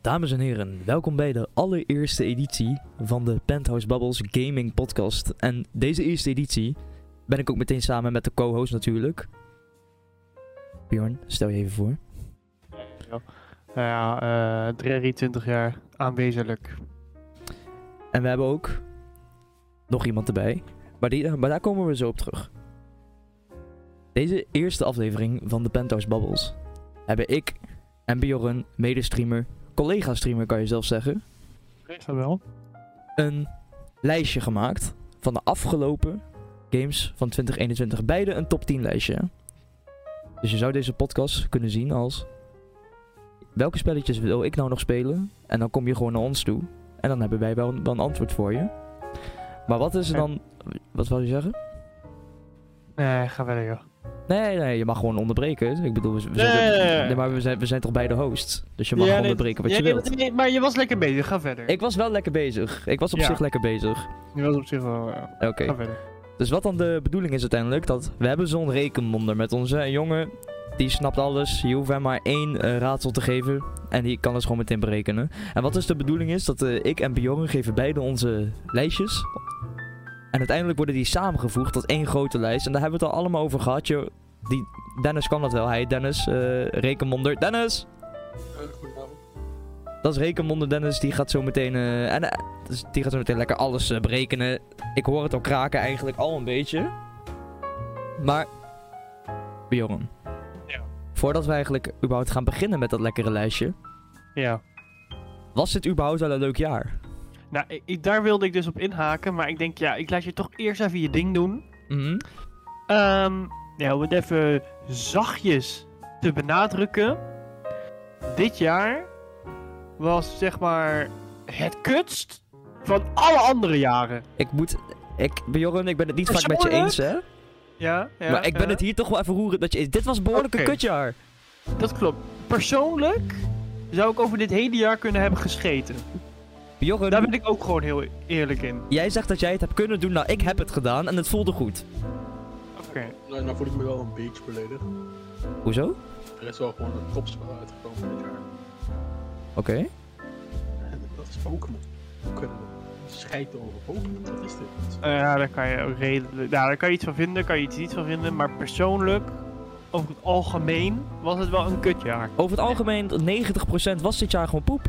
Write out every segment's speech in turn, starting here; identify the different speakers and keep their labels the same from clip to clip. Speaker 1: Dames en heren, welkom bij de allereerste editie van de Penthouse Bubbles Gaming Podcast. En deze eerste editie ben ik ook meteen samen met de co-host natuurlijk. Bjorn, stel je even voor.
Speaker 2: Nou ja, eh 23 jaar aanwezig.
Speaker 1: En we hebben ook nog iemand erbij. Maar, die, maar daar komen we zo op terug. Deze eerste aflevering van de Penthouse Bubbles hebben ik en Bjorn, medestreamer, collega-streamer kan je zelf zeggen,
Speaker 2: Is dat wel?
Speaker 1: een lijstje gemaakt van de afgelopen games van 2021. Beide een top 10 lijstje. hè? Dus je zou deze podcast kunnen zien als... Welke spelletjes wil ik nou nog spelen? En dan kom je gewoon naar ons toe. En dan hebben wij wel een, wel een antwoord voor je. Maar wat is er dan... Wat wil je zeggen?
Speaker 2: Nee, ga verder joh.
Speaker 1: Nee, nee, je mag gewoon onderbreken. Ik bedoel, we, we zijn,
Speaker 2: Nee, nee, nee.
Speaker 1: nee, maar we zijn, we zijn toch beide hosts. Dus je mag
Speaker 2: Ja, nee,
Speaker 1: onderbreken wat
Speaker 2: Ja,
Speaker 1: je
Speaker 2: nee,
Speaker 1: wilt.
Speaker 2: nee, maar je was lekker bezig, ga verder.
Speaker 1: Ik was wel lekker bezig. Ik was op
Speaker 2: Ja.
Speaker 1: zich lekker bezig.
Speaker 2: Je was op zich wel... eh,
Speaker 1: Oké.
Speaker 2: Ga verder.
Speaker 1: Dus wat dan de bedoeling is uiteindelijk, dat we hebben zo'n rekenwonder met onze En jongen. Die snapt alles, je hoeft hem maar één eh, raadsel te geven en die kan het gewoon meteen berekenen. En wat dus de bedoeling is, dat eh, ik en Bjorn geven beide onze lijstjes. En uiteindelijk worden die samengevoegd tot één grote lijst. En daar hebben we het al allemaal over gehad. joh. die Dennis kan dat wel, hij Dennis, eh, rekenwonder. Dennis! Dat is rekenwonder Dennis, die gaat zo meteen. eh, en, eh, dus die gaat zo meteen lekker alles eh, berekenen. Ik hoor het al kraken eigenlijk al een beetje. Maar, Bjorn.
Speaker 2: Ja.
Speaker 1: Voordat we eigenlijk überhaupt gaan beginnen met dat lekkere lijstje.
Speaker 2: Ja.
Speaker 1: Was dit überhaupt wel een leuk jaar?
Speaker 2: Nou, ik- ik- daar wilde ik dus op inhaken, maar ik denk, ja, ik laat je toch eerst even je ding doen.
Speaker 1: Mhm.
Speaker 2: Ehm, ja, om het even zachtjes te benadrukken. Dit jaar was zeg maar het kutst van alle andere jaren.
Speaker 1: Ik moet... Ik, Bjorn, ik ben het niet vaak met je
Speaker 2: Persoonlijk?
Speaker 1: eens, hè?
Speaker 2: Ja, ja eh.
Speaker 1: maar ik ben
Speaker 2: ja.
Speaker 1: het hier toch wel even roerend met je eens. Dit was behoorlijk een
Speaker 2: Oké.
Speaker 1: kutjaar.
Speaker 2: Dat klopt. Persoonlijk zou ik over dit hele jaar kunnen hebben gescheten.
Speaker 1: Bjorn,
Speaker 2: Daar ben ik ook gewoon heel eerlijk in.
Speaker 1: jij zegt dat jij het hebt kunnen doen. Nou, ik heb het gedaan en het voelde goed.
Speaker 2: Oké.
Speaker 3: Nou, nou voel ik me wel een beetje beledigd.
Speaker 1: Hoezo? Oké.
Speaker 3: Er is wel gewoon een topspel uitgekomen dit jaar. En dat is Pokémon. We kunnen scheiden over Pokémon, dat is dit.
Speaker 2: Nou ja, daar kan je ook redelijk. Nou, daar kan je iets van vinden, kan je iets niet van vinden. Maar persoonlijk, over het algemeen, was het wel een kutjaar.
Speaker 1: Over het algemeen, 90% was dit jaar gewoon poep.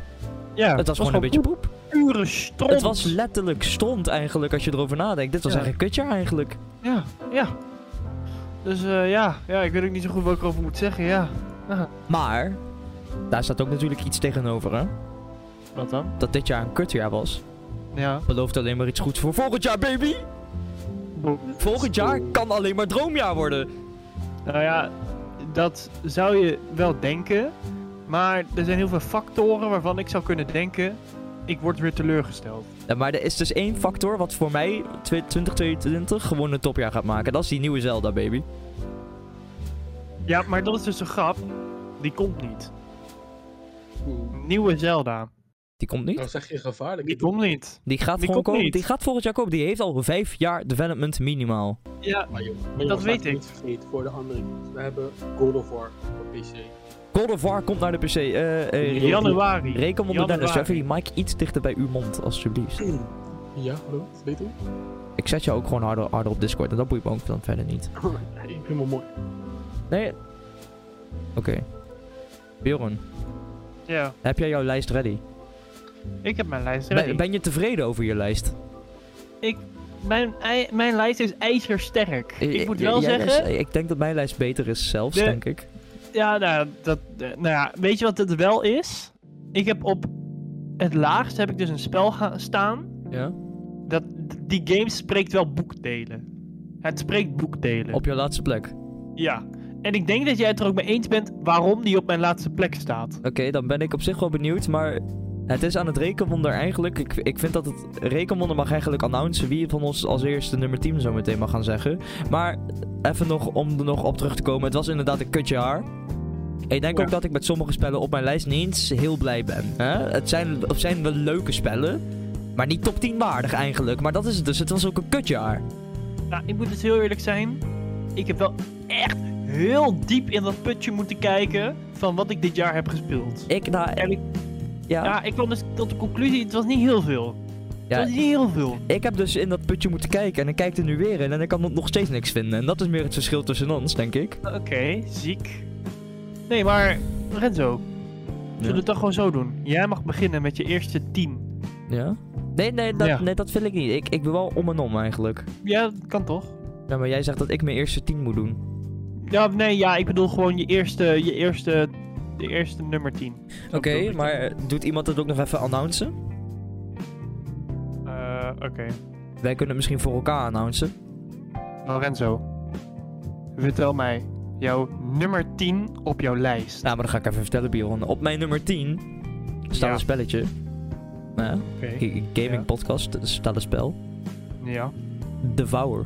Speaker 2: Ja,
Speaker 1: het was, gewoon een beetje poep.
Speaker 2: pure stront.
Speaker 1: Het was letterlijk stond eigenlijk, als je erover nadenkt. Dit was
Speaker 2: Ja.
Speaker 1: eigenlijk een kutjaar eigenlijk.
Speaker 2: Ja, ja. Dus eh, ja, ja, ik weet ook niet zo goed wat ik erover moet zeggen, ja.
Speaker 1: Maar, daar staat ook natuurlijk iets tegenover, hè.
Speaker 2: Wat dan?
Speaker 1: Dat dit jaar een kutjaar was.
Speaker 2: Ja.
Speaker 1: Belooft alleen maar iets goeds voor volgend jaar, baby!
Speaker 2: Bo-
Speaker 1: Volgend jaar kan alleen maar droomjaar worden.
Speaker 2: Nou ja, dat zou je wel denken. Maar er zijn heel veel factoren waarvan ik zou kunnen denken. Ik word weer teleurgesteld.
Speaker 1: Ja, maar er is dus één factor wat voor mij tw- 2022 gewoon een topjaar gaat maken. Dat is die nieuwe Zelda, baby.
Speaker 2: Ja, maar dat is dus een grap. Die komt niet.
Speaker 3: Oeh.
Speaker 2: Nieuwe Zelda.
Speaker 1: Die komt niet.
Speaker 3: Nou zeg je gevaarlijk.
Speaker 2: Die komt niet.
Speaker 1: Die gaat
Speaker 2: die
Speaker 1: gewoon
Speaker 2: komt
Speaker 1: komen.
Speaker 2: niet.
Speaker 1: Die gaat volgend jaar komen. Die heeft al vijf jaar development minimaal.
Speaker 2: Ja,
Speaker 3: Maar joh, maar
Speaker 2: Dat
Speaker 3: jongens,
Speaker 2: weet
Speaker 3: laten we
Speaker 2: ik.
Speaker 3: Niet vergeten voor de andere. games. We hebben God of War voor PC.
Speaker 1: God of War komt naar de PC. Eh, eh,
Speaker 3: Jan-
Speaker 2: januari.
Speaker 1: Reken onder Dennis.
Speaker 2: Januari.
Speaker 1: Even die mic iets dichter bij uw mond, alsjeblieft.
Speaker 3: Ja, hallo, is dit het?
Speaker 1: Ik zet jou ook gewoon harder, harder op Discord. En dat boeit me ook dan verder niet.
Speaker 3: Nee, ik vind me mooi.
Speaker 1: Nee. Oké. Bjorn,
Speaker 2: Ja,
Speaker 1: heb jij jouw lijst ready?
Speaker 2: ik heb mijn lijst.
Speaker 1: Ben,
Speaker 2: ready.
Speaker 1: ben je tevreden over je lijst?
Speaker 2: Mijn, ei- mijn lijst is ijzersterk. Ik moet
Speaker 1: J-
Speaker 2: wel
Speaker 1: Eh, jij
Speaker 2: zeggen.
Speaker 1: lijst- ik denk dat mijn lijst beter is zelfs,
Speaker 2: De-
Speaker 1: denk ik.
Speaker 2: Ja, nou, dat, eh, nou ja, weet je wat het wel is? Ik heb op het laagst heb ik dus een spel ga- staan.
Speaker 1: Ja.
Speaker 2: Dat, die game spreekt wel boekdelen. Het spreekt boekdelen.
Speaker 1: Op jouw laatste plek. Oké,
Speaker 2: Ja. En ik denk dat jij het er ook mee eens bent waarom die op mijn laatste plek staat.
Speaker 1: dan ben ik op zich wel benieuwd, maar... Het is aan het rekenwonder eigenlijk. Ik, ik vind dat het rekenwonder mag eigenlijk announcen wie van ons als eerste nummer 10 zo meteen mag gaan zeggen. Maar even nog om er nog op terug te komen. Het was inderdaad een kutjaar. Ik denk
Speaker 2: Ja.
Speaker 1: ook dat ik met sommige spellen op mijn lijst niet eens heel blij ben. Hè? Het, zijn, het zijn wel leuke spellen. Maar niet top 10 waardig eigenlijk. Maar dat is het dus. Het was ook een kutjaar.
Speaker 2: Nou, ik moet dus heel eerlijk zijn. Ik heb wel echt heel diep in dat putje moeten kijken van wat ik dit jaar heb gespeeld.
Speaker 1: Ik, nou,
Speaker 2: En ik-
Speaker 1: Ja,
Speaker 2: Ja, ik kwam dus tot de conclusie, het was niet heel veel.
Speaker 1: Ja.
Speaker 2: Het was niet heel veel.
Speaker 1: ik heb dus in dat putje moeten kijken en ik kijk er nu weer in en ik kan nog steeds niks vinden. En dat is meer het verschil tussen ons, denk ik.
Speaker 2: Oké, ziek. Nee, maar Renzo, zullen we het dan gewoon zo doen? Jij mag beginnen met je eerste 10.
Speaker 1: Ja? Nee, nee, dat,
Speaker 2: Ja.
Speaker 1: nee, dat vind ik niet. Ik, ik ben wel om en om eigenlijk.
Speaker 2: Ja, dat kan toch?
Speaker 1: Ja, maar jij zegt dat ik mijn eerste 10 moet doen.
Speaker 2: Ja, nee, ja, ik bedoel gewoon je eerste, je eerste, de eerste nummer 10. Zo
Speaker 1: Oké,
Speaker 2: bedoel ik
Speaker 1: maar
Speaker 2: het.
Speaker 1: eh, doet iemand dat ook nog even announcen?
Speaker 2: Eh, Oké.
Speaker 1: Wij kunnen het misschien voor elkaar announcen.
Speaker 2: Lorenzo, vertel mij jouw nummer 10 op jouw lijst.
Speaker 1: Ja, maar dat ga ik even vertellen, Bjorn. Op mijn nummer 10 staat
Speaker 2: Ja.
Speaker 1: een spelletje. Nou ja,
Speaker 2: Oké.
Speaker 1: g-
Speaker 2: Ja.
Speaker 1: gaming podcast eh, staat een spel.
Speaker 2: Ja.
Speaker 1: Devour.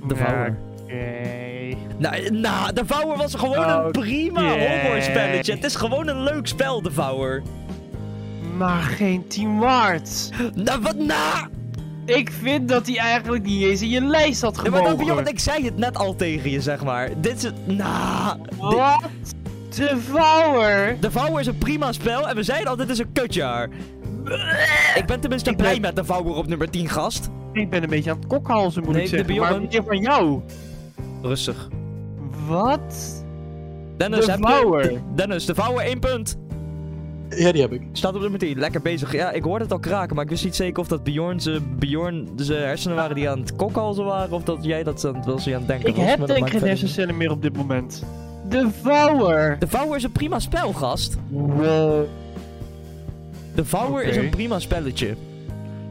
Speaker 2: Ja,
Speaker 1: Devour.
Speaker 2: Oké.
Speaker 1: Nou, nou, Devour was gewoon
Speaker 2: Oké.
Speaker 1: een prima horror spelletje. Het is gewoon een leuk spel, Devour.
Speaker 2: Maar geen 10 waard.
Speaker 1: Nou, wat na?
Speaker 2: Ik vind dat hij eigenlijk niet eens in je lijst had
Speaker 1: Ja, maar dat,
Speaker 2: gemogen.
Speaker 1: Bjorn, ik zei het net al tegen je, zeg maar. Dit is... Nou... dit-
Speaker 2: Wat? Devour?
Speaker 1: De Vouwer is een prima spel en we zeiden al, dit is een kutjaar. Ik ben tenminste
Speaker 2: Ik ben-
Speaker 1: blij met de Vouwer op nummer 10, gast.
Speaker 2: Ik ben een beetje aan het kokhalzen, moet
Speaker 1: Nee,
Speaker 2: ik
Speaker 1: de
Speaker 2: zeggen. Maar
Speaker 1: Bjorn-
Speaker 2: meer van jou.
Speaker 1: Rustig.
Speaker 2: Wat?
Speaker 1: Dennis,
Speaker 2: De
Speaker 1: heb je-
Speaker 2: Vouwer.
Speaker 1: Dennis, de Vouwer 1 punt.
Speaker 3: Ja, die heb ik.
Speaker 1: Staat op nummer 10. Lekker bezig. Ja, ik hoorde het al kraken, maar ik wist niet zeker of dat Bjorn zijn Bjorn ze hersenen waren die aan het kokhalzen waren. Of dat jij dat aan het, wel eens aan het denken
Speaker 2: Ik
Speaker 1: was.
Speaker 2: heb
Speaker 1: maar dat
Speaker 2: denk ik
Speaker 1: maakt
Speaker 2: geen
Speaker 1: verder
Speaker 2: hersencellen meer op dit moment. Devour.
Speaker 1: niet. De Vouwer is een prima spel, gast.
Speaker 2: Wow.
Speaker 1: De Vouwer is
Speaker 2: Oké.
Speaker 1: een prima spelletje.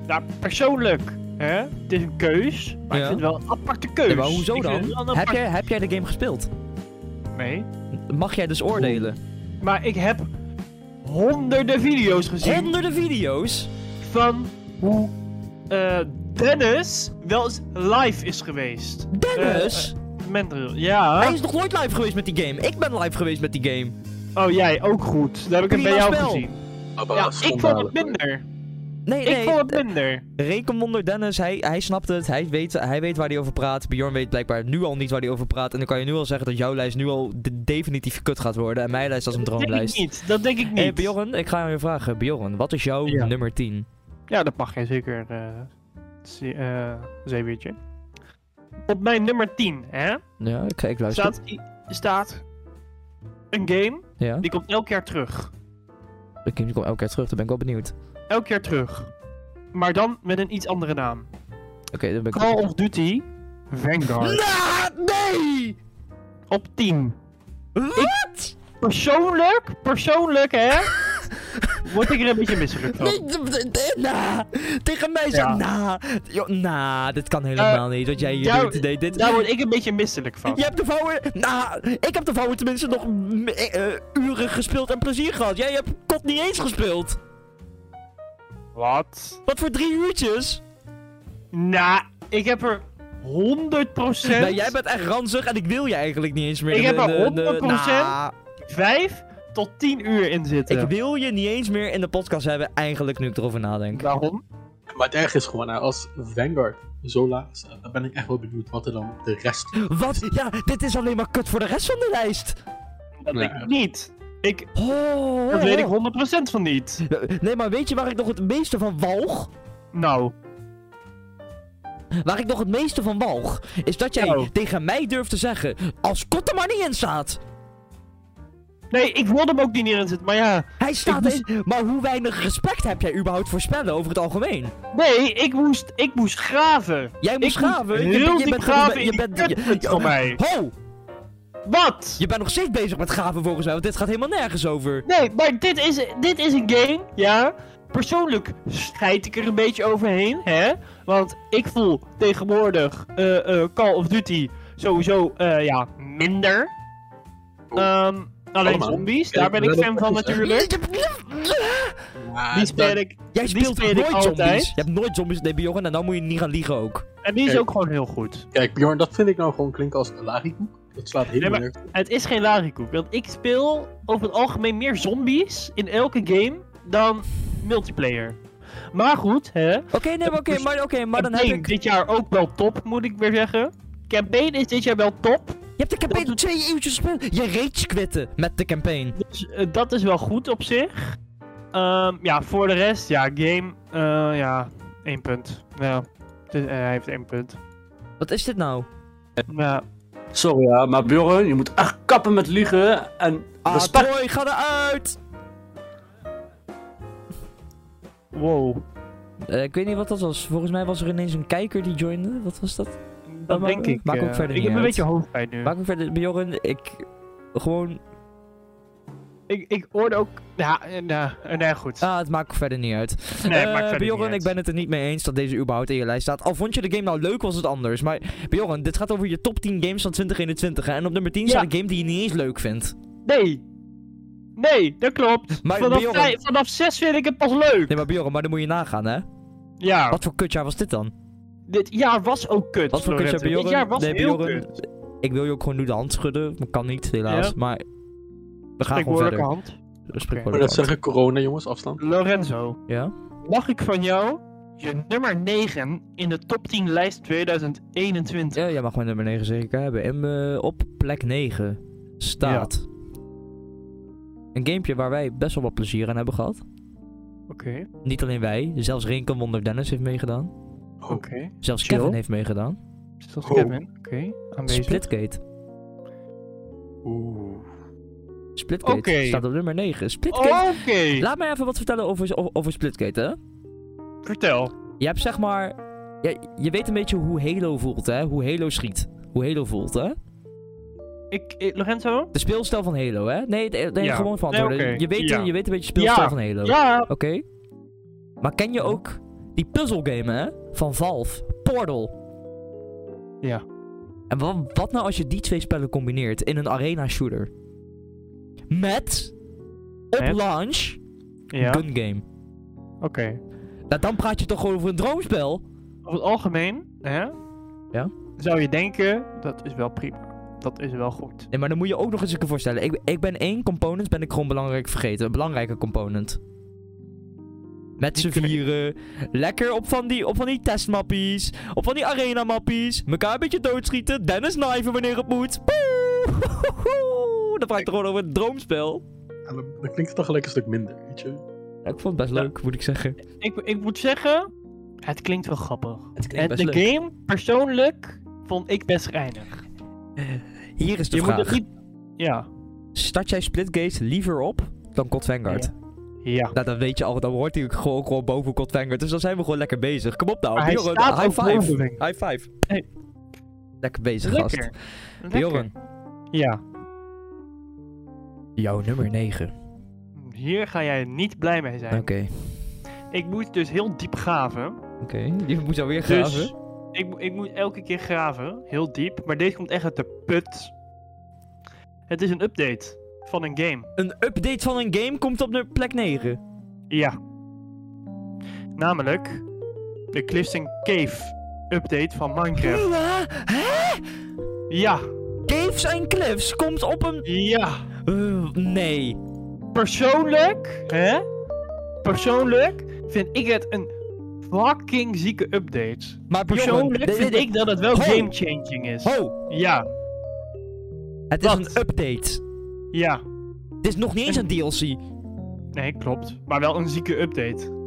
Speaker 2: Nou, persoonlijk, hè? Het is een keus, maar
Speaker 1: Ja.
Speaker 2: ik vind het wel een aparte keus.
Speaker 1: Ja, maar hoezo
Speaker 2: Dus Ik vind het wel
Speaker 1: dan?
Speaker 2: een
Speaker 1: Heb
Speaker 2: aparte-
Speaker 1: jij, heb jij de game gespeeld?
Speaker 2: Nee.
Speaker 1: Mag jij dus oordelen?
Speaker 2: Maar ik heb honderden video's gezien
Speaker 1: Honderden video's.
Speaker 2: van hoe eh, Dennis wel eens live is geweest.
Speaker 1: Dennis!
Speaker 2: Eh, Mendril, ja.
Speaker 1: Hij is nog nooit live geweest met die game. Ik ben live geweest met die game.
Speaker 2: Oh, jij ook goed. Daar heb ik het bij
Speaker 1: Prima
Speaker 2: jou
Speaker 1: nou spel.
Speaker 2: gezien.
Speaker 3: Abba,
Speaker 2: Ja, ik vond
Speaker 3: schandalen.
Speaker 2: het minder.
Speaker 1: Nee,
Speaker 2: Ik
Speaker 1: nee.
Speaker 2: vond het minder.
Speaker 1: Rekenwonder Dennis, hij, hij snapt het. Hij weet, hij weet waar hij over praat. Bjorn weet blijkbaar nu al niet waar hij over praat. En dan kan je nu al zeggen dat jouw lijst nu al de- definitief kut gaat worden. En mijn lijst als een
Speaker 2: Dat denk ik
Speaker 1: droomlijst.
Speaker 2: niet. Dat denk ik niet.
Speaker 1: Hé hey, Bjorn, ik ga aan je vragen. Bjorn, wat is jouw
Speaker 2: Ja.
Speaker 1: nummer 10?
Speaker 2: Ja, dat mag jij zeker, eh ze- eh, zeewiertje. Op mijn nummer 10, hè,
Speaker 1: Ja, ik, ik luister.
Speaker 2: staat, i- staat een game
Speaker 1: Ja,
Speaker 2: die komt elk jaar terug.
Speaker 1: ik kom elke keer terug. Dan ben ik wel benieuwd.
Speaker 2: Elk jaar terug. Maar dan met een iets andere naam.
Speaker 1: Oké, dan ben ik...
Speaker 2: Call of Duty Vanguard.
Speaker 1: Na- nee!
Speaker 2: Op 10.
Speaker 1: Wat?
Speaker 2: Persoonlijk, persoonlijk, hè, word ik er een beetje misselijk van.
Speaker 1: Nee, d- d- d- nah. Tegen mij zegt,
Speaker 2: Ja. Eh,
Speaker 1: nah. Joh, nah, dit kan helemaal niet. Wat jij hier
Speaker 2: jou-
Speaker 1: doet. Nee, dit,
Speaker 2: Daar word ik een beetje misselijk van.
Speaker 1: Je hebt de vouwen. Nou, ik heb de vouwen tenminste nog mm, eh, eh, uren gespeeld en plezier gehad. Jij hebt kot niet eens gespeeld.
Speaker 2: Wat?
Speaker 1: Wat voor drie uurtjes?
Speaker 2: Nou, ik heb er 100 procent.
Speaker 1: Nee, Nou, jij bent echt ranzig en ik wil je eigenlijk niet eens meer.
Speaker 2: Ik
Speaker 1: in
Speaker 2: heb
Speaker 1: de-
Speaker 2: er
Speaker 1: de- de-
Speaker 2: 100%
Speaker 1: Nou,
Speaker 2: 5 tot 10 uur in zitten.
Speaker 1: ik wil je niet eens meer in de podcast hebben, eigenlijk nu ik erover nadenk.
Speaker 2: Waarom?
Speaker 3: Maar het erg is gewoon, nou, als Vanguard zo laag is, eh, dan ben ik echt wel benieuwd wat er dan de rest...
Speaker 1: Wat? Ja, dit is alleen maar kut voor de rest van de lijst.
Speaker 2: Dat
Speaker 3: Nee.
Speaker 2: denk ik niet. Ik,
Speaker 1: Oh, oh,
Speaker 2: dat weet ik
Speaker 1: oh.
Speaker 2: 100% van niet.
Speaker 1: Nee, maar weet je waar ik nog het meeste van walg?
Speaker 2: Nou,
Speaker 1: Waar ik nog het meeste van walg, is dat jij
Speaker 2: Nou.
Speaker 1: tegen mij durft te zeggen, als kot er maar niet in staat.
Speaker 2: nee, ik wilde hem ook niet in zitten, maar ja.
Speaker 1: Hij staat
Speaker 2: moest-
Speaker 1: in, maar hoe weinig respect heb jij überhaupt voor spellen over het algemeen?
Speaker 2: Nee, ik moest, ik moest graven.
Speaker 1: Jij moest
Speaker 2: Ik moest
Speaker 1: graven. je,
Speaker 2: heel
Speaker 1: bent-
Speaker 2: diep
Speaker 1: je bent,
Speaker 2: graven
Speaker 1: je
Speaker 2: in
Speaker 1: bent,
Speaker 2: die
Speaker 1: je-
Speaker 2: kutput
Speaker 1: je-
Speaker 2: van mij.
Speaker 1: Ho!
Speaker 2: Wat?
Speaker 1: Je bent nog steeds bezig met graven volgens mij, want dit gaat helemaal nergens over.
Speaker 2: Nee, maar dit is, dit is een game, ja. Persoonlijk scheid ik er een beetje overheen, hè. Want ik voel tegenwoordig eh, eh, Call of Duty sowieso, eh, ja, minder. Ehm, alleen
Speaker 3: Oh. Allemaal.
Speaker 2: zombies,
Speaker 3: Ja,
Speaker 2: daar ben ik
Speaker 3: wel
Speaker 2: fan
Speaker 3: op-
Speaker 2: van
Speaker 3: is, hè?
Speaker 2: natuurlijk.
Speaker 3: Maar
Speaker 2: Die
Speaker 3: dat-
Speaker 2: speel ik.
Speaker 1: Jij
Speaker 2: Die
Speaker 1: speelt
Speaker 2: speel ik
Speaker 1: nooit
Speaker 2: altijd.
Speaker 1: zombies. Je hebt nooit zombies, nee Bjorn, en nou moet je niet gaan liegen ook.
Speaker 2: En die is
Speaker 3: Kijk.
Speaker 2: ook gewoon heel goed.
Speaker 3: Kijk, Bjorn, dat vind ik nou gewoon klinken als een larikoek. Dat slaat helemaal
Speaker 2: maar-
Speaker 3: nergens op.
Speaker 2: Het is geen larikoek, want ik speel over het algemeen meer zombies in elke game dan multiplayer. Maar goed, hè.
Speaker 1: Oké, nee, maar oké, maar, oké, maar dan heb
Speaker 2: Campaign
Speaker 1: ik...
Speaker 2: dit jaar ook wel top, moet ik weer zeggen. Campaign is dit jaar wel top.
Speaker 1: hebt de campaign
Speaker 2: Dat-
Speaker 1: twee uurtjes gespeeld. Je rage quitten met de campaign.
Speaker 2: Dus eh, dat is wel goed op zich. Ehm, ja, voor de rest, ja, game, eh, ja, één punt. Ja, het is- eh, hij heeft één punt.
Speaker 1: Wat is dit nou?
Speaker 2: Ja,
Speaker 4: Sorry, ja, maar Bjorn, je moet echt kappen met liegen en
Speaker 1: Ah,
Speaker 4: respect.
Speaker 1: Troy, ga eruit!
Speaker 2: wow.
Speaker 1: Eh, ik weet niet wat dat was. Volgens mij was er ineens een kijker die joinde. Wat was dat?
Speaker 2: Dat
Speaker 1: ma-
Speaker 2: denk ik.
Speaker 1: maakt ook
Speaker 2: eh,
Speaker 1: verder
Speaker 2: Ik
Speaker 1: niet
Speaker 2: heb een
Speaker 1: uit.
Speaker 2: beetje hoofdpijn nu.
Speaker 1: Maak me verder, Bjorn. Ik. Gewoon.
Speaker 2: Ik, ik hoorde ook... Ja, eh, nou, eh, nee, goed.
Speaker 1: Ah, het maakt verder niet uit.
Speaker 2: Nee, het
Speaker 1: Eh,
Speaker 2: maakt verder
Speaker 1: Bjorn,
Speaker 2: niet uit.
Speaker 1: ik ben het er niet mee eens dat deze überhaupt in je lijst staat. Al vond je de game nou leuk, was het anders. Maar Bjorn, dit gaat over je top 10 games van 2021. Hè? En op nummer 10
Speaker 2: Ja.
Speaker 1: staat een game die je niet eens leuk vindt.
Speaker 2: Nee. Nee, dat klopt.
Speaker 1: Maar
Speaker 2: vanaf,
Speaker 1: Bjorn-
Speaker 2: vijf- vanaf zes vind ik het pas leuk.
Speaker 1: Nee, maar Bjorn, maar dan moet je nagaan,
Speaker 2: Oh.
Speaker 1: hè?
Speaker 2: Ja,
Speaker 1: Wat voor kutjaar was dit dan?
Speaker 2: dit jaar was ook kut.
Speaker 1: Wat voor kutjaar,
Speaker 2: Florette.
Speaker 1: Bjorn?
Speaker 2: Dit jaar was
Speaker 1: Nee,
Speaker 2: heel
Speaker 1: Bjorn,
Speaker 2: kut.
Speaker 1: Ik wil je ook gewoon nu de hand schudden. maar Kan niet, helaas.
Speaker 2: Ja.
Speaker 1: Maar. We gaan gewoon
Speaker 2: Spreekwoordelijke
Speaker 1: verder.
Speaker 2: hand.
Speaker 1: Spreekwoordelijke
Speaker 3: Maar dat
Speaker 1: hand.
Speaker 3: zeggen corona, jongens, afstand.
Speaker 2: Lorenzo.
Speaker 1: Ja?
Speaker 2: Mag ik van jou je nummer 9 in de top 10 lijst 2021?
Speaker 1: ja? Jij mag mijn nummer 9 zeker hebben. En eh, op plek 9 staat. Een gamepje waar wij best wel wat plezier aan hebben gehad.
Speaker 2: Oké, oké.
Speaker 1: Niet alleen wij, zelfs Rinken Wonder Dennis heeft meegedaan.
Speaker 3: Oh,
Speaker 1: Zelfs
Speaker 2: Chill.
Speaker 1: Kevin heeft meegedaan.
Speaker 2: Zoals
Speaker 3: Oh.
Speaker 2: Kevin, oké. Aanwezig.
Speaker 1: Splitgate.
Speaker 3: Oeh.
Speaker 1: Splitgate
Speaker 2: Oké. Oh!
Speaker 1: staat op nummer 9. Splitgate.
Speaker 2: Oké,
Speaker 1: Laat mij even wat vertellen over, over, over Splitgate, hè?
Speaker 2: vertel.
Speaker 1: Je hebt zeg maar. Je, je weet een beetje hoe Halo voelt, hè? Hoe Halo schiet. Hoe Halo voelt, hè?
Speaker 2: Ik, ik- Lorenzo?
Speaker 1: De speelstijl van Halo, hè? Nee, het- nee
Speaker 2: Ja.
Speaker 1: gewoon van
Speaker 2: Nee,
Speaker 1: antwoorden.
Speaker 2: oké.
Speaker 1: je, weet,
Speaker 2: Ja.
Speaker 1: je weet een beetje de speelstijl
Speaker 2: Ja.
Speaker 1: van Halo.
Speaker 2: Ja,
Speaker 1: Oké. Maar ken je ook die puzzelgame, hè? Van Valve. Portal.
Speaker 2: Ja.
Speaker 1: En wat, wat nou als je die twee spellen combineert in een arena shooter? Met... Op
Speaker 2: Met?
Speaker 1: launch...
Speaker 2: ja.
Speaker 1: Gun game.
Speaker 2: oké.
Speaker 1: Nou, dan praat je toch gewoon over een droomspel?
Speaker 2: Over het algemeen, hè?
Speaker 1: Ja?
Speaker 2: Zou je denken, dat is wel prima. Dat is wel goed.
Speaker 1: Nee, maar dan moet je ook nog eens een keer voorstellen. Ik, ik ben één component, ben ik gewoon belangrijk vergeten. Een belangrijke component. Met z'n
Speaker 2: Oké.
Speaker 1: vieren. Lekker op van die, op van die testmappies. Op van die arena-mappies. Mekaar een beetje doodschieten. Dennis kniven wanneer het moet. Poeh! Dan praat ik er gewoon over het droomspel.
Speaker 3: En dan dan klinkt het toch gelijk een stuk minder, weet je?
Speaker 1: Ja, ik vond het best
Speaker 2: Ja.
Speaker 1: leuk, moet ik zeggen.
Speaker 2: Ik, ik moet zeggen, het klinkt wel grappig.
Speaker 1: Het
Speaker 2: En de game, persoonlijk, vond ik best reinig.
Speaker 1: Hier is de
Speaker 2: Je moet
Speaker 1: vraag.
Speaker 2: het niet... Ja,
Speaker 1: Start jij Splitgate liever op dan COD Vanguard?
Speaker 2: ja.
Speaker 1: Nou, dan weet je al. Dan hoort hij ook gewoon, gewoon boven COD Vanguard. Dus dan zijn we gewoon lekker bezig. Kom op nou.
Speaker 2: Maar hij
Speaker 1: Bjorn,
Speaker 2: staat ook
Speaker 1: high five.
Speaker 2: boven Vanguard.
Speaker 1: High five.
Speaker 2: Hey.
Speaker 1: Lekker bezig, gast.
Speaker 2: Lekker. Lekker.
Speaker 1: Bjorn,
Speaker 2: Ja.
Speaker 1: jouw nummer 9.
Speaker 2: Hier ga jij niet blij mee zijn.
Speaker 1: Oké,
Speaker 2: Ik moet dus heel diep graven.
Speaker 1: oké. Je moet alweer graven.
Speaker 2: Dus ik, mo- ik moet elke keer graven. Heel diep. Maar deze komt echt uit de put. Het is een update van een game.
Speaker 1: Een update van een game komt op de plek 9.
Speaker 2: Ja. Namelijk de Clifton Cave update van Minecraft.
Speaker 1: Hè?
Speaker 2: Ja.
Speaker 1: Caves en Cliffs komt op een...
Speaker 2: Ja.
Speaker 1: Eh, nee.
Speaker 2: Persoonlijk, hè? Persoonlijk vind ik het een fucking zieke update.
Speaker 1: Maar
Speaker 2: Persoonlijk
Speaker 1: Bjorn,
Speaker 2: vind
Speaker 1: dit-
Speaker 2: ik dat het wel
Speaker 1: Ho!
Speaker 2: game-changing is.
Speaker 1: Ho,
Speaker 2: Ja,
Speaker 1: het is
Speaker 2: Wat?
Speaker 1: een update.
Speaker 2: ja.
Speaker 1: Dit is nog niet eens een DLC.
Speaker 2: Nee, klopt. Maar wel een zieke update.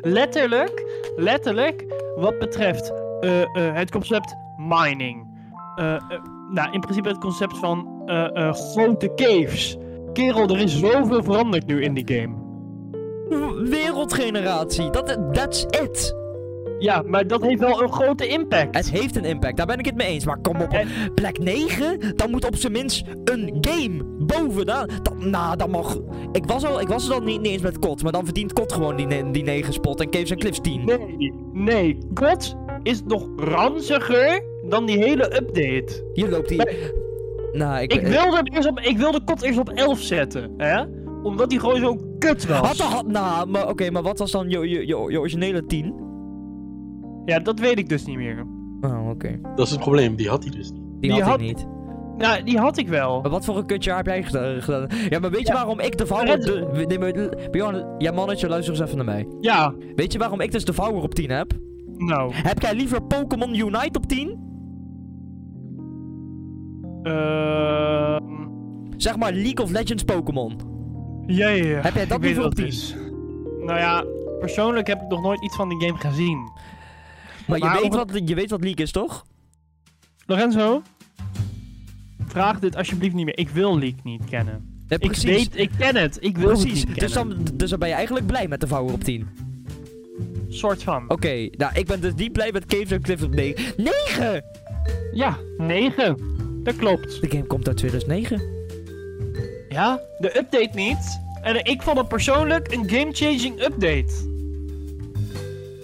Speaker 2: Letterlijk, letterlijk, wat betreft eh, eh, het concept mining. Eh, eh, nou, in principe het concept van eh, eh, grote caves. Kerel, er is zoveel veranderd nu in die game.
Speaker 1: W- Wereldgeneratie. Dat, that's it.
Speaker 2: Ja, maar dat heeft wel een grote impact.
Speaker 1: Het heeft een impact, daar ben ik het mee eens. Maar kom op, op plek 9, dan moet op zijn minst een game bovenaan. Dan, nou, dan mag... Ik was, al, ik was het al niet, niet eens met Kot, maar dan verdient Kot gewoon die, ne- die 9 spot en Caves en Cliffs 10.
Speaker 2: Nee, nee, God is nog ranziger dan die hele update.
Speaker 1: Hier loopt die... Nou, ik...
Speaker 2: Ik wilde, hem eerst op, ik wilde Kot eerst op 11 zetten, hè? Omdat hij gewoon zo kut was.
Speaker 1: Wat de had... Nou, maar oké, maar wat was dan je, je, je, je originele 10?
Speaker 2: Ja, dat weet ik dus niet meer.
Speaker 1: Oh, oké.
Speaker 3: Dat is het probleem, die had hij dus niet.
Speaker 1: Die, had,
Speaker 2: had-
Speaker 1: ik niet.
Speaker 2: Nou, die had ik wel.
Speaker 1: Maar wat voor een kutjaar heb jij geda- gedaan? Ja, maar weet je
Speaker 2: Ja.
Speaker 1: waarom ik de vouwer... op de- Nee, maar... Bjorn, ja mannetje, luister eens even naar mij.
Speaker 2: Ja,
Speaker 1: Weet je waarom ik dus de vouwer op 10 heb?
Speaker 2: nou.
Speaker 1: Heb jij liever Pokémon Unite op 10?
Speaker 2: Ehm,
Speaker 1: Zeg maar League of Legends Pokémon.
Speaker 2: ja, ja, ja.
Speaker 1: Heb jij dat
Speaker 2: eh, Ik weet
Speaker 1: niveau
Speaker 2: wat
Speaker 1: 10?
Speaker 2: het is. Nou ja, persoonlijk heb ik nog nooit iets van die game gezien.
Speaker 1: Maar
Speaker 2: Maar
Speaker 1: je weet,
Speaker 2: om
Speaker 1: wat, je weet wat League is, toch?
Speaker 2: Lorenzo, vraag dit alsjeblieft niet meer. Ik wil League niet kennen.
Speaker 1: Ja,
Speaker 2: Ik weet, ik ken het. Ik wil
Speaker 1: precies.
Speaker 2: het niet
Speaker 1: Dus
Speaker 2: kennen.
Speaker 1: dan, dus dan ben je eigenlijk blij met de vouwer op 10. Oké,
Speaker 2: Soort van.
Speaker 1: nou ik ben dus niet blij met Caves and Cliff op 9. 9!
Speaker 2: Ja, 9. Dat klopt.
Speaker 1: De game komt uit 2009.
Speaker 2: Ja, de update niet. En ik vond het persoonlijk een game-changing update.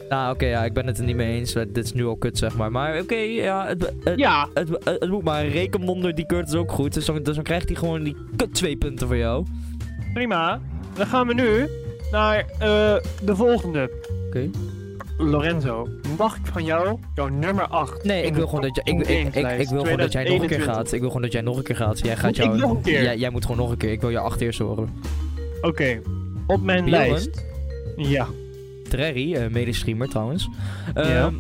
Speaker 1: Nou oké, ja, ik ben het er niet mee eens. Dit is nu al kut, zeg maar. Maar oké, ja, het, het,
Speaker 2: Ja,
Speaker 1: het, het- het moet maar. Rekenwonder, die keurt is ook goed. Dus dan, dus dan krijgt hij gewoon die kut 2 punten voor jou.
Speaker 2: prima. Dan gaan we nu naar eh, de volgende.
Speaker 1: Oké.
Speaker 2: Lorenzo, mag ik van jou jouw nummer 8?
Speaker 1: Nee, ik wil gewoon dat, je, ik, ik, ik, ik wil gewoon dat jij nog een keer gaat. Ik wil gewoon dat jij nog een keer gaat. Jij gaat
Speaker 2: Moet ik
Speaker 1: jou,
Speaker 2: nog een keer?
Speaker 1: Jij, jij moet gewoon nog een keer. Ik wil je acht eerst horen.
Speaker 2: Oké, op mijn
Speaker 1: Bjorn?
Speaker 2: lijst. Ja.
Speaker 1: Trerry, eh medestreamer trouwens. Ehm,
Speaker 2: Ja.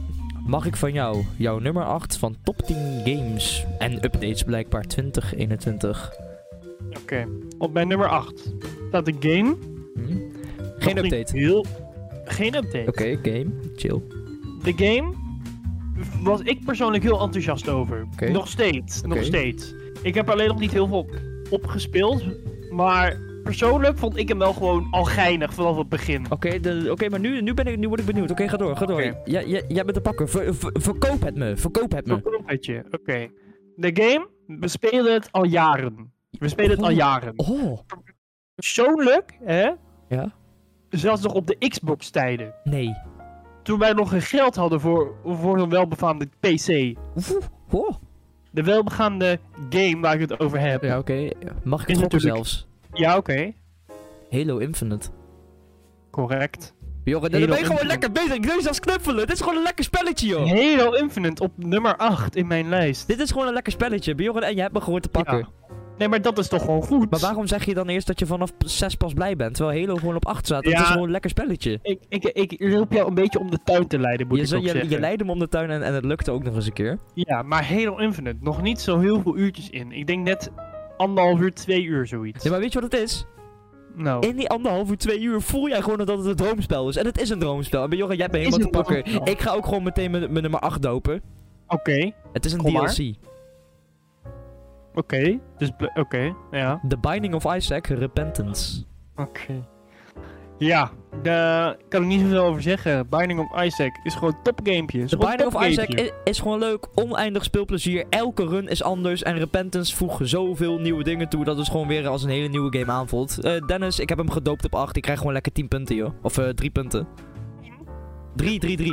Speaker 1: Mag ik van jou, jouw nummer 8 van top 10 games en updates blijkbaar 2021?
Speaker 2: Oké, op mijn nummer 8 staat de game.
Speaker 1: Hm?
Speaker 2: Dat
Speaker 1: Geen
Speaker 2: klinkt
Speaker 1: update.
Speaker 2: Heel... Geen update.
Speaker 1: Oké, game. Chill.
Speaker 2: De game was ik persoonlijk heel enthousiast over.
Speaker 1: Oké.
Speaker 2: Nog steeds, nog
Speaker 1: Oké.
Speaker 2: steeds. Ik heb er alleen nog niet heel veel op, op gespeeld. Maar persoonlijk vond ik hem wel gewoon al geinig vanaf het begin.
Speaker 1: Oké, de- oké, maar nu, nu, ben ik, nu word ik benieuwd. Oké, ga door, ga door.
Speaker 2: Oké.
Speaker 1: Ja, ja, jij bent de pakker. Ver- ver- verkoop het me, verkoop het me.
Speaker 2: Verkoopetje, Oké. De game, we spelen het al jaren. We spelen het al
Speaker 1: Oh.
Speaker 2: jaren.
Speaker 1: Oh,
Speaker 2: Persoonlijk, hè?
Speaker 1: Ja.
Speaker 2: Zelfs nog op de Xbox-tijden.
Speaker 1: nee.
Speaker 2: Toen wij nog geen geld hadden voor, voor een welbefaamde PC.
Speaker 1: Oeh, oh.
Speaker 2: De welbegaande game waar ik het over heb.
Speaker 1: Ja, oké. Mag ik het gokken
Speaker 2: Is natuurlijk-
Speaker 1: zelfs?
Speaker 2: Ja, oké.
Speaker 1: Halo Infinite.
Speaker 2: Correct.
Speaker 1: Jorgen,
Speaker 2: Halo
Speaker 1: dan ben je gewoon
Speaker 2: Infinite.
Speaker 1: lekker bezig. Ik doe zelfs knuffelen. Dit is gewoon een lekker spelletje, joh.
Speaker 2: Halo Infinite op nummer 8 in mijn lijst.
Speaker 1: Oh. Dit is gewoon een lekker spelletje. Bjorn, en je hebt me gewoon te pakken.
Speaker 2: Ja. Nee, maar dat is toch gewoon goed?
Speaker 1: Maar waarom zeg je dan eerst dat je vanaf 6 pas blij bent? Terwijl Halo gewoon op 8 staat. Het
Speaker 2: Ja.
Speaker 1: is gewoon een lekker spelletje.
Speaker 2: Ik, ik, ik hielp jou een beetje om de tuin te leiden, moet
Speaker 1: Je,
Speaker 2: ik
Speaker 1: zo-
Speaker 2: ook
Speaker 1: je,
Speaker 2: zeggen.
Speaker 1: je leidde me om de tuin en, en het lukte ook nog eens een keer.
Speaker 2: Ja, maar Halo Infinite, nog niet zo heel veel uurtjes in. Ik denk net anderhalf uur, twee uur zoiets.
Speaker 1: Ja, maar weet je wat het is?
Speaker 2: Nou,
Speaker 1: In die anderhalf uur, twee uur voel jij gewoon dat het een droomspel is. En het is een droomspel. En Bjorn, jij hebt me
Speaker 2: Het is
Speaker 1: helemaal te
Speaker 2: een
Speaker 1: pakken.
Speaker 2: droomspel.
Speaker 1: Ik ga ook gewoon meteen mijn mijn nummer 8 dopen.
Speaker 2: oké,
Speaker 1: Het is een
Speaker 2: Kom maar.
Speaker 1: DLC.
Speaker 2: oké. Dus, bl- oké, ja.
Speaker 1: The Binding of Isaac Repentance.
Speaker 2: Oké. Ja, daar kan ik niet zoveel over zeggen. Binding of Isaac is gewoon topgamepje. Is
Speaker 1: The
Speaker 2: gewoon
Speaker 1: Binding Dus of Isaac
Speaker 2: topgamepje.
Speaker 1: is, is gewoon leuk, oneindig speelplezier. Elke run is anders en Repentance voegt zoveel nieuwe dingen toe dat het gewoon weer als een hele nieuwe game aanvoelt. Eh, Dennis, ik heb hem gedoopt op 8. Ik krijg gewoon lekker 10 punten, joh. Of eh 3 punten. 3, 3, 3.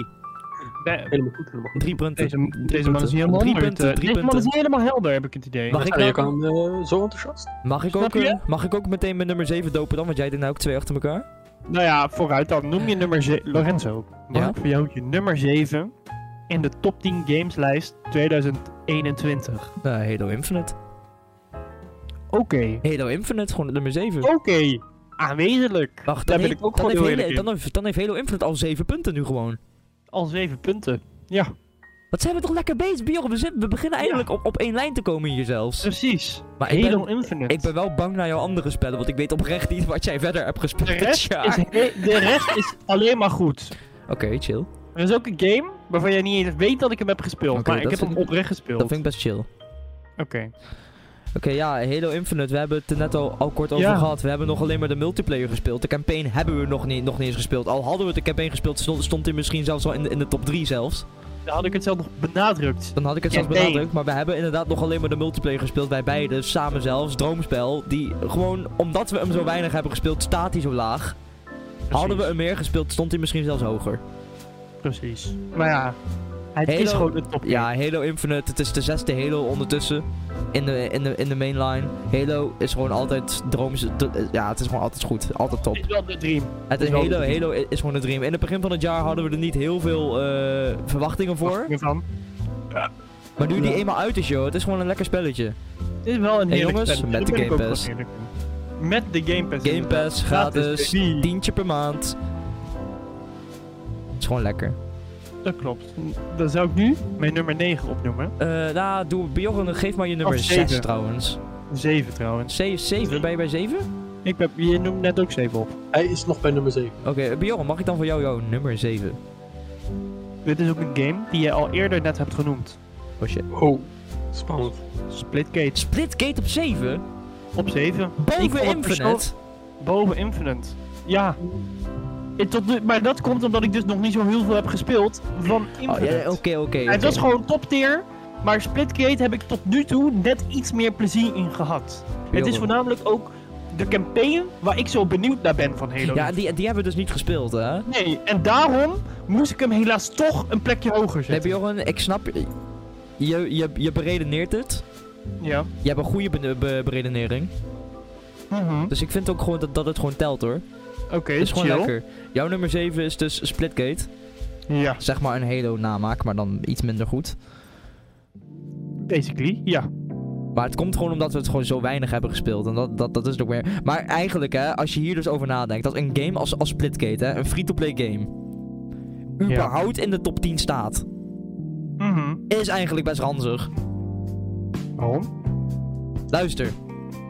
Speaker 2: De-
Speaker 3: Helemaal goed, helemaal goed.
Speaker 1: 3 punten.
Speaker 2: Deze,
Speaker 1: Drie
Speaker 2: deze man is
Speaker 1: punten.
Speaker 2: helemaal
Speaker 1: Drie
Speaker 2: honderd,
Speaker 1: punten,
Speaker 2: eh.
Speaker 1: drie
Speaker 2: Deze man
Speaker 1: punten.
Speaker 2: is niet helemaal helder, heb ik het idee.
Speaker 1: Mag
Speaker 3: Mag
Speaker 1: ik
Speaker 3: je
Speaker 1: dan-
Speaker 3: kan eh, zo enthousiast?
Speaker 1: Mag ik, ook,
Speaker 2: Snap je?
Speaker 1: eh, mag ik ook meteen mijn nummer 7 dopen dan? Want jij deed nou ook twee achter elkaar.
Speaker 2: Nou ja, vooruit dan. Noem je nummer 7. Lorenzo, mag
Speaker 1: Ja?
Speaker 2: ik voor jou je nummer 7 in de top 10 gameslijst 2021?
Speaker 1: Eh Halo Infinite.
Speaker 2: Oké.
Speaker 1: Halo Infinite, gewoon het nummer 7.
Speaker 2: Oké. Aanwezig.
Speaker 1: Wacht,
Speaker 2: Oh, daar
Speaker 1: dan
Speaker 2: ben
Speaker 1: heeft-
Speaker 2: ik
Speaker 1: dan
Speaker 2: ook gewoon
Speaker 1: heeft
Speaker 2: heel
Speaker 1: Halo-
Speaker 2: eerlijk in.
Speaker 1: dan heeft- dan heeft Halo Infinite al 7 punten nu gewoon.
Speaker 2: Al 7 punten. Ja,
Speaker 1: Wat zijn we toch lekker bezig, Bjorn? We, zitten- we beginnen eindelijk op, op één lijn te komen hier zelfs.
Speaker 2: Dus precies.
Speaker 1: Maar ik
Speaker 2: Halo
Speaker 1: ben,
Speaker 2: Infinite.
Speaker 1: ik ben wel bang naar jouw andere spellen, want ik weet oprecht niet wat jij verder hebt gespeeld
Speaker 2: De
Speaker 1: dit
Speaker 2: rest, is,
Speaker 1: jaar.
Speaker 2: he- de rest is alleen maar goed.
Speaker 1: Oké, chill.
Speaker 2: Er is ook een game waarvan jij niet eens weet dat ik hem heb gespeeld.
Speaker 1: Oké,
Speaker 2: maar ik
Speaker 1: dat
Speaker 2: heb hem
Speaker 1: vind-
Speaker 2: oprecht gespeeld.
Speaker 1: Dat vind ik best chill. Oké,
Speaker 2: Oké.
Speaker 1: ja, Halo Infinite, we hebben het er net al, al kort over
Speaker 2: Ja.
Speaker 1: gehad. We hebben nog alleen maar de multiplayer gespeeld. De campaign hebben we nog niet, nog niet eens gespeeld. Al hadden we de campaign gespeeld, stond, stond hij misschien zelfs al in de, in de top 3 zelfs.
Speaker 2: Dan had ik het zelf nog benadrukt.
Speaker 1: Dan had ik het
Speaker 2: Ja,
Speaker 1: zelfs
Speaker 2: nee.
Speaker 1: benadrukt. Maar we hebben inderdaad nog alleen maar de multiplayer gespeeld. Wij beiden, samen zelfs, Droomspel. Die gewoon, omdat we hem zo weinig hebben gespeeld, staat hij zo laag. Hadden we hem meer gespeeld, stond hij misschien zelfs hoger.
Speaker 2: Precies. Maar ja, het
Speaker 1: Halo-
Speaker 2: is gewoon een top.
Speaker 1: Ja, Halo Infinite, het is de zesde Halo ondertussen. In de, in de, in de mainline. Halo is gewoon altijd drooms. d- Ja, het is gewoon altijd goed. Altijd top.
Speaker 2: Het is wel de dream.
Speaker 1: Het is
Speaker 2: wel
Speaker 1: Halo,
Speaker 2: de dream.
Speaker 1: Halo i- is gewoon een dream. In het begin van het jaar hadden we er niet heel veel eh, verwachtingen voor.
Speaker 2: Van.
Speaker 1: Maar nu die eenmaal uit is, joh, het is gewoon een lekker spelletje.
Speaker 2: Het is wel een
Speaker 1: Hey,
Speaker 2: heerlijk
Speaker 1: jongens,
Speaker 2: spelletje,
Speaker 1: met
Speaker 2: daar
Speaker 1: de
Speaker 2: ben ik
Speaker 1: Game
Speaker 2: ook
Speaker 1: Pass.
Speaker 2: wel eerlijk in. Met de Game Pass. dus
Speaker 1: Game Pass, gratis,
Speaker 2: baby.
Speaker 1: tientje per maand. Het is gewoon lekker.
Speaker 2: Dat klopt. Dan zou ik nu mijn nummer 9 opnoemen.
Speaker 1: Eh, nou, doe Bjorn, geef maar je nummer
Speaker 2: Of
Speaker 1: 6
Speaker 2: zeven.
Speaker 1: trouwens.
Speaker 2: 7 trouwens.
Speaker 1: 7, ben je bij 7?
Speaker 2: Ik ben, je noemt net ook 7 op.
Speaker 3: Hij is nog bij nummer 7.
Speaker 1: Oké, eh, Bjorn, mag ik dan voor jou jouw nummer 7?
Speaker 2: Dit is ook een game die jij al eerder net hebt genoemd.
Speaker 1: Oh shit.
Speaker 3: Oh, spannend.
Speaker 2: Splitgate
Speaker 1: Splitgate op 7?
Speaker 2: op 7. Ik
Speaker 1: Boven
Speaker 2: vond het
Speaker 1: Infinite?
Speaker 2: persoon- Boven Infinite. Ja. En tot nu- maar dat komt omdat ik dus nog niet zo heel veel heb gespeeld van
Speaker 1: Oh,
Speaker 2: Infinite.
Speaker 1: ja, ja, Oké, oké.
Speaker 2: Hij
Speaker 1: oké.
Speaker 2: was gewoon top tier, maar Splitgate heb ik tot nu toe net iets meer plezier in gehad. Het is
Speaker 1: Bjorn.
Speaker 2: voornamelijk ook de campaign waar ik zo benieuwd naar ben van Halo.
Speaker 1: Ja, die, die hebben we dus niet gespeeld, hè?
Speaker 2: Nee, en daarom moest ik hem helaas toch een plekje hoger
Speaker 1: Nee,
Speaker 2: zetten.
Speaker 1: Bjorn, ik snap... Je, je, je beredeneert het.
Speaker 2: Ja.
Speaker 1: Je hebt een goede be- be- beredenering.
Speaker 2: Mhm.
Speaker 1: Dus ik vind ook gewoon dat, dat het gewoon telt, hoor.
Speaker 2: Oké,
Speaker 1: Het is gewoon
Speaker 2: chill.
Speaker 1: lekker. Jouw nummer 7 is dus Splitgate.
Speaker 2: Ja,
Speaker 1: Zeg maar een Halo namaak, maar dan iets minder goed.
Speaker 2: basically, ja.
Speaker 1: Maar het komt gewoon omdat we het gewoon zo weinig hebben gespeeld. En dat, dat, dat is het ook weer. Maar eigenlijk, hè, als je hier dus over nadenkt, dat een game als, als Splitgate, hè, een free-to-play game,
Speaker 2: Ja.
Speaker 1: überhaupt in de top 10 staat,
Speaker 2: Mhm.
Speaker 1: is eigenlijk best ranzig.
Speaker 2: Waarom?
Speaker 1: Luister,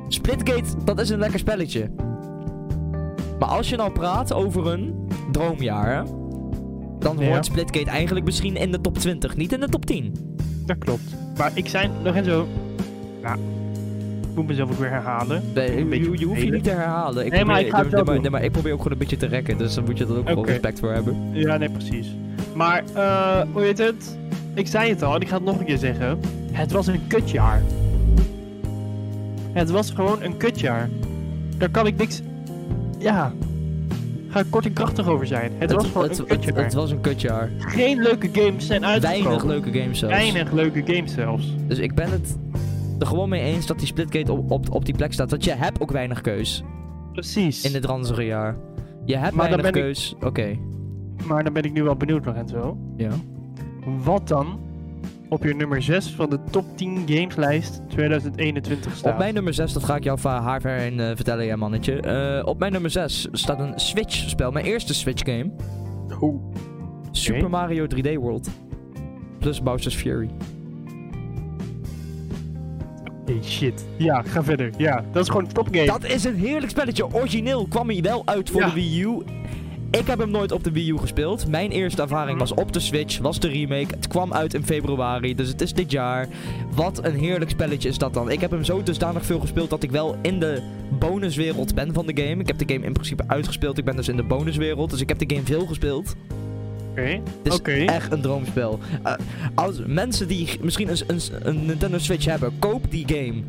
Speaker 1: Splitgate, dat is een lekker spelletje. Maar als je nou praat over een droomjaar, hè, dan
Speaker 2: Ja.
Speaker 1: hoort Splitgate eigenlijk misschien in de top 20, niet in de top 10.
Speaker 2: Dat klopt. Maar ik zei, Lorenzo... Ja. Ik moet mezelf ook weer herhalen.
Speaker 1: Nee,
Speaker 2: Een
Speaker 1: je, je-
Speaker 2: beetje
Speaker 1: je hoeft je
Speaker 2: vervelend.
Speaker 1: niet te herhalen. Ik
Speaker 2: Nee, maar
Speaker 1: probeer,
Speaker 2: ik ga het
Speaker 1: nee,
Speaker 2: wel
Speaker 1: maar-
Speaker 2: doen.
Speaker 1: nee, maar ik probeer ook gewoon een beetje te rekken, dus dan moet je er ook gewoon
Speaker 2: Oké.
Speaker 1: respect voor hebben.
Speaker 2: Ja, nee, precies. Maar, eh, hoe heet het? Ik zei het al en ik ga het nog een keer zeggen. Het was een kutjaar. Het was gewoon een kutjaar. Daar kan ik niks... Ja. Ga ik kort en krachtig over zijn. Het, was gewoon een
Speaker 1: het,
Speaker 2: kutjaar.
Speaker 1: het was een kutjaar.
Speaker 2: Geen leuke games zijn uitgekomen.
Speaker 1: Weinig leuke games zelfs.
Speaker 2: Weinig leuke games zelfs.
Speaker 1: Dus ik ben het er gewoon mee eens dat die Splitgate op, op, op die plek staat. Want je hebt ook weinig keus
Speaker 2: Precies.
Speaker 1: in dit ranzige jaar. Je hebt
Speaker 2: Maar dan
Speaker 1: weinig
Speaker 2: ben ik-
Speaker 1: keus. Oké.
Speaker 2: Maar dan ben ik nu wel benieuwd, Lorenzo.
Speaker 1: Ja.
Speaker 2: Wat dan op je nummer 6 van de top 10 gameslijst 2021 staat?
Speaker 1: Op mijn nummer 6, dat ga ik jou va- haar ver in eh, vertellen, ja mannetje. Eh, op mijn nummer 6 staat een Switch-spel. Mijn eerste Switch-game.
Speaker 3: Oh,
Speaker 1: Super Mario 3D World. Plus Bowser's Fury.
Speaker 2: Hey, shit. Ja, ga verder. Ja, dat is gewoon een topgame.
Speaker 1: Dat is een heerlijk spelletje. Origineel kwam hij wel uit voor
Speaker 2: Ja.
Speaker 1: de Wii U. Ik heb hem nooit op de Wii U gespeeld. Mijn eerste ervaring was op de Switch, was de remake. Het kwam uit in februari, dus het is dit jaar. Wat een heerlijk spelletje is dat dan. Ik heb hem zo dusdanig veel gespeeld dat ik wel in de bonuswereld ben van de game. Ik heb de game in principe uitgespeeld. Ik ben dus in de bonuswereld, dus ik heb de game veel gespeeld.
Speaker 2: Oké.
Speaker 1: is
Speaker 2: Oké.
Speaker 1: echt een droomspel. Eh, als mensen die g- misschien een, een, een Nintendo Switch hebben, koop die game.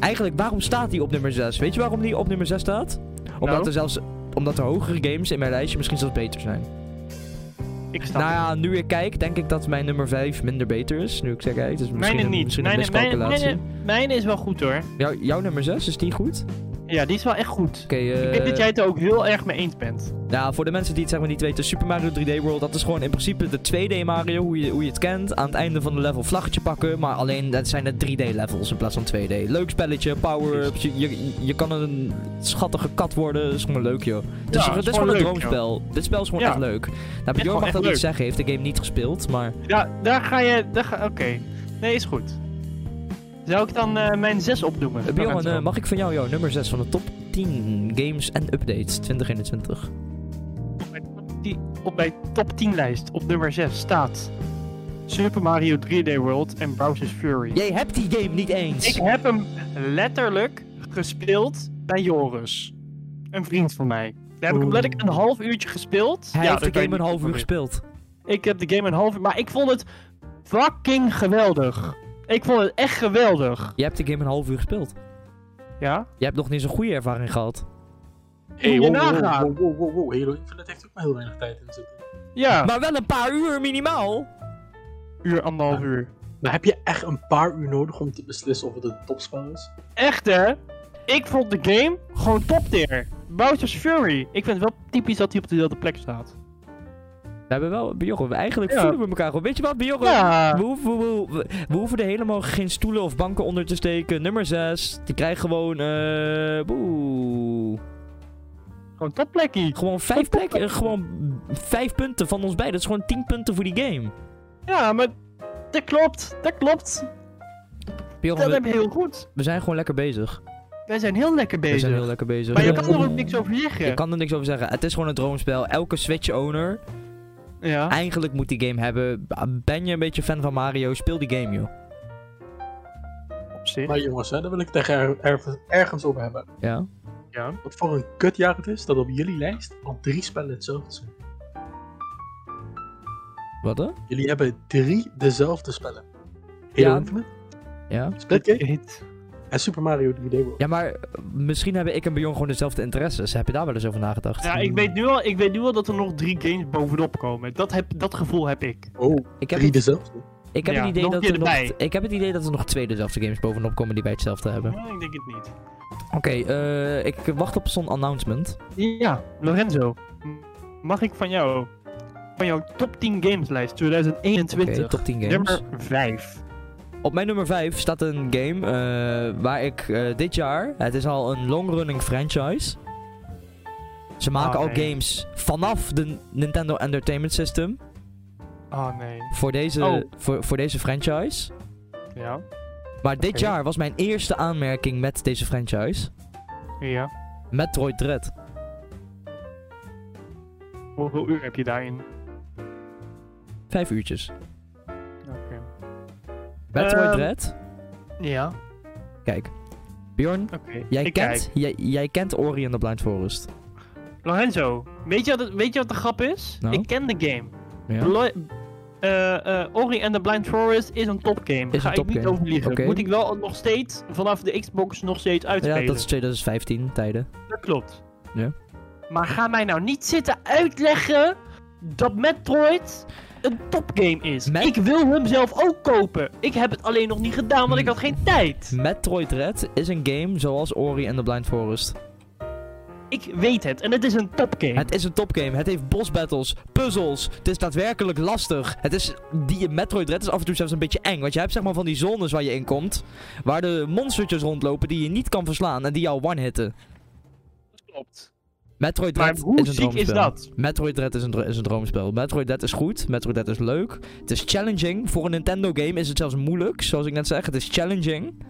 Speaker 1: Eigenlijk, waarom staat die op nummer 6? Weet je waarom die op nummer 6 staat? Omdat
Speaker 2: Nou?
Speaker 1: er zelfs omdat er hogere games in mijn lijstje misschien zelfs beter zijn.
Speaker 2: Ik snap
Speaker 1: Nou
Speaker 2: het.
Speaker 1: ja, nu ik kijk, denk ik dat mijn nummer 5 minder beter is. Nu ik zeg, kijk, het is misschien
Speaker 2: Mijne
Speaker 1: een,
Speaker 2: niet.
Speaker 1: misschien een
Speaker 2: Mijne, mijne,
Speaker 1: miscalculatie.
Speaker 2: mijne, mijne is wel goed hoor.
Speaker 1: Jouw- jouw nummer 6, is die goed?
Speaker 2: Ja, die is wel echt goed.
Speaker 1: Oké, eh,
Speaker 2: Ik denk dat jij het er ook heel erg mee eens bent.
Speaker 1: Nou, voor de mensen die het zeg maar niet weten, Super Mario 3D World, dat is gewoon in principe de 2D Mario, hoe je, hoe je het kent. Aan het einde van de level vlaggetje pakken, maar alleen dat zijn het 3D levels in plaats van 2D. Leuk spelletje, power-ups, je, je, je kan een schattige kat worden, dat is gewoon leuk joh. Het is,
Speaker 2: Ja,
Speaker 1: het is
Speaker 2: is
Speaker 1: gewoon een
Speaker 2: gewoon leuk,
Speaker 1: droomspel. Dit spel is gewoon
Speaker 2: Ja.
Speaker 1: echt leuk. Nou, Bjorn
Speaker 2: gewoon
Speaker 1: mag
Speaker 2: echt
Speaker 1: dat niet
Speaker 2: leuk.
Speaker 1: zeggen, heeft de game niet gespeeld, maar...
Speaker 2: Ja, daar ga je... daar ga- Oké. Nee, is goed. Zou ik dan eh, mijn 6 opnoemen?
Speaker 1: Eh, Bjorn,
Speaker 2: Lorenzo?
Speaker 1: eh, mag ik van jou jouw nummer 6 van de top 10 games en updates 2021?
Speaker 2: Op mijn top 10 op mijn top 10 lijst op nummer 6 staat Super Mario 3D World en Bowser's Fury.
Speaker 1: Jij hebt die game niet eens!
Speaker 2: Ik heb hem letterlijk gespeeld bij Joris. Een vriend van mij. Daar heb ik hem
Speaker 3: Oeh.
Speaker 2: letterlijk een half uurtje gespeeld.
Speaker 1: Hij
Speaker 2: Ja, dat
Speaker 1: heeft de
Speaker 2: kan je
Speaker 1: game een
Speaker 2: niet
Speaker 1: half uur
Speaker 2: proberen.
Speaker 1: gespeeld.
Speaker 2: Ik heb de game een half uur, maar ik vond het fucking geweldig. Ik vond het echt geweldig.
Speaker 1: Je hebt de game een half uur gespeeld.
Speaker 2: Ja?
Speaker 1: Jij hebt nog niet zo'n goede ervaring gehad.
Speaker 3: hey,
Speaker 2: Moet
Speaker 3: wow,
Speaker 2: je
Speaker 3: wow,
Speaker 2: nagaan.
Speaker 3: wow, wow, wow, wow. Halo Infinite heeft ook maar heel weinig tijd in zitten.
Speaker 2: Ja.
Speaker 1: Maar wel een paar uur minimaal.
Speaker 2: Uur, anderhalf uur.
Speaker 3: Maar heb je echt een paar uur nodig om te beslissen of het een topspel is?
Speaker 2: Echt hè? Ik vond de game gewoon top tier. Bowser's Fury. Ik vind het wel typisch dat hij op dezelfde plek staat.
Speaker 1: We hebben wel, Bjorn, we- eigenlijk
Speaker 2: Ja.
Speaker 1: voelen we elkaar gewoon. Weet je wat, Bjorn?
Speaker 2: Ja.
Speaker 1: We, hoeven, we, hoeven- we hoeven er helemaal geen stoelen of banken onder te steken. Nummer 6, die krijgt gewoon, eh boe.
Speaker 2: Gewoon topplekkie.
Speaker 1: Gewoon vijf plekken, eh, gewoon vijf punten van ons beiden. Dat is gewoon 10 punten voor die game.
Speaker 2: Ja, maar dat klopt. Dat klopt.
Speaker 1: Bjorn,
Speaker 2: Dat
Speaker 1: we,
Speaker 2: heb je heel goed.
Speaker 1: we zijn gewoon lekker bezig.
Speaker 2: Wij zijn heel lekker
Speaker 1: We
Speaker 2: bezig.
Speaker 1: zijn heel lekker bezig.
Speaker 2: Maar je
Speaker 1: Ja.
Speaker 2: kan er ook niks over zeggen.
Speaker 1: Je kan er niks over zeggen. Het is gewoon een droomspel. Elke Switch-owner,
Speaker 2: Ah. Ja.
Speaker 1: eigenlijk moet die game hebben. Ben je een beetje fan van Mario, speel die game, joh.
Speaker 2: Op zich.
Speaker 3: Maar jongens, hè, daar wil ik het echt er- er- ergens over hebben.
Speaker 1: Ja.
Speaker 2: Ja.
Speaker 3: Wat voor een kutjaar het is dat op jullie lijst al drie spellen hetzelfde zijn.
Speaker 1: Wat, hè?
Speaker 3: Jullie hebben drie dezelfde spellen. Halo
Speaker 1: Ja.
Speaker 3: Infinite,
Speaker 1: Ja.
Speaker 3: Split Cake
Speaker 2: Heet.
Speaker 3: en Super Mario 3D World.
Speaker 1: Ja, maar eh, misschien hebben ik en Bjorn gewoon dezelfde interesses. Heb je daar wel eens over nagedacht?
Speaker 2: Ja, ik weet, nu al, ik weet nu al dat er nog drie games bovenop komen. Dat, heb, dat gevoel heb ik.
Speaker 3: Oh,
Speaker 1: Ik heb,
Speaker 3: drie
Speaker 1: het,
Speaker 3: dezelfde.
Speaker 1: ik, heb
Speaker 2: Ja,
Speaker 1: het idee
Speaker 2: nog een
Speaker 1: dat
Speaker 2: keer
Speaker 1: er nog,
Speaker 2: erbij.
Speaker 1: ik heb het idee dat er nog twee dezelfde games bovenop komen die wij hetzelfde hebben.
Speaker 2: Nee, ik denk het niet.
Speaker 1: Oké, eh, ik wacht op zo'n announcement.
Speaker 2: Ja, Lorenzo. m- Mag ik van jou... Van jouw top 10 gameslijst
Speaker 1: Oké,
Speaker 2: 2021.
Speaker 1: top 10 games.
Speaker 2: Nummer 5.
Speaker 1: Op mijn nummer 5 staat een game eh, waar ik eh, dit jaar... Het is al een longrunning franchise. Ze maken
Speaker 2: Oh,
Speaker 1: al
Speaker 2: nee.
Speaker 1: games vanaf de Nintendo Entertainment System.
Speaker 2: Oh nee.
Speaker 1: Voor deze,
Speaker 2: Oh.
Speaker 1: voor, voor deze franchise.
Speaker 2: Ja.
Speaker 1: Maar dit
Speaker 2: Oké.
Speaker 1: jaar was mijn eerste aanmerking met deze franchise.
Speaker 2: Ja.
Speaker 1: Metroid Dread.
Speaker 2: Hoeveel uur heb je daarin?
Speaker 1: Vijf uurtjes.
Speaker 2: Oké.
Speaker 1: Metroid
Speaker 2: Ehm.
Speaker 1: Dread.
Speaker 2: Ja.
Speaker 1: Kijk. Bjorn,
Speaker 2: Oké.
Speaker 1: jij
Speaker 2: ik
Speaker 1: kent, jij, jij kent Ori en the Blind Forest.
Speaker 2: Kijk. Lorenzo, weet je, wat, het- weet je wat de grap is?
Speaker 1: Nou?
Speaker 2: Ik ken de game.
Speaker 1: Ja.
Speaker 2: Blo- eh, eh, Ori and the Blind Forest is een topgame.
Speaker 1: een
Speaker 2: Ga ik niet
Speaker 1: topgame.
Speaker 2: over liegen.
Speaker 1: Oké.
Speaker 2: Moet ik wel nog steeds vanaf de Xbox nog steeds
Speaker 1: ja,
Speaker 2: uitspelen.
Speaker 1: dat is 2015 tijden.
Speaker 2: Dat klopt.
Speaker 1: Ja.
Speaker 2: Maar ga mij nou niet zitten uitleggen dat Metroid een topgame is.
Speaker 1: Met-
Speaker 2: Ik wil hem zelf ook kopen. Ik heb het alleen nog niet gedaan, want ik had geen
Speaker 1: Hmm.
Speaker 2: tijd.
Speaker 1: Metroid Dread is een game zoals Ori en the Blind Forest.
Speaker 2: Ik weet het. En het is een topgame.
Speaker 1: Het is een topgame. Het heeft boss battles, puzzels. Het is daadwerkelijk lastig. Het is die Metroid Dread is af en toe zelfs een beetje eng, want je hebt zeg maar van die zones waar je in komt, waar de monstertjes rondlopen die je niet kan verslaan en die jou one hitten.
Speaker 2: klopt.
Speaker 1: Metroid
Speaker 2: Maar
Speaker 1: Dread
Speaker 2: hoe
Speaker 1: is een
Speaker 2: ziek is
Speaker 1: droomspel.
Speaker 2: dat?
Speaker 1: Metroid Dread is een, dro- is een droomspel. Metroid Dread is goed, Metroid Dread is leuk. Het is challenging. Voor een Nintendo game is het zelfs moeilijk, zoals ik net zeg. Het is challenging.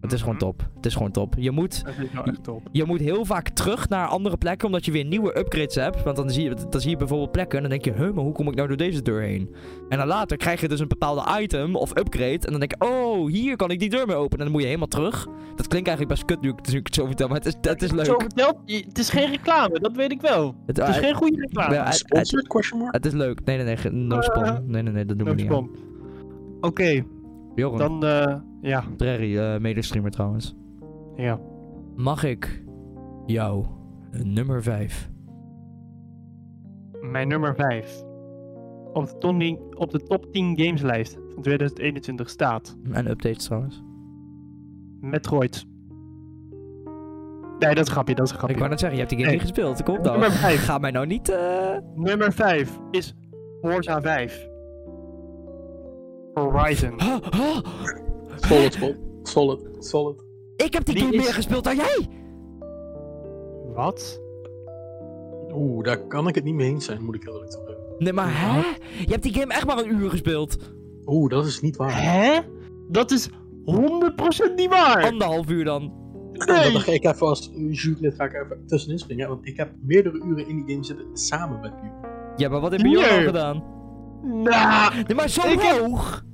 Speaker 1: Het is gewoon
Speaker 2: Mhm.
Speaker 1: top. Het is gewoon top. Je moet
Speaker 2: Dat is wel echt top.
Speaker 1: je moet heel vaak terug naar andere plekken omdat je weer nieuwe upgrades hebt. Want dan zie je, dan zie je bijvoorbeeld plekken en dan denk je, huh, maar hoe kom ik nou door deze deur heen? En dan later krijg je dus een bepaalde item of upgrade en dan denk je, oh, hier kan ik die deur mee openen. En dan moet je helemaal terug. Dat klinkt eigenlijk best kut nu ik, nu ik het zo vertel, maar het is, het is
Speaker 2: Zo
Speaker 1: leuk.
Speaker 2: verteld, je- het is geen reclame, dat weet ik wel.
Speaker 1: Het,
Speaker 2: Het is
Speaker 1: eh,
Speaker 2: geen goede
Speaker 1: ja,
Speaker 2: reclame.
Speaker 1: het- het,
Speaker 3: Sponsored question mark?
Speaker 1: het is leuk. Nee, nee, nee, ge- no
Speaker 2: Eh,
Speaker 1: spon. Nee, nee, nee, dat doen we
Speaker 2: No
Speaker 1: niet. aan.
Speaker 2: spam. Oké,
Speaker 1: Joran,
Speaker 2: dan eh, ja,
Speaker 1: Prairie, eh, medestreamer trouwens.
Speaker 2: ja.
Speaker 1: Mag ik jou eh, nummer 5?
Speaker 2: Mijn nummer 5. Op de, top 10, op de top 10 gameslijst van 2021 staat
Speaker 1: En updates trouwens.
Speaker 2: Metroid. Nee, dat is een grapje, dat is een grapje.
Speaker 1: Ik wou net zeggen, je hebt die game
Speaker 2: Nee.
Speaker 1: niet gespeeld. Kom dan.
Speaker 2: Nummer 5.
Speaker 1: Ga mij nou niet. eh,
Speaker 2: Nummer 5 is Forza 5. Horizon.
Speaker 1: Ah, ah,
Speaker 3: Solid, solid, solid, solid.
Speaker 1: ik heb die,
Speaker 2: Die
Speaker 1: game
Speaker 2: is-
Speaker 1: meer gespeeld dan jij!
Speaker 2: Wat?
Speaker 3: Oeh, daar kan ik het niet mee eens zijn, moet ik heel eerlijk toegeven.
Speaker 1: Nee, maar hè? Je hebt die game echt maar een uur gespeeld.
Speaker 3: Oeh, dat is niet waar.
Speaker 2: Hè? Dat is 100% niet waar!
Speaker 1: Anderhalf uur dan.
Speaker 3: Dan
Speaker 2: Nee!
Speaker 3: ga ik even als jurylid ga ik even tussenin springen, hè, want ik heb meerdere uren in die game zitten samen met jullie.
Speaker 1: Ja, maar wat heb je
Speaker 2: Nee.
Speaker 1: al gedaan?
Speaker 2: Nou,
Speaker 1: Nee, maar zo
Speaker 2: Ik heb-
Speaker 1: hoog!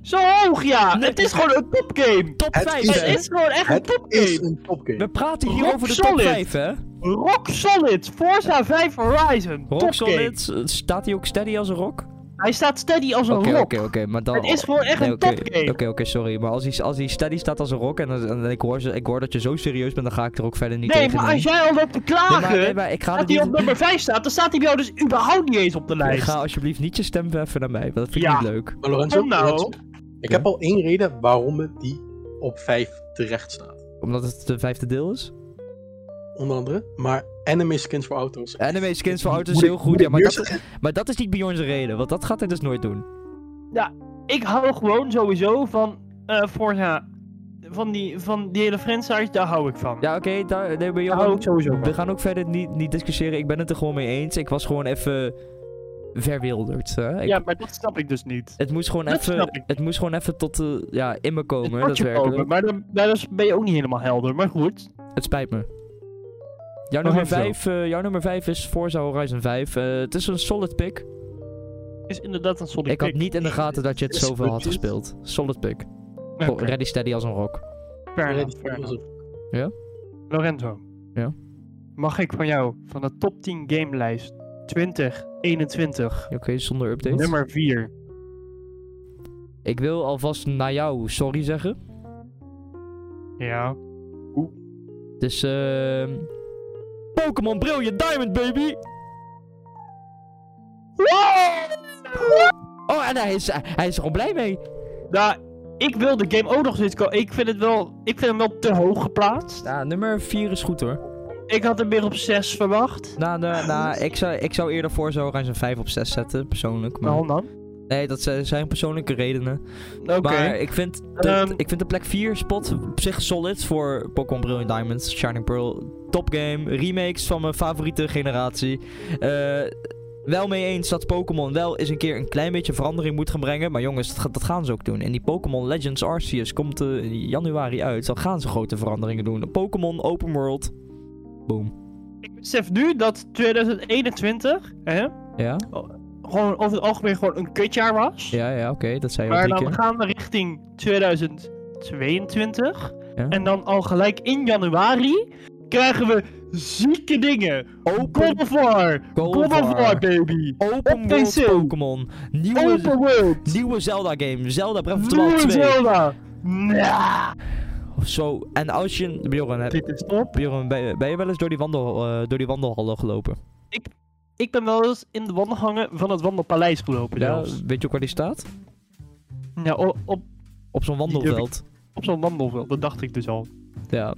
Speaker 2: zo hoog ja!
Speaker 1: Nee.
Speaker 2: Het is gewoon een topgame!
Speaker 1: Top
Speaker 3: Het
Speaker 1: 5!
Speaker 3: is-
Speaker 1: hè?
Speaker 2: Het is gewoon echt een
Speaker 3: Het is
Speaker 2: topgame!
Speaker 3: een topgame.
Speaker 1: We praten hier
Speaker 2: Rock
Speaker 1: over de top
Speaker 2: solid.
Speaker 1: 5, hè?
Speaker 2: Rock Solid Forza 5 Horizon!
Speaker 1: Rock
Speaker 2: topgame!
Speaker 1: Solid, eh, staat hij ook steady als een rock?
Speaker 2: Hij staat steady als een
Speaker 1: Oké,
Speaker 2: rock!
Speaker 1: oké, oké, maar dan...
Speaker 2: Het is gewoon echt
Speaker 1: Nee,
Speaker 2: een
Speaker 1: oké,
Speaker 2: topgame!
Speaker 1: Oké, oké, sorry, maar als hij, als hij steady staat als een rock en, dan- en ik, hoor, ze- ik hoor dat je zo serieus bent, dan ga ik er ook verder niet
Speaker 2: Nee,
Speaker 1: tegen
Speaker 2: maar als jij al loopt te
Speaker 1: Nee,
Speaker 2: klagen
Speaker 1: maar, nee, maar ik ga er
Speaker 2: dat hij op
Speaker 1: niet...
Speaker 2: nummer 5 staat, dan staat hij bij jou dus überhaupt niet eens op de lijst.
Speaker 1: Ga alsjeblieft niet je stem verven naar mij, want dat vind ik
Speaker 2: Ja.
Speaker 1: niet leuk.
Speaker 3: Maar Lorenzo,
Speaker 2: Kom nou.
Speaker 3: Lorenzo, ik
Speaker 1: Oh, Ja.
Speaker 3: heb al één reden waarom het die op 5 terecht staat.
Speaker 1: Omdat het de vijfde deel is?
Speaker 3: Onder andere, maar anime skins voor auto's.
Speaker 1: Anime skins voor auto's is
Speaker 3: Moet ik-
Speaker 1: heel
Speaker 3: moet
Speaker 1: goed, ja,
Speaker 3: ik
Speaker 1: maar
Speaker 3: weer
Speaker 1: dat,
Speaker 3: zeggen?
Speaker 1: maar dat is niet Bjorn's reden, want dat gaat hij dus nooit doen.
Speaker 2: Ik hou gewoon sowieso van eh Forza van die, van die hele franchise, daar hou ik van.
Speaker 1: Ja, oké, daar, nee, maar
Speaker 2: daar
Speaker 1: Johan,
Speaker 2: hou ik sowieso van.
Speaker 1: we gaan ook verder niet, niet discussiëren. Ik ben het er gewoon mee eens. Ik was gewoon even verwilderd. Hè? Ik-
Speaker 2: Ja, maar dat snap ik dus niet.
Speaker 1: het, moest gewoon
Speaker 2: dat
Speaker 1: even,
Speaker 2: snap ik.
Speaker 1: het moest gewoon even tot de, ja, in me komen.
Speaker 2: Het
Speaker 1: Dat
Speaker 2: wordt je
Speaker 1: werkelijk.
Speaker 2: komen, maar dan, daar is- ben je ook niet helemaal helder. Maar goed,
Speaker 1: Het spijt me. Jouw
Speaker 2: Nog
Speaker 1: nummer,
Speaker 2: even.
Speaker 1: 5, jouw nummer 5 is Forza Horizon 5. Eh, het is een solid pick.
Speaker 2: is inderdaad een solid
Speaker 1: ik had
Speaker 2: pick.
Speaker 1: niet in de gaten dat je het
Speaker 3: Is
Speaker 1: zoveel had
Speaker 3: goed.
Speaker 1: gespeeld. Solid pick.
Speaker 2: Oké,
Speaker 1: Go- Ready steady als een rock.
Speaker 2: fair
Speaker 3: Ja,
Speaker 2: enough,
Speaker 3: die
Speaker 2: fair
Speaker 3: was
Speaker 2: enough.
Speaker 3: op-
Speaker 2: Lorenzo.
Speaker 1: Ja?
Speaker 2: Mag ik van jou, van de top 10 gamelijst 2021,
Speaker 1: Oké, zonder updates.
Speaker 2: nummer 4.
Speaker 1: Ik wil alvast naar jou sorry zeggen.
Speaker 2: Ja.
Speaker 1: Dus ehm... Pokémon Brilliant Diamond, baby! Oh, en hij is, hij is er gewoon blij mee.
Speaker 2: Nou, ik wil de game ook nog eens komen. Ik vind, het wel, ik vind hem wel te hoog geplaatst.
Speaker 1: Ja, nummer 4 is goed hoor.
Speaker 2: Ik had hem weer op 6 verwacht.
Speaker 1: Nou, nou, nou ik, zou, ik zou eerder Forza Horizon 5 op 6 zetten, persoonlijk. Maar...
Speaker 2: Waarom Nou, dan?
Speaker 1: Nee, dat zijn zijn persoonlijke redenen.
Speaker 2: Oké.
Speaker 1: Maar ik vind, de,
Speaker 2: Ehm.
Speaker 1: ik vind de plek 4 spot op zich solid voor Pokémon Brilliant Diamonds, Shining Pearl. Top game, remakes van mijn favoriete generatie. Eh, wel mee eens dat Pokémon wel eens een keer een klein beetje verandering moet gaan brengen. Maar jongens, dat, ga- dat gaan ze ook doen. En die Pokémon Legends Arceus komt eh, in januari uit. Dan gaan ze grote veranderingen doen. Pokémon Open World. Boom.
Speaker 2: Ik besef nu dat 2021 hè,
Speaker 1: Ja,
Speaker 2: gewoon over het algemeen gewoon een kutjaar was.
Speaker 1: ja, ja, oké. Dat zei je al
Speaker 2: maar
Speaker 1: drie
Speaker 2: dan
Speaker 1: keer.
Speaker 2: gaan we richting 2022.
Speaker 1: Ja.
Speaker 2: En dan al gelijk in januari krijgen we zieke dingen. God of War.
Speaker 1: God
Speaker 2: God
Speaker 1: of
Speaker 2: of
Speaker 1: War.
Speaker 2: War, baby.
Speaker 1: Open
Speaker 2: op
Speaker 1: World
Speaker 2: PC.
Speaker 1: Pokémon. Nieuwe,
Speaker 2: Open World.
Speaker 1: nieuwe Zelda game. Zelda Breath of the Wild
Speaker 2: Nieuwe
Speaker 1: 2.
Speaker 2: Zelda. Nah.
Speaker 1: Of zo. En als je... Bjorn, heb,
Speaker 2: Dit is top.
Speaker 1: Bjorn ben, je, ben je wel eens door die, wandel, eh, door die wandelhallen gelopen?
Speaker 2: Ik ben wel eens in de wandelgangen van het wandelpaleis gelopen. zelfs.
Speaker 1: Weet je ook waar die staat?
Speaker 2: Ja, o- op,
Speaker 1: Op zo'n wandelveld.
Speaker 2: op zo'n wandelveld. Dat dacht ik dus al.
Speaker 1: Ja.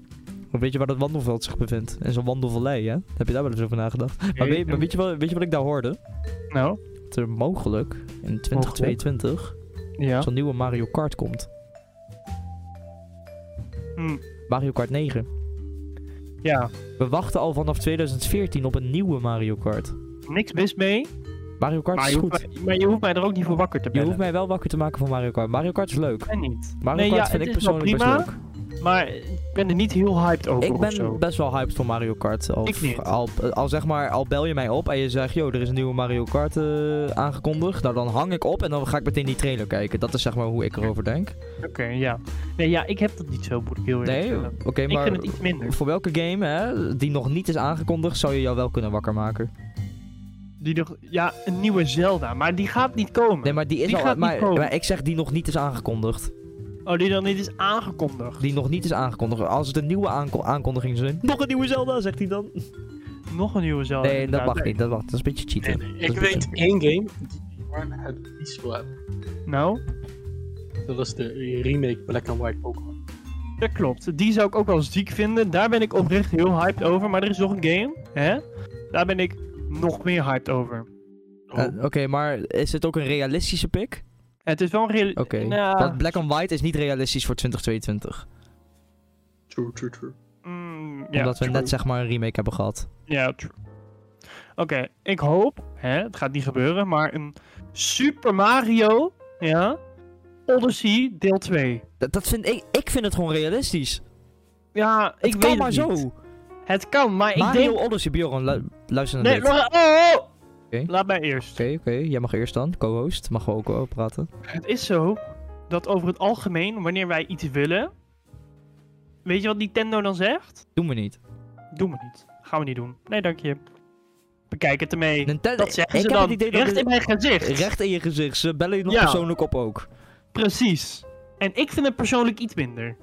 Speaker 1: Maar weet je waar dat wandelveld zich bevindt? En zo'n wandelvallei, hè? Heb je daar wel eens over nagedacht? Maar, weet, maar weet, je wel, weet je wat ik daar hoorde?
Speaker 2: Nou,
Speaker 1: Dat er mogelijk in 2022
Speaker 2: ja.
Speaker 1: zo'n nieuwe Mario Kart komt. Hmm.
Speaker 2: Hm,
Speaker 1: Mario Kart 9.
Speaker 2: ja,
Speaker 1: We wachten al vanaf 2014 op een nieuwe Mario Kart.
Speaker 2: niks mis mee.
Speaker 1: Mario Kart
Speaker 2: Maar
Speaker 1: is
Speaker 2: je,
Speaker 1: goed.
Speaker 2: hoeft mij, maar je hoeft mij er ook niet voor wakker te
Speaker 1: Je
Speaker 2: bellen.
Speaker 1: hoeft mij wel wakker te maken van Mario Kart. Mario Kart is leuk.
Speaker 2: En niet.
Speaker 1: Mario
Speaker 2: Nee,
Speaker 1: Kart
Speaker 2: ja,
Speaker 1: vind
Speaker 2: het
Speaker 1: ik
Speaker 2: is wel
Speaker 1: persoonlijk
Speaker 2: prima.
Speaker 1: best leuk.
Speaker 2: Maar ik ben er niet heel hyped over
Speaker 1: Ik
Speaker 2: of
Speaker 1: ben
Speaker 2: zo.
Speaker 1: best wel hyped voor Mario Kart. Al,
Speaker 2: Ik niet.
Speaker 1: Al, al zeg maar, al bel je mij op en je zegt, yo, er is een nieuwe Mario Kart eh, aangekondigd. Nou, dan hang ik op en dan ga ik meteen die trailer kijken. Dat is zeg maar hoe ik erover denk.
Speaker 2: Oké, ja. Nee, ja, ik heb dat niet zo, moet ik heel eerlijk
Speaker 1: Nee,
Speaker 2: zeggen.
Speaker 1: oké,
Speaker 2: Ik vind
Speaker 1: maar
Speaker 2: het iets minder.
Speaker 1: voor welke game hè, die nog niet is aangekondigd, zou je jou wel kunnen wakker maken?
Speaker 2: Die nog, ja, een nieuwe Zelda, maar die gaat niet komen.
Speaker 1: Nee, maar die is
Speaker 2: Die
Speaker 1: al.
Speaker 2: gaat niet
Speaker 1: maar,
Speaker 2: komen.
Speaker 1: maar ik zeg die nog niet is aangekondigd.
Speaker 2: Oh, die dan niet is aangekondigd.
Speaker 1: Die nog niet is aangekondigd. Als het een nieuwe aanko- aankondiging zijn. Nog een nieuwe Zelda, zegt hij dan.
Speaker 2: Nog een nieuwe Zelda.
Speaker 1: Nee, dat
Speaker 2: Oh, inderdaad.
Speaker 1: mag niet. Dat, mag, dat is een beetje
Speaker 3: Nee,
Speaker 1: cheaten.
Speaker 3: nee,
Speaker 1: Dat
Speaker 3: Ik
Speaker 1: is
Speaker 3: weet één game die Warner het niet wil hebben.
Speaker 2: Nou,
Speaker 3: Dat is de remake Black and White Pokémon.
Speaker 2: dat klopt. Die zou ik ook wel ziek vinden. Daar ben ik oprecht heel hyped over. Maar er is nog een game, hè? Daar ben ik nog meer hyped over. Oh.
Speaker 1: Eh, Oké, maar is het ook een realistische pick?
Speaker 2: Het is wel een real...
Speaker 1: Oké.
Speaker 2: Nou,
Speaker 1: Want Black and White is niet realistisch voor 2022.
Speaker 3: True, true, true.
Speaker 2: mm, ja,
Speaker 1: omdat we
Speaker 2: true.
Speaker 1: net zeg maar een remake hebben gehad.
Speaker 2: Ja, true. Oké, ik hoop, hè, het gaat niet gebeuren, maar een Super Mario, ja, Odyssey deel 2.
Speaker 1: Dat, dat vind ik, ik vind het gewoon realistisch.
Speaker 2: Ja, ik
Speaker 1: het
Speaker 2: weet
Speaker 1: kan
Speaker 2: het
Speaker 1: maar zo.
Speaker 2: niet. Het kan, maar
Speaker 1: Mario
Speaker 2: ik denk...
Speaker 1: Odyssey, Bjorn, lu- luister naar
Speaker 2: Nee,
Speaker 1: dit. Oké,
Speaker 2: maar... Oh! oh.
Speaker 1: Oké.
Speaker 2: Laat mij eerst.
Speaker 1: oké. Jij mag eerst dan, co-host. Mag we ook wel praten.
Speaker 2: Het is zo dat over het algemeen, wanneer wij iets willen... Weet je wat Nintendo dan zegt?
Speaker 1: Doen we niet.
Speaker 2: Doen we niet. Gaan we niet doen. Nee, dank je. Bekijk het ermee.
Speaker 1: Nintendo,
Speaker 2: Dat zeggen
Speaker 1: ik
Speaker 2: ze
Speaker 1: heb
Speaker 2: dan.
Speaker 1: het idee
Speaker 2: Recht
Speaker 1: dat
Speaker 2: in mijn gezicht.
Speaker 1: dit- recht in Eh, je gezicht. Ze bellen je nog
Speaker 2: Ja.
Speaker 1: persoonlijk op ook.
Speaker 2: Precies. En ik vind het persoonlijk iets minder.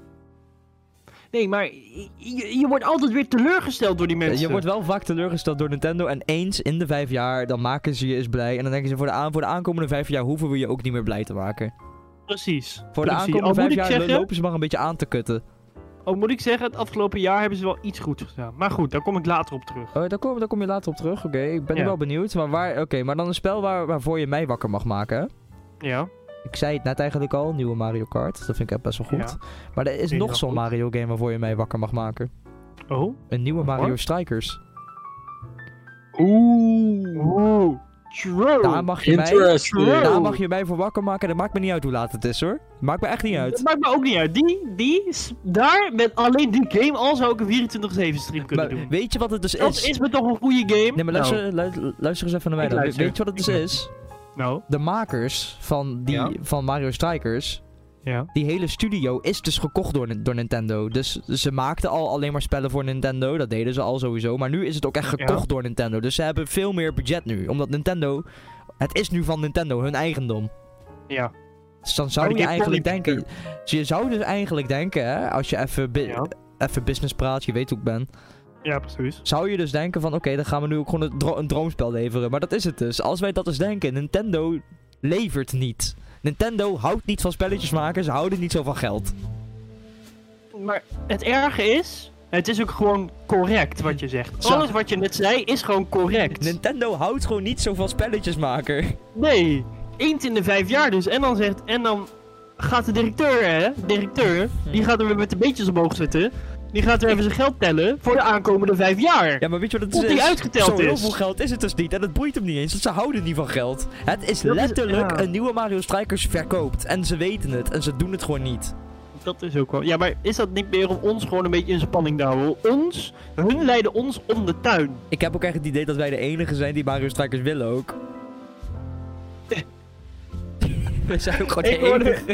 Speaker 2: Nee, maar je, je- je wordt altijd weer teleurgesteld door die mensen.
Speaker 1: Je wordt wel vaak teleurgesteld door Nintendo. En eens in de vijf jaar, dan maken ze je eens blij. En dan denken ze, voor de, aan, voor de aankomende vijf jaar hoeven we je ook niet meer blij te maken.
Speaker 2: Precies.
Speaker 1: Voor de
Speaker 2: Precies.
Speaker 1: aankomende
Speaker 2: Al moet
Speaker 1: vijf
Speaker 2: ik
Speaker 1: jaar
Speaker 2: zeggen-
Speaker 1: lopen ze maar een beetje aan te kutten.
Speaker 2: Al moet ik zeggen, het afgelopen jaar hebben ze wel iets goed gedaan. Maar goed, daar kom ik later op terug.
Speaker 1: Oh, daar, kom, daar kom je later op terug. Oké, ik ben
Speaker 2: Ja.
Speaker 1: wel benieuwd. Maar, waar, oké, maar dan een spel waar, waarvoor je mij wakker mag maken. hè?
Speaker 2: Ja.
Speaker 1: ik zei het net eigenlijk al, nieuwe Mario Kart. Dat vind ik echt best wel goed. maar er is
Speaker 2: vind ik
Speaker 1: nog
Speaker 2: wel
Speaker 1: zo'n
Speaker 2: goed.
Speaker 1: Mario game waarvoor je mee wakker mag maken.
Speaker 2: Oh.
Speaker 1: Een nieuwe Mario
Speaker 2: Wat?
Speaker 1: Strikers.
Speaker 3: Oeh.
Speaker 2: Oeh. True.
Speaker 1: Daar mag, je mij,
Speaker 3: Interesting.
Speaker 1: daar mag je mij voor wakker maken. Dat maakt me niet uit hoe laat het is hoor. Maakt me echt niet
Speaker 2: Dat
Speaker 1: uit.
Speaker 2: maakt me ook niet uit. Die, die, is- daar, met alleen die game al zou ik een 24-7 stream kunnen
Speaker 1: Maar
Speaker 2: doen.
Speaker 1: weet je wat het dus
Speaker 2: Dat
Speaker 1: is?
Speaker 2: is me toch een goede game?
Speaker 1: Nee, maar luister, luister, luister eens even naar mij
Speaker 2: Ik
Speaker 1: dan.
Speaker 2: luister.
Speaker 1: Weet je wat het dus
Speaker 2: Ik-
Speaker 1: is?
Speaker 2: Nou,
Speaker 1: De makers van, die,
Speaker 2: Ja.
Speaker 1: van Mario Strikers
Speaker 2: ja.
Speaker 1: die hele studio is dus gekocht door, Nin- door Nintendo. Dus ze maakten al alleen maar spellen voor Nintendo. Dat deden ze al sowieso. Maar nu is het ook echt gekocht
Speaker 2: Ja.
Speaker 1: door Nintendo. Dus ze hebben veel meer budget nu. Omdat Nintendo. Het is nu van Nintendo, hun eigendom.
Speaker 2: Ja.
Speaker 1: Dus dan zou
Speaker 2: Oh,
Speaker 1: je
Speaker 2: je hebt wel
Speaker 1: eigenlijk
Speaker 2: die
Speaker 1: denken. Dus je zou dus eigenlijk denken, hè, als je even, bi-
Speaker 2: Ja.
Speaker 1: even business praat, je weet hoe ik ben.
Speaker 2: Ja, precies.
Speaker 1: Zou je dus denken van oké, dan gaan we nu ook gewoon een, dro- een droomspel leveren. Maar dat is het dus. Als wij dat eens denken, Nintendo levert niet. Nintendo houdt niet van spelletjes maken, ze houden niet zo van geld.
Speaker 2: Maar het erge is, het is ook gewoon correct wat je zegt.
Speaker 1: Zo.
Speaker 2: Alles wat je net zei is gewoon correct.
Speaker 1: Nintendo houdt gewoon niet zo van spelletjes maken.
Speaker 2: Nee, eens in de vijf jaar dus. En dan zegt, en dan gaat de directeur, hè, directeur, die gaat er weer met de beetjes omhoog zitten. Die gaat er even zijn geld tellen voor de aankomende vijf jaar.
Speaker 1: Ja, maar weet je wat het
Speaker 2: Tot
Speaker 1: is?
Speaker 2: die uitgeteld
Speaker 1: zo heel
Speaker 2: is.
Speaker 1: veel geld is het dus niet. En het boeit hem niet eens, want ze houden niet van geld. Het is
Speaker 2: Dat is-
Speaker 1: letterlijk
Speaker 2: ja.
Speaker 1: een nieuwe Mario Strikers verkoopt. En ze weten het, en ze doen het gewoon niet.
Speaker 2: Dat is ook wel. Ja, maar is dat niet meer om ons gewoon een beetje in spanning te houden? Ons, hun leiden ons om de tuin.
Speaker 1: Ik heb ook echt het idee dat wij de enige zijn die Mario Strikers willen ook. We zijn ook gewoon
Speaker 2: Ik
Speaker 1: de
Speaker 2: hoorde-
Speaker 1: enige.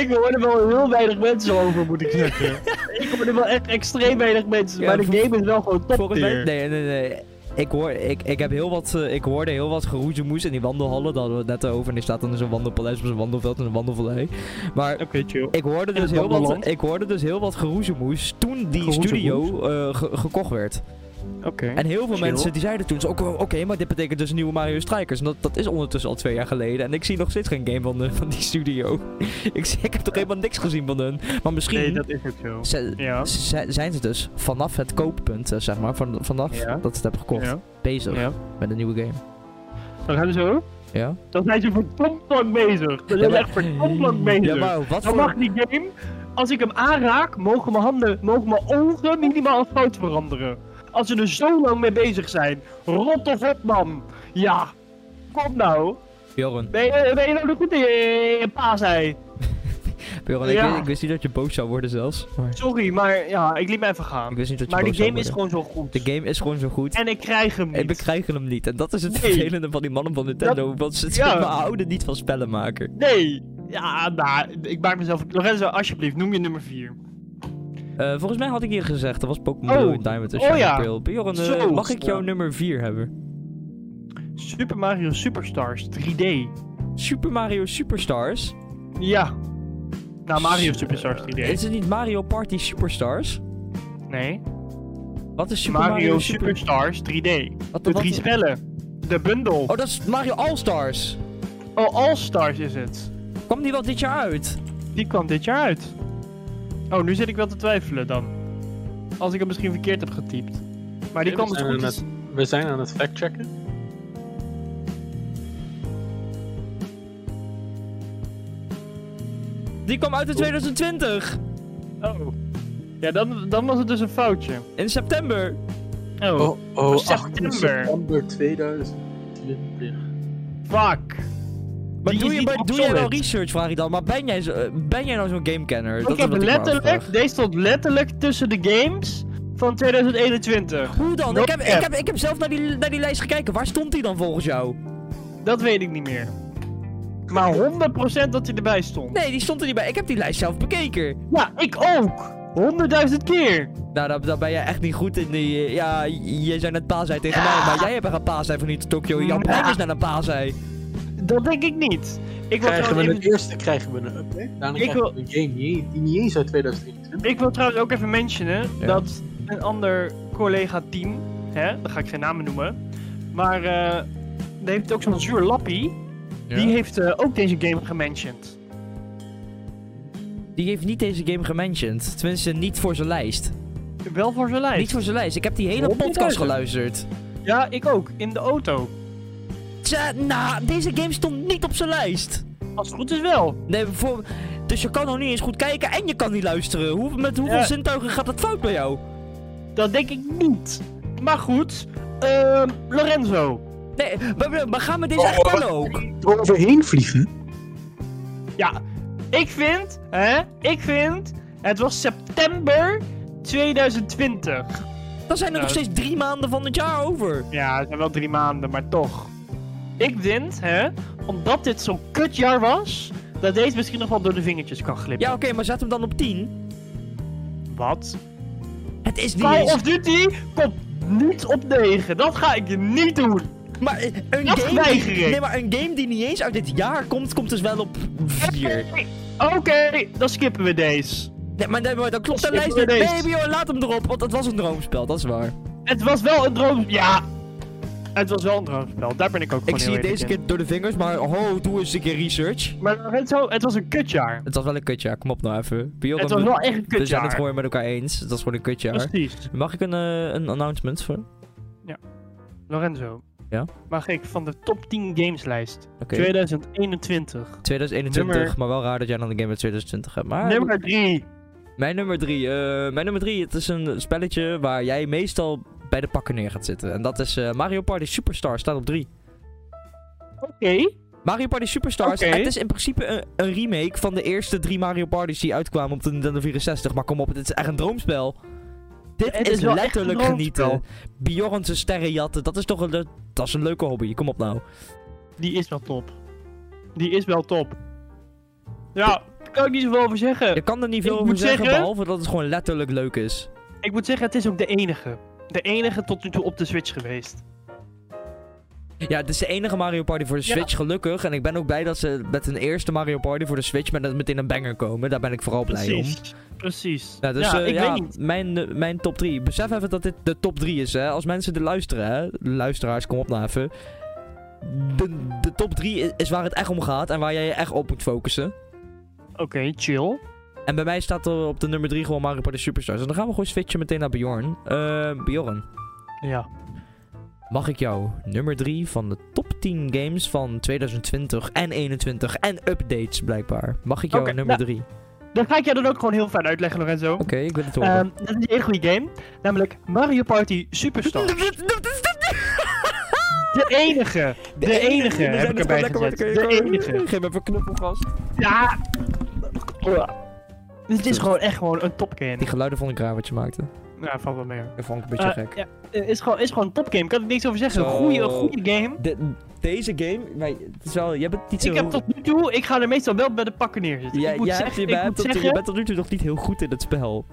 Speaker 2: Ik hoor er wel heel weinig mensen over, moet ik zeggen. ik hoor er wel echt extreem weinig mensen,
Speaker 1: Ja,
Speaker 2: maar de
Speaker 1: vol-
Speaker 2: game is wel gewoon top
Speaker 1: Volgens mij,
Speaker 2: tier.
Speaker 1: nee, nee, nee. Ik, hoor, ik, ik, heb heel wat, eh, ik hoorde heel wat geroezemoes in die wandelhallen. Daar hadden we het net over. En die staat dan in zo'n wandelpaleis op zo'n wandelveld en een wandelvallei. Maar
Speaker 2: Oké, chill.
Speaker 1: ik hoorde,
Speaker 2: In
Speaker 1: dus
Speaker 2: het
Speaker 1: heel wat,
Speaker 2: wandelland.
Speaker 1: ik hoorde dus heel wat geroezemoes toen die
Speaker 2: Geroezemoes?
Speaker 1: studio eh, ge- gekocht werd.
Speaker 2: Oké.
Speaker 1: En heel veel
Speaker 2: Chill.
Speaker 1: mensen die zeiden toen, zo, oké, oké, maar dit betekent dus nieuwe Mario Strikers. En dat, dat is ondertussen al twee jaar geleden. En ik zie nog steeds geen game van, de, van die studio. ik, zie- ik heb toch helemaal niks gezien van hun. Maar misschien
Speaker 2: Nee, dat is ook zo.
Speaker 1: ze-
Speaker 2: Ja.
Speaker 1: ze- zijn ze dus vanaf het kooppunt, eh, zeg maar, van, vanaf
Speaker 2: Ja.
Speaker 1: dat ze het hebben gekocht
Speaker 2: Ja.
Speaker 1: bezig
Speaker 2: ja.
Speaker 1: met een nieuwe game.
Speaker 2: Dan gaan we zo.
Speaker 1: Ja?
Speaker 2: Dan zijn ze verdomd lang bezig. Dan zijn ze echt verdomd lang bezig.
Speaker 1: Ja, maar wat
Speaker 2: Dan
Speaker 1: voor...
Speaker 2: mag die game, als ik hem aanraak, mogen mijn handen, mogen mijn ogen minimaal een fout veranderen. Als ze er zo lang mee bezig zijn. Rot of op, man. Ja. Kom nou.
Speaker 1: Bjorn,
Speaker 2: Ben je, ben je nou de goede eh, paasei?
Speaker 1: Bjorn, ik,
Speaker 2: Ja.
Speaker 1: wist, ik wist niet dat je boos zou worden zelfs.
Speaker 2: Sorry, maar ja, ik liet me even gaan.
Speaker 1: Ik wist niet dat je
Speaker 2: Maar de
Speaker 1: boos zou
Speaker 2: game is
Speaker 1: worden.
Speaker 2: gewoon zo goed.
Speaker 1: De game is gewoon zo goed.
Speaker 2: En ik krijg hem
Speaker 1: En we
Speaker 2: niet.
Speaker 1: krijgen hem niet. En dat is het
Speaker 2: Nee.
Speaker 1: vervelende van die mannen van Nintendo. Want ze
Speaker 2: Ja.
Speaker 1: ze houden niet van spellen maken.
Speaker 2: Nee. Ja, nou, ik maak mezelf... Lorenzo, alsjeblieft, noem je nummer 4.
Speaker 1: Eh, volgens mij had ik hier gezegd, dat was Pokémon
Speaker 2: Oh.
Speaker 1: Blue and Diamond en
Speaker 2: Oh,
Speaker 1: Shining
Speaker 2: ja.
Speaker 1: Pearl. Bjorn, eh,
Speaker 2: Zo.
Speaker 1: mag ik jouw
Speaker 2: Ja.
Speaker 1: nummer 4 hebben?
Speaker 2: Super Mario Superstars 3D.
Speaker 1: Super Mario Superstars?
Speaker 2: Ja. Nou, Mario
Speaker 1: S-
Speaker 2: Superstars 3D.
Speaker 1: Is het niet Mario Party Superstars?
Speaker 2: Nee.
Speaker 1: Wat is Super
Speaker 2: Mario,
Speaker 1: Mario, Super...
Speaker 2: Superstars 3D.
Speaker 1: Wat,
Speaker 2: De
Speaker 1: wat-
Speaker 2: drie spellen. De bundel.
Speaker 1: Oh, dat is Mario All-Stars.
Speaker 2: Oh, All Stars is het.
Speaker 1: Kwam die wel dit jaar uit?
Speaker 2: Die kwam dit jaar uit. Oh, nu zit ik wel te twijfelen dan. Als ik hem misschien verkeerd heb getypt. Maar die kwam dus
Speaker 3: zijn
Speaker 2: goed.
Speaker 3: aan
Speaker 2: is-
Speaker 3: het- we zijn aan het factchecken.
Speaker 1: Die kwam uit in 2020.
Speaker 2: Oh. Ja, dan, dan was het dus een foutje.
Speaker 1: In september.
Speaker 2: Oh,
Speaker 3: Oh, oh,
Speaker 2: september.
Speaker 3: 18 september 2020.
Speaker 2: fuck.
Speaker 1: Maar
Speaker 2: Die
Speaker 1: doe,
Speaker 2: is
Speaker 1: je,
Speaker 2: niet
Speaker 1: maar doe jij wel
Speaker 2: obsolete.
Speaker 1: research, vraag ik dan. Maar ben jij, zo, eh, ben jij nou zo'n gamekenner? Dat
Speaker 2: Ik
Speaker 1: is
Speaker 2: heb
Speaker 1: wat me
Speaker 2: letterlijk,
Speaker 1: afvraag.
Speaker 2: deze stond letterlijk tussen de games van 2021.
Speaker 1: Hoe dan?
Speaker 2: No
Speaker 1: Ik heb, ik,
Speaker 2: cap.
Speaker 1: heb, ik heb zelf naar die, naar die lijst gekeken. Waar stond die dan volgens jou?
Speaker 2: Dat weet ik niet meer. Maar 100% dat hij erbij stond.
Speaker 1: Nee, die stond er niet bij. Ik heb die lijst zelf bekeken.
Speaker 2: Ja, ik ook! 100.000 keer!
Speaker 1: Nou, daar, daar ben jij echt niet goed in. Die, eh, ja, j- jij zei net paasei tegen mij. Maar jij hebt echt een paasei van niet Tokyo. Jouw brein is naar een paasei.
Speaker 2: Dat denk ik niet. Ik wil,
Speaker 3: Krijgen we
Speaker 2: trouwens
Speaker 3: een
Speaker 2: even,
Speaker 3: eerste krijgen we een update. Daarna
Speaker 2: Ik
Speaker 3: krijgen we een game die niet- die niet eens uit 2021.
Speaker 2: ik wil trouwens ook even mentionen
Speaker 1: Ja.
Speaker 2: dat een ander collega-team, hè, daar ga ik geen namen noemen, maar eh, die heeft ook zo'n zuur lappie, die heeft eh, ook deze game gementiond.
Speaker 1: Die heeft niet deze game gementiond. Tenminste, niet voor zijn lijst.
Speaker 2: Wel voor zijn lijst.
Speaker 1: Niet voor zijn lijst. Ik heb die hele
Speaker 2: 100.000.
Speaker 1: podcast geluisterd.
Speaker 2: Ja, ik ook, in de auto.
Speaker 1: Tja, nou, deze game stond niet op zijn lijst.
Speaker 2: Als het goed is wel.
Speaker 1: Nee, bijvoorbeeld- dus je kan nog niet eens goed kijken en je kan niet luisteren. Hoe, met hoeveel
Speaker 2: Ja.
Speaker 1: zintuigen gaat dat fout bij jou?
Speaker 2: Dat denk ik niet. Maar goed, ehm, Lorenzo.
Speaker 1: Nee, maar, maar- maar gaan we deze echt tellen ook?
Speaker 3: Overheen vliegen?
Speaker 2: Ja, ik vind, hè, ik vind, het was september 2020.
Speaker 1: Dan zijn er
Speaker 2: Nou,
Speaker 1: nog steeds drie maanden van het jaar over.
Speaker 2: Ja, het zijn wel drie maanden, maar toch. Ik vind, hè, omdat dit zo'n kutjaar was, dat deze misschien nog wel door de vingertjes kan glippen.
Speaker 1: Ja, oké, maar zet hem dan op 10.
Speaker 2: Wat?
Speaker 1: Het is niet
Speaker 2: Call
Speaker 1: eens.
Speaker 2: of Duty komt niet op 9. Dat ga ik niet doen.
Speaker 1: Maar eh, een
Speaker 2: Dat
Speaker 1: game. Die,
Speaker 2: weiger ik.
Speaker 1: nee, maar een game die niet eens uit dit jaar komt, komt dus wel op 4.
Speaker 2: Oké, dan skippen we deze.
Speaker 1: Nee, maar, nee, maar dan klopt de
Speaker 2: Skip
Speaker 1: lijst
Speaker 2: door
Speaker 1: niet.
Speaker 2: deze.
Speaker 1: Baby, hoor, laat hem erop, want het was een droomspel, dat is waar.
Speaker 2: Het was wel een droom. Ja. Het was wel een droomspel. Daar ben ik ook
Speaker 1: Ik
Speaker 2: gewoon
Speaker 1: zie
Speaker 2: heel
Speaker 1: het deze
Speaker 2: eerlijk in.
Speaker 1: keer door de vingers, maar ho, doe eens een keer research.
Speaker 2: Maar Lorenzo, het was een kutjaar.
Speaker 1: Het was wel een kutjaar, kom op nou even. Bjorn,
Speaker 2: Het was wel echt een
Speaker 1: we zijn het
Speaker 2: kutjaar.
Speaker 1: gewoon met elkaar eens, het was gewoon een kutjaar.
Speaker 2: Precies.
Speaker 1: Mag ik een, eh, een announcement voor? Oké.
Speaker 2: Lorenzo.
Speaker 1: Ja?
Speaker 2: Mag ik van de top 10 gameslijst 2021.
Speaker 1: 2021,
Speaker 2: Nummer-
Speaker 1: maar wel raar dat jij dan een game uit 2020 hebt. Maar
Speaker 2: nummer 3.
Speaker 1: Mijn nummer drie. eh, mijn nummer drie, het is een spelletje waar jij meestal bij de pakken neer gaat zitten. En dat is eh, Mario Party Superstar, staat op drie.
Speaker 2: Oké.
Speaker 1: Mario Party Superstars,
Speaker 2: Oké.
Speaker 1: het is in principe een, een remake van de eerste drie Mario Parties die uitkwamen op de Nintendo 64. Maar kom op, dit is echt een droomspel. Dit
Speaker 2: Het
Speaker 1: is,
Speaker 2: is wel echt
Speaker 1: letterlijk
Speaker 2: een droomspel.
Speaker 1: genieten. Bjorn zijn sterren jatten, dat is toch een, le- dat is een leuke hobby. Kom op nou.
Speaker 2: Die is wel top. Die is wel top. Ja, daar kan ik niet zoveel over zeggen.
Speaker 1: Je kan er niet veel
Speaker 2: Ik
Speaker 1: over
Speaker 2: moet
Speaker 1: zeggen,
Speaker 2: zeggen-
Speaker 1: behalve dat het gewoon letterlijk leuk is.
Speaker 2: Ik moet zeggen, het is ook de enige. De enige tot nu toe op de Switch geweest.
Speaker 1: Ja, het is de enige Mario Party voor de
Speaker 2: Ja.
Speaker 1: Switch, gelukkig. En ik ben ook blij dat ze met hun eerste Mario Party voor de Switch met, meteen een banger komen. Daar ben ik vooral blij om.
Speaker 2: Precies. Precies.
Speaker 1: Nou, dus,
Speaker 2: ja,
Speaker 1: eh,
Speaker 2: ik
Speaker 1: ja,
Speaker 2: weet niet.
Speaker 1: Mijn, eh, mijn top 3. Besef even dat dit de top 3 is, hè. Als mensen er luisteren, hè. Luisteraars, kom op nou even. De, de top 3 is waar het echt om gaat en waar jij je echt op moet focussen.
Speaker 2: Oké, chill.
Speaker 1: En bij mij staat er op de nummer 3 gewoon Mario Party Superstars. En dan gaan we gewoon switchen meteen naar Bjorn. Eh Bjorn,
Speaker 2: Ja.
Speaker 1: mag ik jou nummer 3 van de top 10 games van 2020 en 21 en updates blijkbaar. Mag ik jou
Speaker 2: Oké,
Speaker 1: nummer
Speaker 2: ja.
Speaker 1: 3? Oké,
Speaker 2: Dan ga ik jou dan ook gewoon heel fijn uitleggen, Lorenzo.
Speaker 1: ik wil het horen.
Speaker 2: Ehm dat is een hele goede game. Namelijk Mario Party Superstar. De enige. De enige
Speaker 1: We
Speaker 2: heb
Speaker 1: zijn
Speaker 2: ik
Speaker 1: dus
Speaker 2: erbij
Speaker 1: wel lekker
Speaker 2: gezet.
Speaker 1: met elkaar.
Speaker 2: De enige.
Speaker 1: Geef me even knuppelgas.
Speaker 2: Ja. Dit is gewoon echt gewoon een topgame.
Speaker 1: Die geluiden vond ik raar wat je maakte.
Speaker 2: Ja, valt wel mee. hoor.
Speaker 1: Dat vond ik een beetje
Speaker 2: Eh,
Speaker 1: gek.
Speaker 2: ja, eh, is, gewoon, is gewoon een topgame. Kan ik niks over zeggen. Een
Speaker 1: Zo.
Speaker 2: goede, goede game.
Speaker 1: De- deze game, maar het is wel, jij bent niet zo...
Speaker 2: Ik heb tot nu toe, ik ga er meestal wel bij de pakken neerzetten.
Speaker 1: Ja,
Speaker 2: ik moet
Speaker 1: ja,
Speaker 2: zeggen,
Speaker 1: je,
Speaker 2: ik,
Speaker 1: bent
Speaker 2: moet
Speaker 1: tot, je
Speaker 2: zeggen
Speaker 1: bent tot nu toe nog niet heel goed in het spel.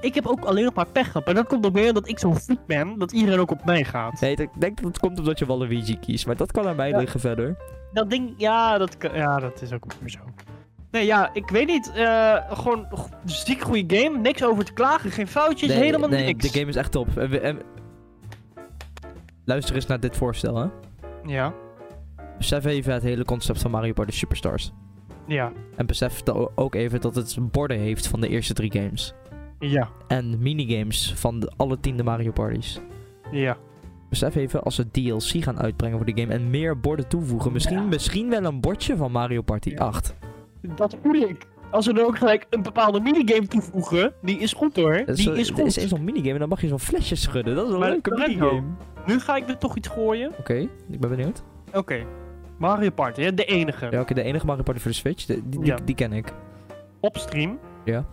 Speaker 2: ik heb ook alleen nog maar pech gehad. Maar dat komt ook meer omdat ik zo'n freak ben, dat iedereen ook op mij gaat.
Speaker 1: Nee, ik denk dat het komt omdat je Waluigi kiest, maar dat kan aan mij
Speaker 2: Ja.
Speaker 1: liggen verder.
Speaker 2: Dat ding, ja, dat, kan- ja, dat is ook weer zo. Nee, ja, ik weet niet. eh, gewoon go- ziek goede game. Niks over te klagen. Geen foutjes.
Speaker 1: Nee,
Speaker 2: helemaal
Speaker 1: nee,
Speaker 2: niks.
Speaker 1: De game is echt top. En we- en- Luister eens naar dit voorstel, hè.
Speaker 2: Ja,
Speaker 1: Besef even het hele concept van Mario Party Superstars.
Speaker 2: ja,
Speaker 1: En besef da- ook even dat het borden heeft van de eerste drie games.
Speaker 2: ja,
Speaker 1: En minigames van de, alle tiende Mario Parties.
Speaker 2: ja.
Speaker 1: Besef even, als ze DLC gaan uitbrengen voor de game en meer borden toevoegen, misschien,
Speaker 2: Ja.
Speaker 1: misschien wel een bordje van Mario Party
Speaker 2: Ja.
Speaker 1: 8.
Speaker 2: Dat voel ik. Als we er ook gelijk een bepaalde minigame toevoegen, die is goed hoor.
Speaker 1: Dat
Speaker 2: Die
Speaker 1: zo-
Speaker 2: is
Speaker 1: Er
Speaker 2: goed.
Speaker 1: Eh, is eens zo'n minigame en dan mag je zo'n flesje schudden. Dat is een
Speaker 2: Maar
Speaker 1: leuke
Speaker 2: dat kan
Speaker 1: minigame.
Speaker 2: ook.
Speaker 1: Oké,
Speaker 2: Nu ga ik er toch iets gooien.
Speaker 1: ik ben benieuwd.
Speaker 2: Oké. Mario Party, hè, de enige.
Speaker 1: Ja, oké, de enige Mario Party voor de Switch, de- die, die,
Speaker 2: Ja.
Speaker 1: die ken ik.
Speaker 2: Op stream.
Speaker 1: Ja.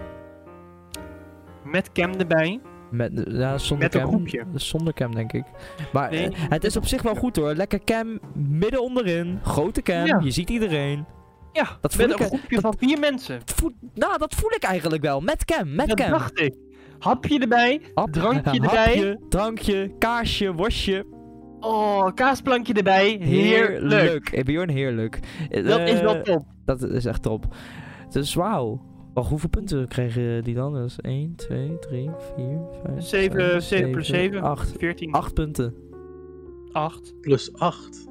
Speaker 2: Met Cam erbij.
Speaker 1: Met, ja, zonder
Speaker 2: Met een
Speaker 1: cam.
Speaker 2: groepje.
Speaker 1: Zonder cam, denk ik. Maar
Speaker 2: Nee,
Speaker 1: eh,
Speaker 2: niet
Speaker 1: het is op zich wel goed hoor. Lekker cam, midden onderin. Grote cam,
Speaker 2: Ja.
Speaker 1: je ziet iedereen.
Speaker 2: Ja,
Speaker 1: Dat voel
Speaker 2: met
Speaker 1: ik,
Speaker 2: een groepje
Speaker 1: dat-
Speaker 2: van vier mensen.
Speaker 1: Voel- nou, dat voel ik eigenlijk wel. Met cam, met
Speaker 2: dat
Speaker 1: cam.
Speaker 2: dacht ik. Hapje erbij.
Speaker 1: Hap-
Speaker 2: drankje
Speaker 1: hapje,
Speaker 2: erbij.
Speaker 1: drankje, kaarsje, worstje.
Speaker 2: Oh, kaasplankje erbij. Heerlijk.
Speaker 1: Eh, Bjorn, heerlijk. Eh,
Speaker 2: Dat is wel
Speaker 1: eh,
Speaker 2: top.
Speaker 1: Dat is echt top. Dus wauw. Wacht, hoeveel punten kregen die dan? Dus 1, 2, 3, 4, 5,
Speaker 2: Zeven- eh, zeven plus zeven.
Speaker 1: 8.
Speaker 2: 14, 8.
Speaker 1: 8 punten.
Speaker 3: Plus 8.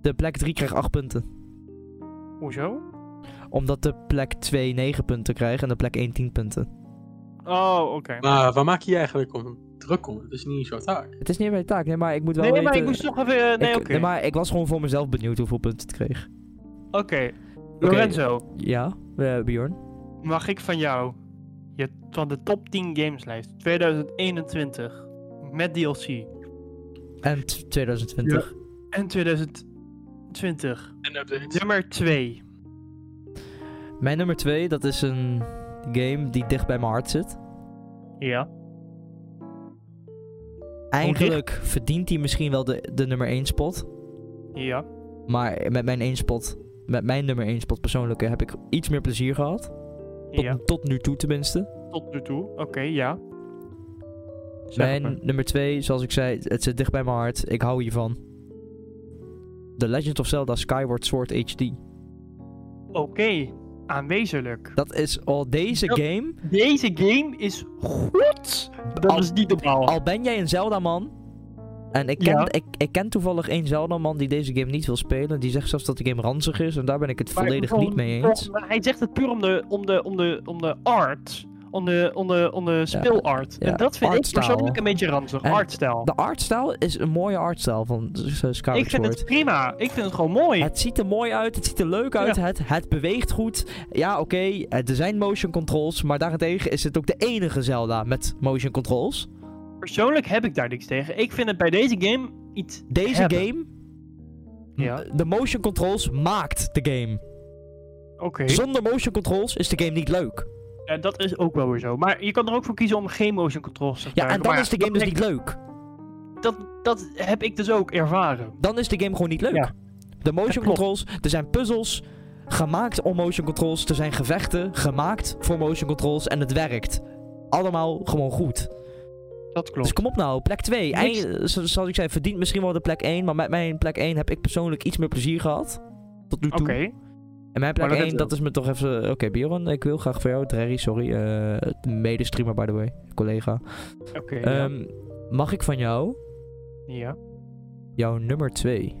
Speaker 1: De plek 3 kreeg 8 punten.
Speaker 2: Hoezo?
Speaker 1: Omdat de plek 2 9 punten krijgt en de plek 1 10 punten.
Speaker 2: Oh, oké.
Speaker 3: Maar waar maak je je eigenlijk om druk om? Het is niet eens jouw taak.
Speaker 1: Het is niet mijn taak, nee, maar ik moet wel
Speaker 2: Nee,
Speaker 1: weten...
Speaker 2: maar ik moest nog even... eh, Nee,
Speaker 1: ik-
Speaker 2: oké.
Speaker 1: maar ik was gewoon voor mezelf benieuwd hoeveel punten het kreeg.
Speaker 2: Oké, Lorenzo,
Speaker 1: Ja, eh, Bjorn.
Speaker 2: mag ik van jou je van de top 10 gameslijst 2021 met DLC
Speaker 1: En t- 2020.
Speaker 2: en 2020
Speaker 3: En updates.
Speaker 2: nummer 2?
Speaker 1: Mijn nummer 2, dat is een game die dicht bij mijn hart zit.
Speaker 2: Ja.
Speaker 1: Eigenlijk verdient hij misschien wel de, de nummer 1 spot.
Speaker 2: Ja.
Speaker 1: Maar met mijn 1 spot, met mijn nummer 1 spot persoonlijke, heb ik iets meer plezier gehad. Tot,
Speaker 2: Ja.
Speaker 1: tot nu toe tenminste.
Speaker 2: Tot nu toe. Oké, ja. Zeg
Speaker 1: mijn
Speaker 2: maar.
Speaker 1: nummer 2, zoals ik zei, het zit dicht bij mijn hart. Ik hou hiervan. The Legend of Zelda Skyward Sword HD.
Speaker 2: Oké, aanwezelijk.
Speaker 1: Dat is al deze
Speaker 2: Ja.
Speaker 1: game.
Speaker 2: Deze game is goed. Dat
Speaker 1: Al-
Speaker 2: is niet normaal.
Speaker 1: Al ben jij een Zelda-man. En ik ken,
Speaker 2: Ja.
Speaker 1: ik, ik ken toevallig één Zelda-man die deze game niet wil spelen. Die zegt zelfs dat de game ranzig is. En daar ben ik het
Speaker 2: Maar
Speaker 1: volledig
Speaker 2: gewoon-
Speaker 1: niet mee
Speaker 2: gewoon-
Speaker 1: eens.
Speaker 2: maar hij zegt het puur om de, om de, om de, om de art. Om de, om de, om de speelart.
Speaker 1: ja.
Speaker 2: En dat vind ik
Speaker 1: Artstyle.
Speaker 2: persoonlijk een beetje ranzig.
Speaker 1: En
Speaker 2: Artstyle.
Speaker 1: De artstyle is een mooie artstyle van eh, Skyward
Speaker 2: Ik vind
Speaker 1: Sword.
Speaker 2: het prima. Ik vind het gewoon mooi.
Speaker 1: Het ziet er mooi uit, het ziet er leuk uit, het, het beweegt goed. Ja, oké, eh, er zijn motion controls, maar daarentegen is het ook de enige Zelda met motion controls.
Speaker 2: Persoonlijk heb ik daar niks tegen. Ik vind het bij deze game iets.
Speaker 1: Deze
Speaker 2: Hebben.
Speaker 1: game,
Speaker 2: Ja.
Speaker 1: de motion controls maakt de game.
Speaker 2: Oké.
Speaker 1: Zonder motion controls is de game niet leuk.
Speaker 2: Ja, dat is ook wel weer zo. Maar je kan er ook voor kiezen om geen motion controls te
Speaker 1: Ja,
Speaker 2: gebruiken.
Speaker 1: en dan
Speaker 2: Maar
Speaker 1: is de game
Speaker 2: dat
Speaker 1: dus niet leuk.
Speaker 2: Dat, dat heb ik dus ook ervaren.
Speaker 1: Dan is de game gewoon niet leuk.
Speaker 2: Ja.
Speaker 1: De motion
Speaker 2: Ja, klopt.
Speaker 1: controls, er zijn puzzels gemaakt om motion controls, er zijn gevechten gemaakt voor motion controls en het werkt. Allemaal gewoon goed.
Speaker 2: Dat
Speaker 1: Dus
Speaker 2: klopt.
Speaker 1: kom op nou, plek 2.
Speaker 2: Niks-
Speaker 1: Zoals ik zei, verdient misschien wel de plek 1. Maar met mijn plek 1 heb ik persoonlijk iets meer plezier gehad. Tot nu toe.
Speaker 2: Oké.
Speaker 1: En mijn plek
Speaker 2: Maar dat
Speaker 1: 1,
Speaker 2: is
Speaker 1: dat is me toch even... Oké, Bjorn, ik wil graag voor jou. Drerry, sorry. eh, Mede-streamer, by the way. Collega.
Speaker 2: Oké. ja.
Speaker 1: Ehm, mag ik van jou
Speaker 2: ja.
Speaker 1: jouw nummer 2?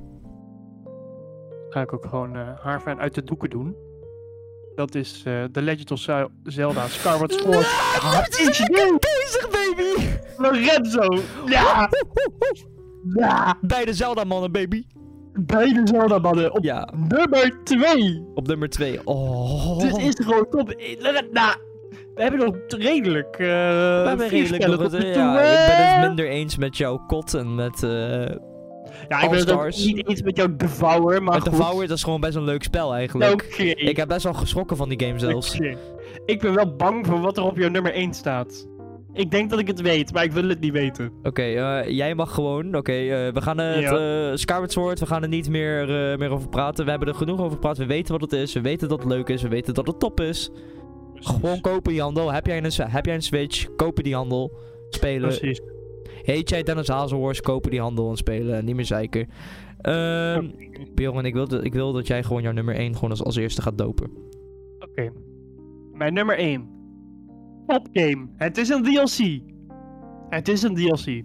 Speaker 2: ga ik ook gewoon eh haar fan uit de doeken doen. Dat is eh The Legend of Zel- Zelda Skyward Sword. Wat is dit?
Speaker 1: bezig, baby!
Speaker 2: Lorenzo! Ja! ja.
Speaker 1: Bij de Zelda-mannen, baby.
Speaker 2: Beide Zelda-mannen op
Speaker 1: Ja,
Speaker 2: nummer 2!
Speaker 1: op nummer 2. Oh.
Speaker 2: Dit is gewoon top. Eh, Loren- Nou, we hebben nog redelijk. eh
Speaker 1: We hebben
Speaker 2: vier
Speaker 1: redelijk
Speaker 2: spellen
Speaker 1: nog
Speaker 2: tot
Speaker 1: het-
Speaker 2: nu toe,
Speaker 1: ja, ik ben
Speaker 2: hè?
Speaker 1: het minder eens met jouw kot en met... eh
Speaker 2: Ja, ik ben het ook
Speaker 1: All-Stars.
Speaker 2: niet eens met jouw Devour, maar
Speaker 1: met
Speaker 2: goed. Nou,
Speaker 1: de Vouwer, dat is gewoon best een leuk spel eigenlijk.
Speaker 2: Oké.
Speaker 1: Ik heb best wel geschrokken van die game zelfs.
Speaker 2: Oké. Ik ben wel bang voor wat er op jouw nummer 1 staat. Ik denk dat ik het weet, maar ik wil het niet weten.
Speaker 1: Oké, eh, jij mag gewoon. Oké, eh, we gaan het eh, Skyward Sword, we gaan er niet meer, eh, meer over praten. We hebben er genoeg over gepraat. We weten wat het is. We weten dat het leuk is. We weten dat het top is. Gewoon kopen die handel. Heb jij een, heb jij een Switch? Kopen die handel. Spelen.
Speaker 2: Precies.
Speaker 1: Heet jij Dennis Hazelhorst? Kopen die handel en spelen. En niet meer zeiken. Ehm Bjorn, ik wil, dat- ik wil dat jij gewoon jouw nummer 1 gewoon als, als eerste gaat dopen.
Speaker 2: Oké. Mijn nummer 1. Top game. Het is een DLC. Het is een DLC.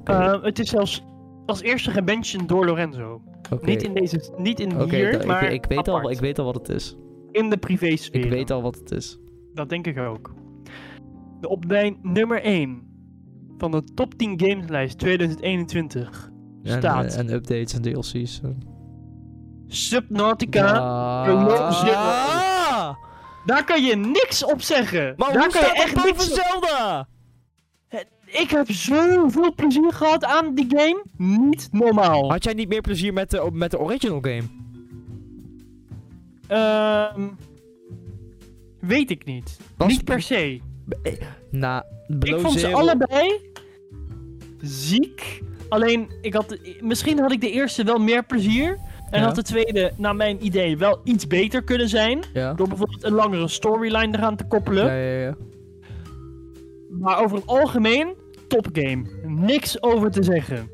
Speaker 1: Oké,
Speaker 2: Eh, het is zelfs als eerste gementiond door Lorenzo.
Speaker 1: oké.
Speaker 2: Niet in deze, niet in
Speaker 1: Oké,
Speaker 2: hier,
Speaker 1: da- ik-
Speaker 2: maar
Speaker 1: ik, weet al,
Speaker 2: apart.
Speaker 1: ik weet al wat het is.
Speaker 2: in de privésfeer.
Speaker 1: Ik weet al wat het is.
Speaker 2: Dat denk ik ook. De op mijn nummer 1 van de top 10 gameslijst 2021
Speaker 1: En,
Speaker 2: staat
Speaker 1: eh, en updates en DLC's. en-
Speaker 2: Subnautica.
Speaker 1: Ah.
Speaker 2: zin. Daar kan je niks op zeggen.
Speaker 1: Maar
Speaker 2: Daar
Speaker 1: hoe
Speaker 2: kan je
Speaker 1: staat dat
Speaker 2: echt
Speaker 1: boven
Speaker 2: niks op
Speaker 1: Zelda?
Speaker 2: Ik heb zoveel plezier gehad aan die game. Niet normaal.
Speaker 1: Had jij niet meer plezier met de, met de original game?
Speaker 2: Ehm, weet ik niet.
Speaker 1: Was-
Speaker 2: Niet per se.
Speaker 1: Na
Speaker 2: ik
Speaker 1: Below
Speaker 2: vond ze
Speaker 1: Zero-
Speaker 2: allebei ziek. Alleen, ik had, misschien had ik de eerste wel meer plezier. En
Speaker 1: Ja.
Speaker 2: had de tweede, naar mijn idee, wel iets beter kunnen zijn.
Speaker 1: Ja.
Speaker 2: Door bijvoorbeeld een langere storyline eraan te koppelen.
Speaker 1: Ja, ja, ja.
Speaker 2: Maar over het algemeen, top game. Niks over te zeggen.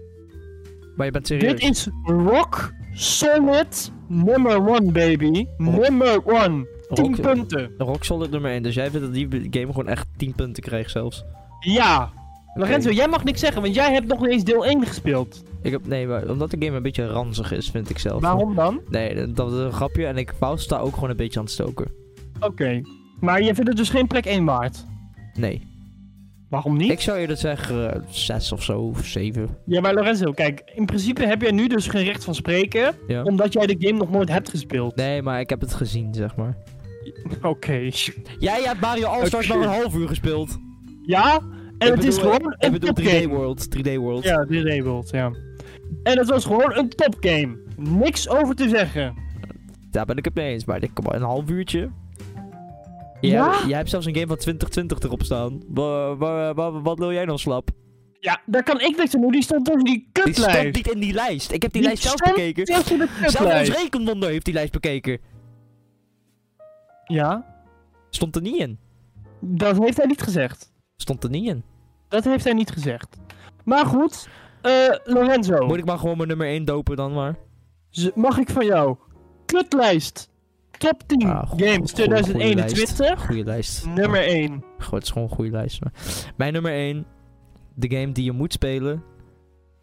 Speaker 1: Maar je bent
Speaker 2: Dit
Speaker 1: serieus.
Speaker 2: is rock solid number one, baby. Number one. 10
Speaker 1: Rock-
Speaker 2: punten.
Speaker 1: Rock Solid nummer 1, dus jij vindt dat die game gewoon echt 10 punten kreeg zelfs.
Speaker 2: Ja. Lorenzo,
Speaker 1: Oké.
Speaker 2: jij mag niks zeggen, want jij hebt nog niet eens deel 1 gespeeld.
Speaker 1: Ik heb, nee, maar omdat de game een beetje ranzig is, vind ik zelf.
Speaker 2: Waarom dan?
Speaker 1: Nee, dat- dat is een grapje en ik wou sta ook gewoon een beetje aan het stoken.
Speaker 2: Oké. Maar je vindt het dus geen plek 1 waard.
Speaker 1: Nee.
Speaker 2: Waarom niet?
Speaker 1: Ik zou eerder zeggen eh, zes of zo, of zeven.
Speaker 2: Ja, maar Lorenzo, kijk, in principe heb jij nu dus geen recht van spreken,
Speaker 1: Ja.
Speaker 2: omdat jij de game nog nooit hebt gespeeld.
Speaker 1: Nee, maar ik heb het gezien, zeg maar.
Speaker 2: Oké.
Speaker 1: Jij hebt Mario All-Stars
Speaker 2: Oké.
Speaker 1: maar een half uur gespeeld.
Speaker 2: Ja, en
Speaker 1: Ik
Speaker 2: het is
Speaker 1: bedoel,
Speaker 2: gewoon
Speaker 1: Ik
Speaker 2: een
Speaker 1: bedoel
Speaker 2: topgame.
Speaker 1: 3D World, 3D World.
Speaker 2: Ja, disabled, ja. En het was gewoon een topgame. Niks over te zeggen.
Speaker 1: Daar ben ik het mee eens, maar dit- kom maar, een half uurtje. Jij,
Speaker 2: Ja?
Speaker 1: jij hebt zelfs een game van 2020 erop staan. Wa- wa- wa- wat wil jij nou slap?
Speaker 2: Ja, daar kan ik niks aan doen. Die stond tussen die
Speaker 1: Die
Speaker 2: kutlijst.
Speaker 1: stond niet in die lijst. Ik heb die, lijst zelf
Speaker 2: stond
Speaker 1: bekeken.
Speaker 2: tussen de
Speaker 1: Zelf ons
Speaker 2: kutlijst.
Speaker 1: rekenwonder heeft die lijst bekeken.
Speaker 2: Ja,
Speaker 1: Stond er niet in.
Speaker 2: dat heeft hij niet gezegd.
Speaker 1: Stond er niet in.
Speaker 2: Dat heeft hij niet gezegd. Maar goed, eh, Lorenzo,
Speaker 1: Moet ik maar gewoon mijn nummer 1 dopen dan maar.
Speaker 2: z- mag ik van jou kutlijst top 10
Speaker 1: Ah, goe-
Speaker 2: games
Speaker 1: goe- goeie
Speaker 2: 2021?
Speaker 1: Goeie lijst.
Speaker 2: Nummer 1.
Speaker 1: Goed, het is gewoon een goede lijst. Maar. Mijn nummer 1. De game die je moet spelen.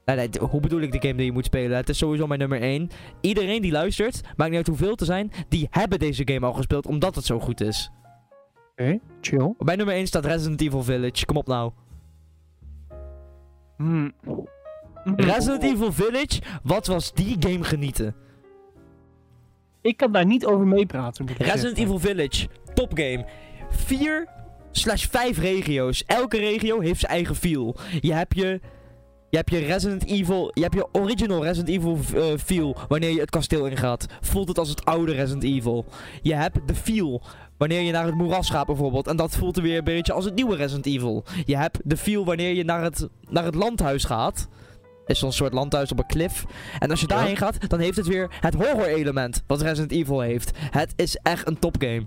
Speaker 1: Eh, Nee, nee, d- hoe bedoel ik de game die je moet spelen? Het is sowieso mijn nummer 1. Iedereen die luistert, maakt niet uit hoeveel te zijn, die hebben deze game al gespeeld omdat het zo goed is.
Speaker 2: Chill.
Speaker 1: Op mijn nummer 1 staat Resident Evil Village. Kom op nou.
Speaker 2: Hmm.
Speaker 1: Resident Evil Village, wat was die game genieten?
Speaker 2: Ik kan daar niet over meepraten. moet ik
Speaker 1: Resident
Speaker 2: zeggen.
Speaker 1: Evil Village, topgame. 4 slash 5 regio's. Elke regio heeft zijn eigen feel. Je hebt je, je hebt je Resident Evil, je hebt je original Resident Evil eh, feel wanneer je het kasteel ingaat. Voelt het als het oude Resident Evil. Je hebt de feel wanneer je naar het moeras gaat bijvoorbeeld. En dat voelt er weer een beetje als het nieuwe Resident Evil. Je hebt de feel wanneer je naar het, naar het landhuis gaat. Is zo'n soort landhuis op een klif. En als je
Speaker 2: Ja.
Speaker 1: daarheen gaat, dan heeft het weer het horror element wat Resident Evil heeft. Het is echt een topgame.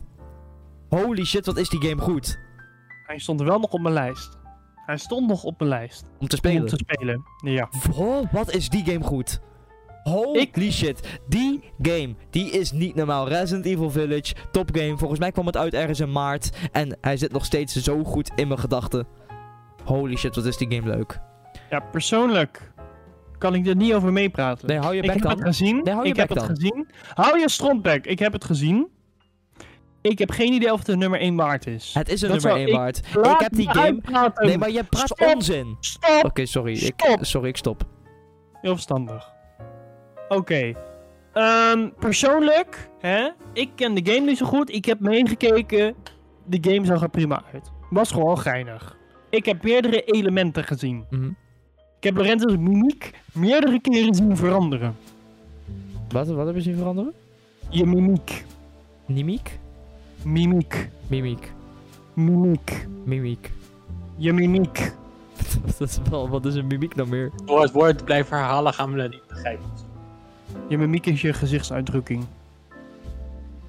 Speaker 1: Holy shit, wat is die game goed
Speaker 2: Hij stond wel nog op mijn lijst. Hij stond nog op mijn lijst.
Speaker 1: om te
Speaker 2: Om
Speaker 1: spelen.
Speaker 2: te spelen. Ja.
Speaker 1: Wow, wat is die game goed? Holy shit, die game, die is niet normaal. Resident Evil Village, topgame. Volgens mij kwam het uit ergens in maart. En hij zit nog steeds zo goed in mijn gedachten. Holy shit, wat is die game leuk.
Speaker 2: ja, persoonlijk kan ik er niet over meepraten.
Speaker 1: Nee, hou je
Speaker 2: ik
Speaker 1: bek
Speaker 2: heb het
Speaker 1: dan.
Speaker 2: gezien.
Speaker 1: Nee, hou je
Speaker 2: ik heb
Speaker 1: bek
Speaker 2: het
Speaker 1: dan.
Speaker 2: gezien. Hou je strontbek. Ik heb het gezien. Ik heb geen idee of het een nummer 1 waard is.
Speaker 1: Het is een
Speaker 2: Dat
Speaker 1: nummer
Speaker 2: zou
Speaker 1: 1
Speaker 2: ik-
Speaker 1: waard.
Speaker 2: Laat
Speaker 1: Ik heb die
Speaker 2: me
Speaker 1: game...
Speaker 2: uitpraten.
Speaker 1: Nee, maar je praat
Speaker 2: Stop.
Speaker 1: onzin. Oké,
Speaker 2: Stop!
Speaker 1: sorry. Ik,
Speaker 2: Stop.
Speaker 1: sorry, ik stop.
Speaker 2: Heel verstandig. Oké. Ehm, persoonlijk, hè? ik ken de game niet zo goed. Ik heb meegekeken. De game zag er prima uit. Was gewoon geinig. Ik heb meerdere elementen gezien.
Speaker 1: Mhm.
Speaker 2: Ik heb Lorenzo's mimiek meerdere keren zien veranderen.
Speaker 1: Wat, wat hebben ze hier veranderen?
Speaker 2: Je mimiek.
Speaker 1: Nimiek?
Speaker 2: Mimiek.
Speaker 1: Mimiek.
Speaker 2: Mimiek.
Speaker 1: Mimiek.
Speaker 2: Je mimiek.
Speaker 1: dat is wel, wat is een mimiek nou meer?
Speaker 3: Door het woord blijven herhalen gaan we dat niet begrijpen.
Speaker 2: Je mimiek is je gezichtsuitdrukking.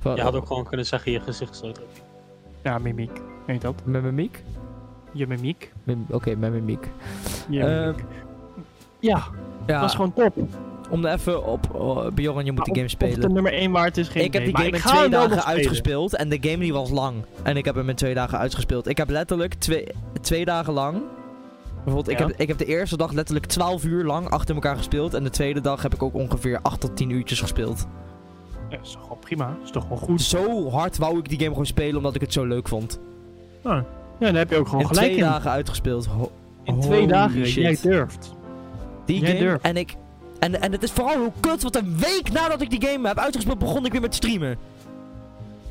Speaker 1: Wat,
Speaker 3: Je had ook gewoon kunnen zeggen je gezichtsuitdrukking.
Speaker 2: Ja, mimiek. Heet dat?
Speaker 1: Met mimiek?
Speaker 2: Je mimiek.
Speaker 1: Mim- Oké, met mimiek.
Speaker 2: Je
Speaker 1: Ehm,
Speaker 2: mimiek. Ja,
Speaker 1: Ja,
Speaker 2: was gewoon top.
Speaker 1: om er even op... oh, Bjorn, je moet die game
Speaker 2: Of het de
Speaker 1: spelen.
Speaker 2: nummer 1 waard is, geen
Speaker 1: Ik heb die
Speaker 2: idee, maar
Speaker 1: game in
Speaker 2: ik ga
Speaker 1: twee
Speaker 2: hem wel
Speaker 1: dagen
Speaker 2: nog spelen.
Speaker 1: uitgespeeld en de game die was lang. En ik heb hem in twee dagen uitgespeeld. Ik heb letterlijk twee, twee dagen lang... Bijvoorbeeld,
Speaker 2: Ja.
Speaker 1: ik, heb, ik heb de eerste dag letterlijk 12 uur lang achter elkaar gespeeld. En de tweede dag heb ik ook ongeveer 8 tot 10 uurtjes gespeeld.
Speaker 2: Ja, is toch gewoon prima. Is toch gewoon goed.
Speaker 1: Zo hard wou ik die game gewoon spelen omdat ik het zo leuk vond.
Speaker 2: Ja, dan heb je ook gewoon
Speaker 1: in
Speaker 2: Oh, gelijk
Speaker 1: twee
Speaker 2: in.
Speaker 1: dagen uitgespeeld. Ho-
Speaker 2: in twee
Speaker 1: Holy
Speaker 2: dagen.
Speaker 1: shit.
Speaker 2: Jij durft.
Speaker 1: die
Speaker 2: Jij
Speaker 1: game.
Speaker 2: durft.
Speaker 1: En ik. En, en het is vooral heel kut, want een week nadat ik die game heb uitgespeeld, begon ik weer met streamen.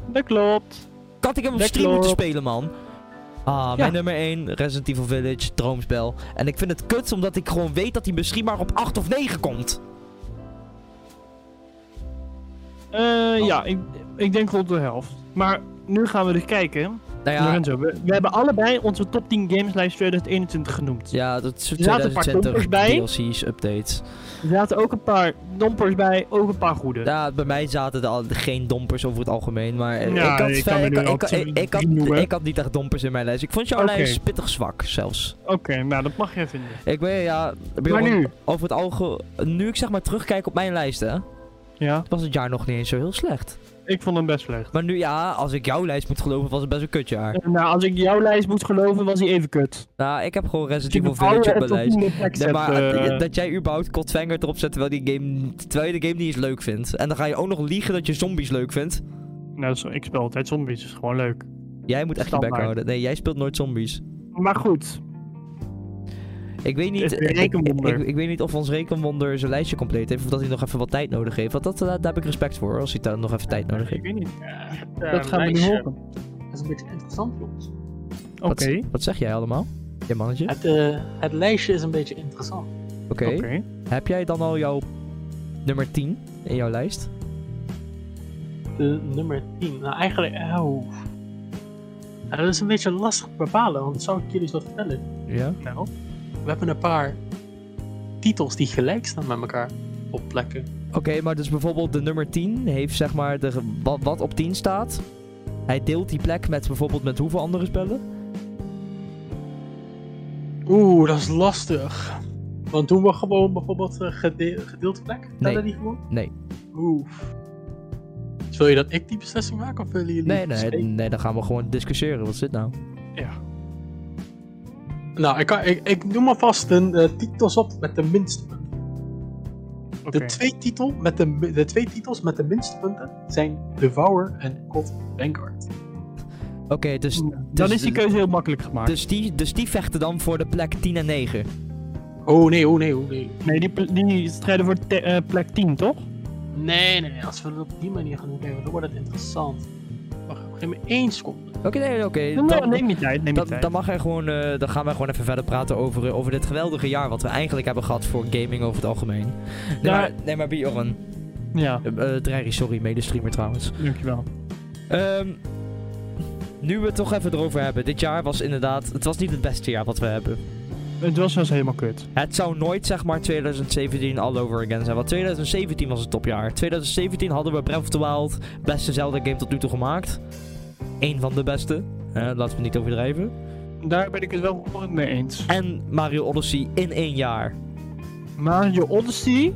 Speaker 2: Dat klopt.
Speaker 1: Had ik hem op
Speaker 2: Dat
Speaker 1: stream moeten
Speaker 2: klopt.
Speaker 1: spelen, man. Ah, mijn nummer 1, Resident Evil Village, droomspel. En ik vind het kut omdat ik gewoon weet dat hij misschien maar op 8 of 9 komt.
Speaker 2: Eh, Ja,
Speaker 1: Oh.
Speaker 2: ik, ik denk rond de helft. Maar nu gaan we dus kijken.
Speaker 1: Nou ja,
Speaker 2: Lorenzo, we, we hebben allebei onze top 10 gameslijst 2021 genoemd.
Speaker 1: ja dat is
Speaker 2: zaten een paar
Speaker 1: 2020
Speaker 2: toppers bij.
Speaker 1: DLC's, updates.
Speaker 2: Er zaten ook een paar dompers bij, ook een paar goede.
Speaker 1: Ja, bij mij zaten er al geen dompers over het algemeen, maar eh,
Speaker 2: Ja,
Speaker 1: ik, had
Speaker 2: ik
Speaker 1: vrij-
Speaker 2: kan er
Speaker 1: ik,
Speaker 2: nu
Speaker 1: ik,
Speaker 2: al
Speaker 1: ik-
Speaker 2: twee,
Speaker 1: ik- ik had,
Speaker 2: drie noemen.
Speaker 1: ik had niet echt dompers in mijn lijst. Ik vond jouw
Speaker 2: Oké.
Speaker 1: lijst pittig zwak zelfs.
Speaker 2: Oké, nou dat mag jij vinden.
Speaker 1: Ik weet, ja,
Speaker 2: Maar
Speaker 1: Bjorn,
Speaker 2: nu?
Speaker 1: over het algemeen, nu ik zeg maar terugkijk op mijn lijst, hè,
Speaker 2: Ja,
Speaker 1: was het jaar nog niet eens zo heel slecht.
Speaker 2: ik vond hem best slecht.
Speaker 1: Maar nu, ja, als ik jouw lijst moet geloven, was het best een kutjaar.
Speaker 2: Eh, Nou, als ik jouw lijst moet geloven, was hij even kut.
Speaker 1: Nou, ik heb gewoon
Speaker 2: Dus
Speaker 1: Resident Evil
Speaker 2: ik bepaal
Speaker 1: Village op
Speaker 2: het
Speaker 1: mijn
Speaker 2: tot
Speaker 1: lijst.
Speaker 2: in de tekst
Speaker 1: Nee, maar
Speaker 2: heb,
Speaker 1: eh,
Speaker 2: eh,
Speaker 1: dat jij überhaupt Godfanger erop zet terwijl, die game, terwijl je de game niet eens leuk vindt. En dan ga je ook nog liegen dat je zombies leuk vindt.
Speaker 2: Nou, zo- ik speel altijd zombies, is gewoon leuk.
Speaker 1: Jij moet echt je bek
Speaker 2: Standaard.
Speaker 1: houden. Nee, jij speelt nooit zombies.
Speaker 2: Maar goed,
Speaker 1: Ik weet niet,
Speaker 2: Het
Speaker 1: ik, ik,
Speaker 2: rekenwonder.
Speaker 1: ik- ik weet niet of ons rekenwonder zijn lijstje compleet heeft. Of dat hij nog even wat tijd nodig heeft. Want dat, eh, daar heb ik respect voor. Als hij daar nog even tijd nodig
Speaker 2: Ik
Speaker 1: heeft.
Speaker 2: weet niet. Eh,
Speaker 3: dat gaan we nu
Speaker 2: lijstje.
Speaker 3: horen. Dat is een beetje interessant, jongens.
Speaker 2: Oké.
Speaker 1: Wat, wat zeg jij allemaal? Je mannetje?
Speaker 3: Het, eh, het lijstje is een beetje interessant.
Speaker 1: Oké. Heb jij dan al jouw nummer 10 in jouw lijst?
Speaker 3: De nummer 10. Nou, eigenlijk... Oh. Nou, dat is een beetje lastig te bepalen, want zou ik jullie wat vertellen?
Speaker 1: Ja.
Speaker 2: Nou,
Speaker 3: We hebben een paar titels die gelijk staan met elkaar op plekken.
Speaker 1: Oké, maar dus bijvoorbeeld de nummer 10 heeft zeg maar de, ge- wat, wat op 10 staat. Hij deelt die plek met bijvoorbeeld met hoeveel andere spellen?
Speaker 3: Oeh, dat is lastig. Want doen we gewoon bijvoorbeeld eh, gede- gedeelte plek? Tellen die gewoon?
Speaker 1: Nee.
Speaker 3: Oeh. Wil je dat ik die beslissing maak of willen jullie
Speaker 1: Nee, nee,
Speaker 3: spreken?
Speaker 1: nee, dan gaan we gewoon discussiëren. Wat is dit nou?
Speaker 3: Nou, ik, kan, ik, ik noem maar vast de eh, titels op met de minste punten.
Speaker 2: oké.
Speaker 3: De, twee titel met de, mi- de twee titels met de minste punten zijn Devour en God Vanguard.
Speaker 1: Oké, dus,
Speaker 2: Dan
Speaker 1: dus-
Speaker 2: is die keuze heel makkelijk gemaakt.
Speaker 1: dus, die, dus die vechten dan voor de plek 10 en 9.
Speaker 3: Oh nee, oh nee, oh nee.
Speaker 1: dus-
Speaker 2: nee, die, pl- die strijden voor te- eh, plek 10, toch?
Speaker 3: Nee, nee, nee, als we het op die manier gaan doen, kijken, dan wordt het interessant. Wacht, geef me één seconde.
Speaker 1: Oké, nee, oké.
Speaker 2: Nee, maar
Speaker 1: dan-
Speaker 2: Nou, neem je tijd, neem je
Speaker 1: dan,
Speaker 2: tijd.
Speaker 1: dan, mag er gewoon, eh, dan gaan wij gewoon even verder praten over, eh, over dit geweldige jaar wat we eigenlijk hebben gehad voor gaming over het algemeen. Nee,
Speaker 2: Ja.
Speaker 1: maar, nee, maar Bjorn.
Speaker 2: Ja,
Speaker 1: Eh, eh, Dreiri, sorry, medestreamer trouwens.
Speaker 2: dankjewel.
Speaker 1: Ehm, nu we het toch even erover hebben. Dit jaar was inderdaad. Het was niet het beste jaar wat we hebben.
Speaker 2: Het was dus helemaal kut.
Speaker 1: Het zou nooit zeg maar 2017 all over again zijn. Want 2017 was het topjaar. 2017 hadden we Breath of the Wild. Beste Zelda game tot nu toe gemaakt. Eén van de beste. Eh, laten we niet overdrijven.
Speaker 2: Daar ben ik het wel hoorend mee eens.
Speaker 1: En Mario Odyssey in één jaar.
Speaker 2: Mario Odyssey,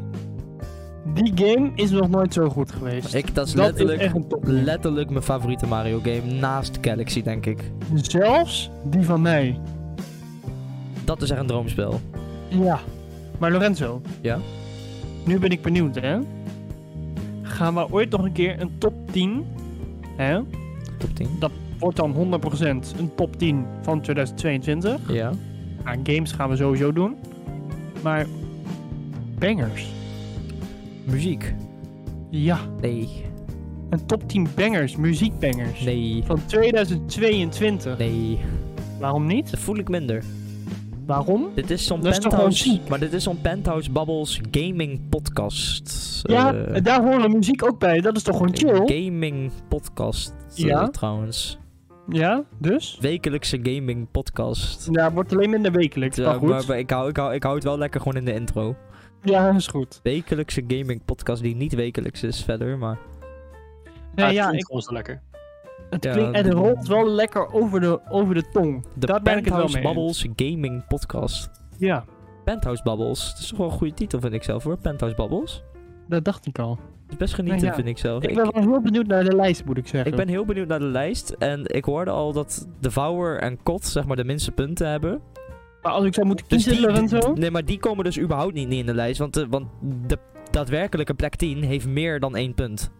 Speaker 2: die game is nog nooit zo goed geweest.
Speaker 1: Ik, dat is
Speaker 2: dat
Speaker 1: letterlijk,
Speaker 2: is echt een top.
Speaker 1: letterlijk mijn favoriete Mario game. Naast Galaxy, denk ik.
Speaker 2: Zelfs die van mij.
Speaker 1: Dat is echt een droomspel.
Speaker 2: Ja. Maar Lorenzo.
Speaker 1: Ja?
Speaker 2: Nu ben ik benieuwd, hè. Gaan we ooit nog een keer een top 10, hè?
Speaker 1: Top 10.
Speaker 2: Wordt dan 100% een top 10 van 2022.
Speaker 1: Ja.
Speaker 2: Aan games gaan we sowieso doen. Maar bangers.
Speaker 1: Muziek.
Speaker 2: Ja,
Speaker 1: Nee.
Speaker 2: een top 10 bangers, muziekbangers.
Speaker 1: Nee.
Speaker 2: Van 2022.
Speaker 1: Nee.
Speaker 2: Waarom niet?
Speaker 1: Dat voel ik minder.
Speaker 2: Waarom?
Speaker 1: Dit is zo'n
Speaker 2: Dat is toch gewoon
Speaker 1: penthouse.
Speaker 2: ziek?
Speaker 1: Maar dit is zo'n penthouse bubbles gaming podcast.
Speaker 2: ja,
Speaker 1: Eh,
Speaker 2: daar horen muziek ook bij. Dat is toch gewoon chill?
Speaker 1: gaming podcast. eh,
Speaker 2: Ja?
Speaker 1: trouwens.
Speaker 2: Ja, dus?
Speaker 1: Wekelijkse gaming podcast.
Speaker 2: Ja, wordt alleen minder wekelijks.
Speaker 1: Eh,
Speaker 2: Maar goed.
Speaker 1: maar- maar ik, hou, ik, hou, ik hou het wel lekker gewoon in de intro.
Speaker 2: Ja, is goed.
Speaker 1: Wekelijkse gaming podcast die niet wekelijks is verder, maar...
Speaker 2: Nee, ja,
Speaker 3: klinkt
Speaker 2: ik,
Speaker 3: gewoon zo lekker.
Speaker 2: het,
Speaker 1: Ah, ja,
Speaker 2: klinkt, het
Speaker 1: de-
Speaker 2: rolt wel lekker over de, over de tong.
Speaker 1: De
Speaker 2: Daar ben ik het wel
Speaker 1: Penthouse
Speaker 2: mee eens.
Speaker 1: Bubbles gaming podcast.
Speaker 2: Ja,
Speaker 3: Nou,
Speaker 1: Penthouse Bubbles. Dat is toch wel een goede titel vind ik zelf hoor. Penthouse Bubbles.
Speaker 2: dat dacht ik al.
Speaker 1: Dat is best genieten
Speaker 2: Nou ja,
Speaker 1: vind ik zelf.
Speaker 2: Ik ben wel heel benieuwd naar de lijst, moet ik zeggen.
Speaker 1: Ik ben heel benieuwd naar de lijst. En ik hoorde al dat Devourer en Kot zeg maar de minste punten hebben.
Speaker 2: Maar als ik zou moeten
Speaker 1: Dus
Speaker 2: kiezen, Lorenzo...
Speaker 1: die, nee, maar die komen dus überhaupt niet in de lijst. Want de, want de daadwerkelijke plek 10 heeft meer dan één punt.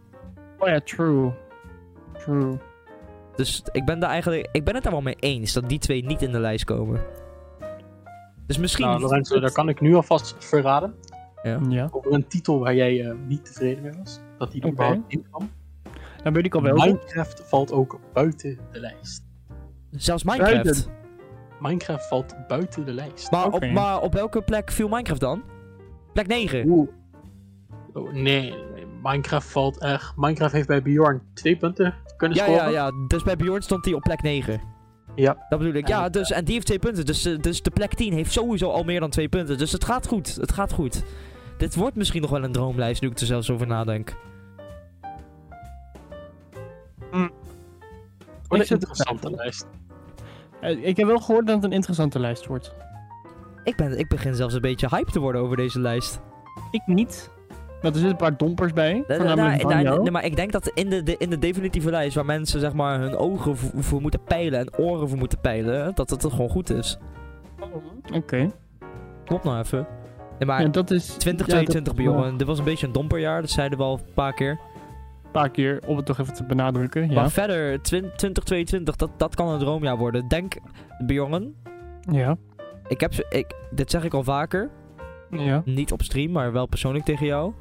Speaker 2: Oh ja, true. True.
Speaker 1: Dus ik ben, daar eigenlijk, ik ben het daar wel mee eens dat die twee niet in de lijst komen. Dus misschien...
Speaker 3: Nou, Lorenzo, daar kan ik nu alvast verraden.
Speaker 2: Ja.
Speaker 3: Over een titel waar jij eh, niet tevreden mee was. Dat die
Speaker 2: Oké.
Speaker 3: überhaupt in kwam.
Speaker 2: Dan weet ik al wel.
Speaker 3: Minecraft valt ook buiten de lijst.
Speaker 1: Zelfs Minecraft.
Speaker 2: Buiten.
Speaker 3: Minecraft valt buiten de lijst.
Speaker 1: Maar,
Speaker 2: Oké.
Speaker 1: op, maar op welke plek viel Minecraft dan? Plek 9.
Speaker 3: Oeh. Oh, nee, nee, Minecraft valt echt. Minecraft heeft bij Bjorn twee punten kunnen
Speaker 1: Ja,
Speaker 3: scoren.
Speaker 1: ja, ja. Dus bij Bjorn stond hij op plek 9.
Speaker 3: Ja.
Speaker 1: Dat bedoel ik.
Speaker 3: Ja,
Speaker 1: Ja,
Speaker 3: dat-
Speaker 1: dus, en die heeft twee punten. Dus, eh, dus de plek 10 heeft sowieso al meer dan twee punten. Dus het gaat goed. Het gaat goed. Dit wordt misschien nog wel een droomlijst, nu ik er zelfs over nadenk.
Speaker 3: Wat
Speaker 2: Ik
Speaker 3: een
Speaker 2: zit-
Speaker 3: interessante lijst.
Speaker 2: Eh, Ik heb wel gehoord dat het een interessante lijst wordt.
Speaker 1: Ik, ben, ik begin zelfs een beetje hype te worden over deze lijst.
Speaker 2: Ik niet. Want er zitten een paar dompers bij.
Speaker 1: Eh,
Speaker 2: Voornamelijk
Speaker 1: nou,
Speaker 2: van
Speaker 1: nou,
Speaker 2: jou.
Speaker 1: nee, maar ik denk dat in de, de, in de definitieve lijst, waar mensen zeg maar hun ogen voor, voor moeten peilen en oren voor moeten peilen, dat het er gewoon goed is.
Speaker 2: Oké.
Speaker 1: Klopt nou even. Nee, maar
Speaker 2: Ja, dat is...
Speaker 1: 2022,
Speaker 2: ja, dat is wel
Speaker 1: Bjorn, dit was een beetje een domperjaar, dat zeiden we al een paar keer.
Speaker 2: Een paar keer, om het toch even te benadrukken. Ja.
Speaker 1: Maar verder, 20- 2022, dat, dat kan een droomjaar worden. Denk, Bjorn,
Speaker 2: ja.
Speaker 1: Ik heb ze, ik, dit zeg ik al vaker.
Speaker 2: Ja.
Speaker 1: Niet op stream, maar wel persoonlijk tegen jou.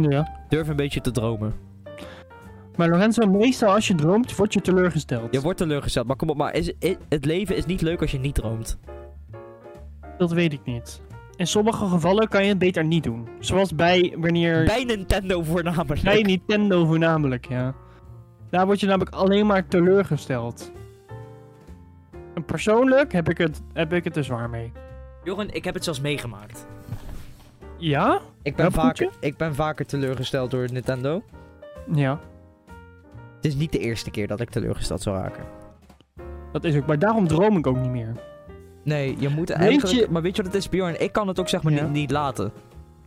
Speaker 2: ja.
Speaker 1: Durf een beetje te dromen.
Speaker 2: Maar Lorenzo, meestal als je droomt, word je teleurgesteld.
Speaker 1: Je wordt teleurgesteld, maar kom op, maar is, i- het leven is niet leuk als je niet droomt.
Speaker 2: Dat weet ik niet. In sommige gevallen kan je het beter niet doen. Zoals bij wanneer...
Speaker 1: Bij Nintendo voornamelijk.
Speaker 2: Bij Nintendo voornamelijk, ja. Daar word je namelijk alleen maar teleurgesteld. En persoonlijk heb ik het, heb ik het er zwaar mee.
Speaker 1: Joren, ik heb het zelfs meegemaakt.
Speaker 2: Ja?
Speaker 1: Ik ben,
Speaker 2: ben Dat moet vaker-
Speaker 1: vaker, ik ben vaker teleurgesteld door Nintendo.
Speaker 2: Ja,
Speaker 1: Het is niet de eerste keer dat ik teleurgesteld zou raken.
Speaker 2: dat is ook. Maar daarom droom ik ook niet meer.
Speaker 1: Nee, je moet
Speaker 2: je-
Speaker 1: eigenlijk... Maar weet je wat het is, Bjorn? Ik kan het ook zeg maar
Speaker 2: Ja.
Speaker 1: niet, niet laten.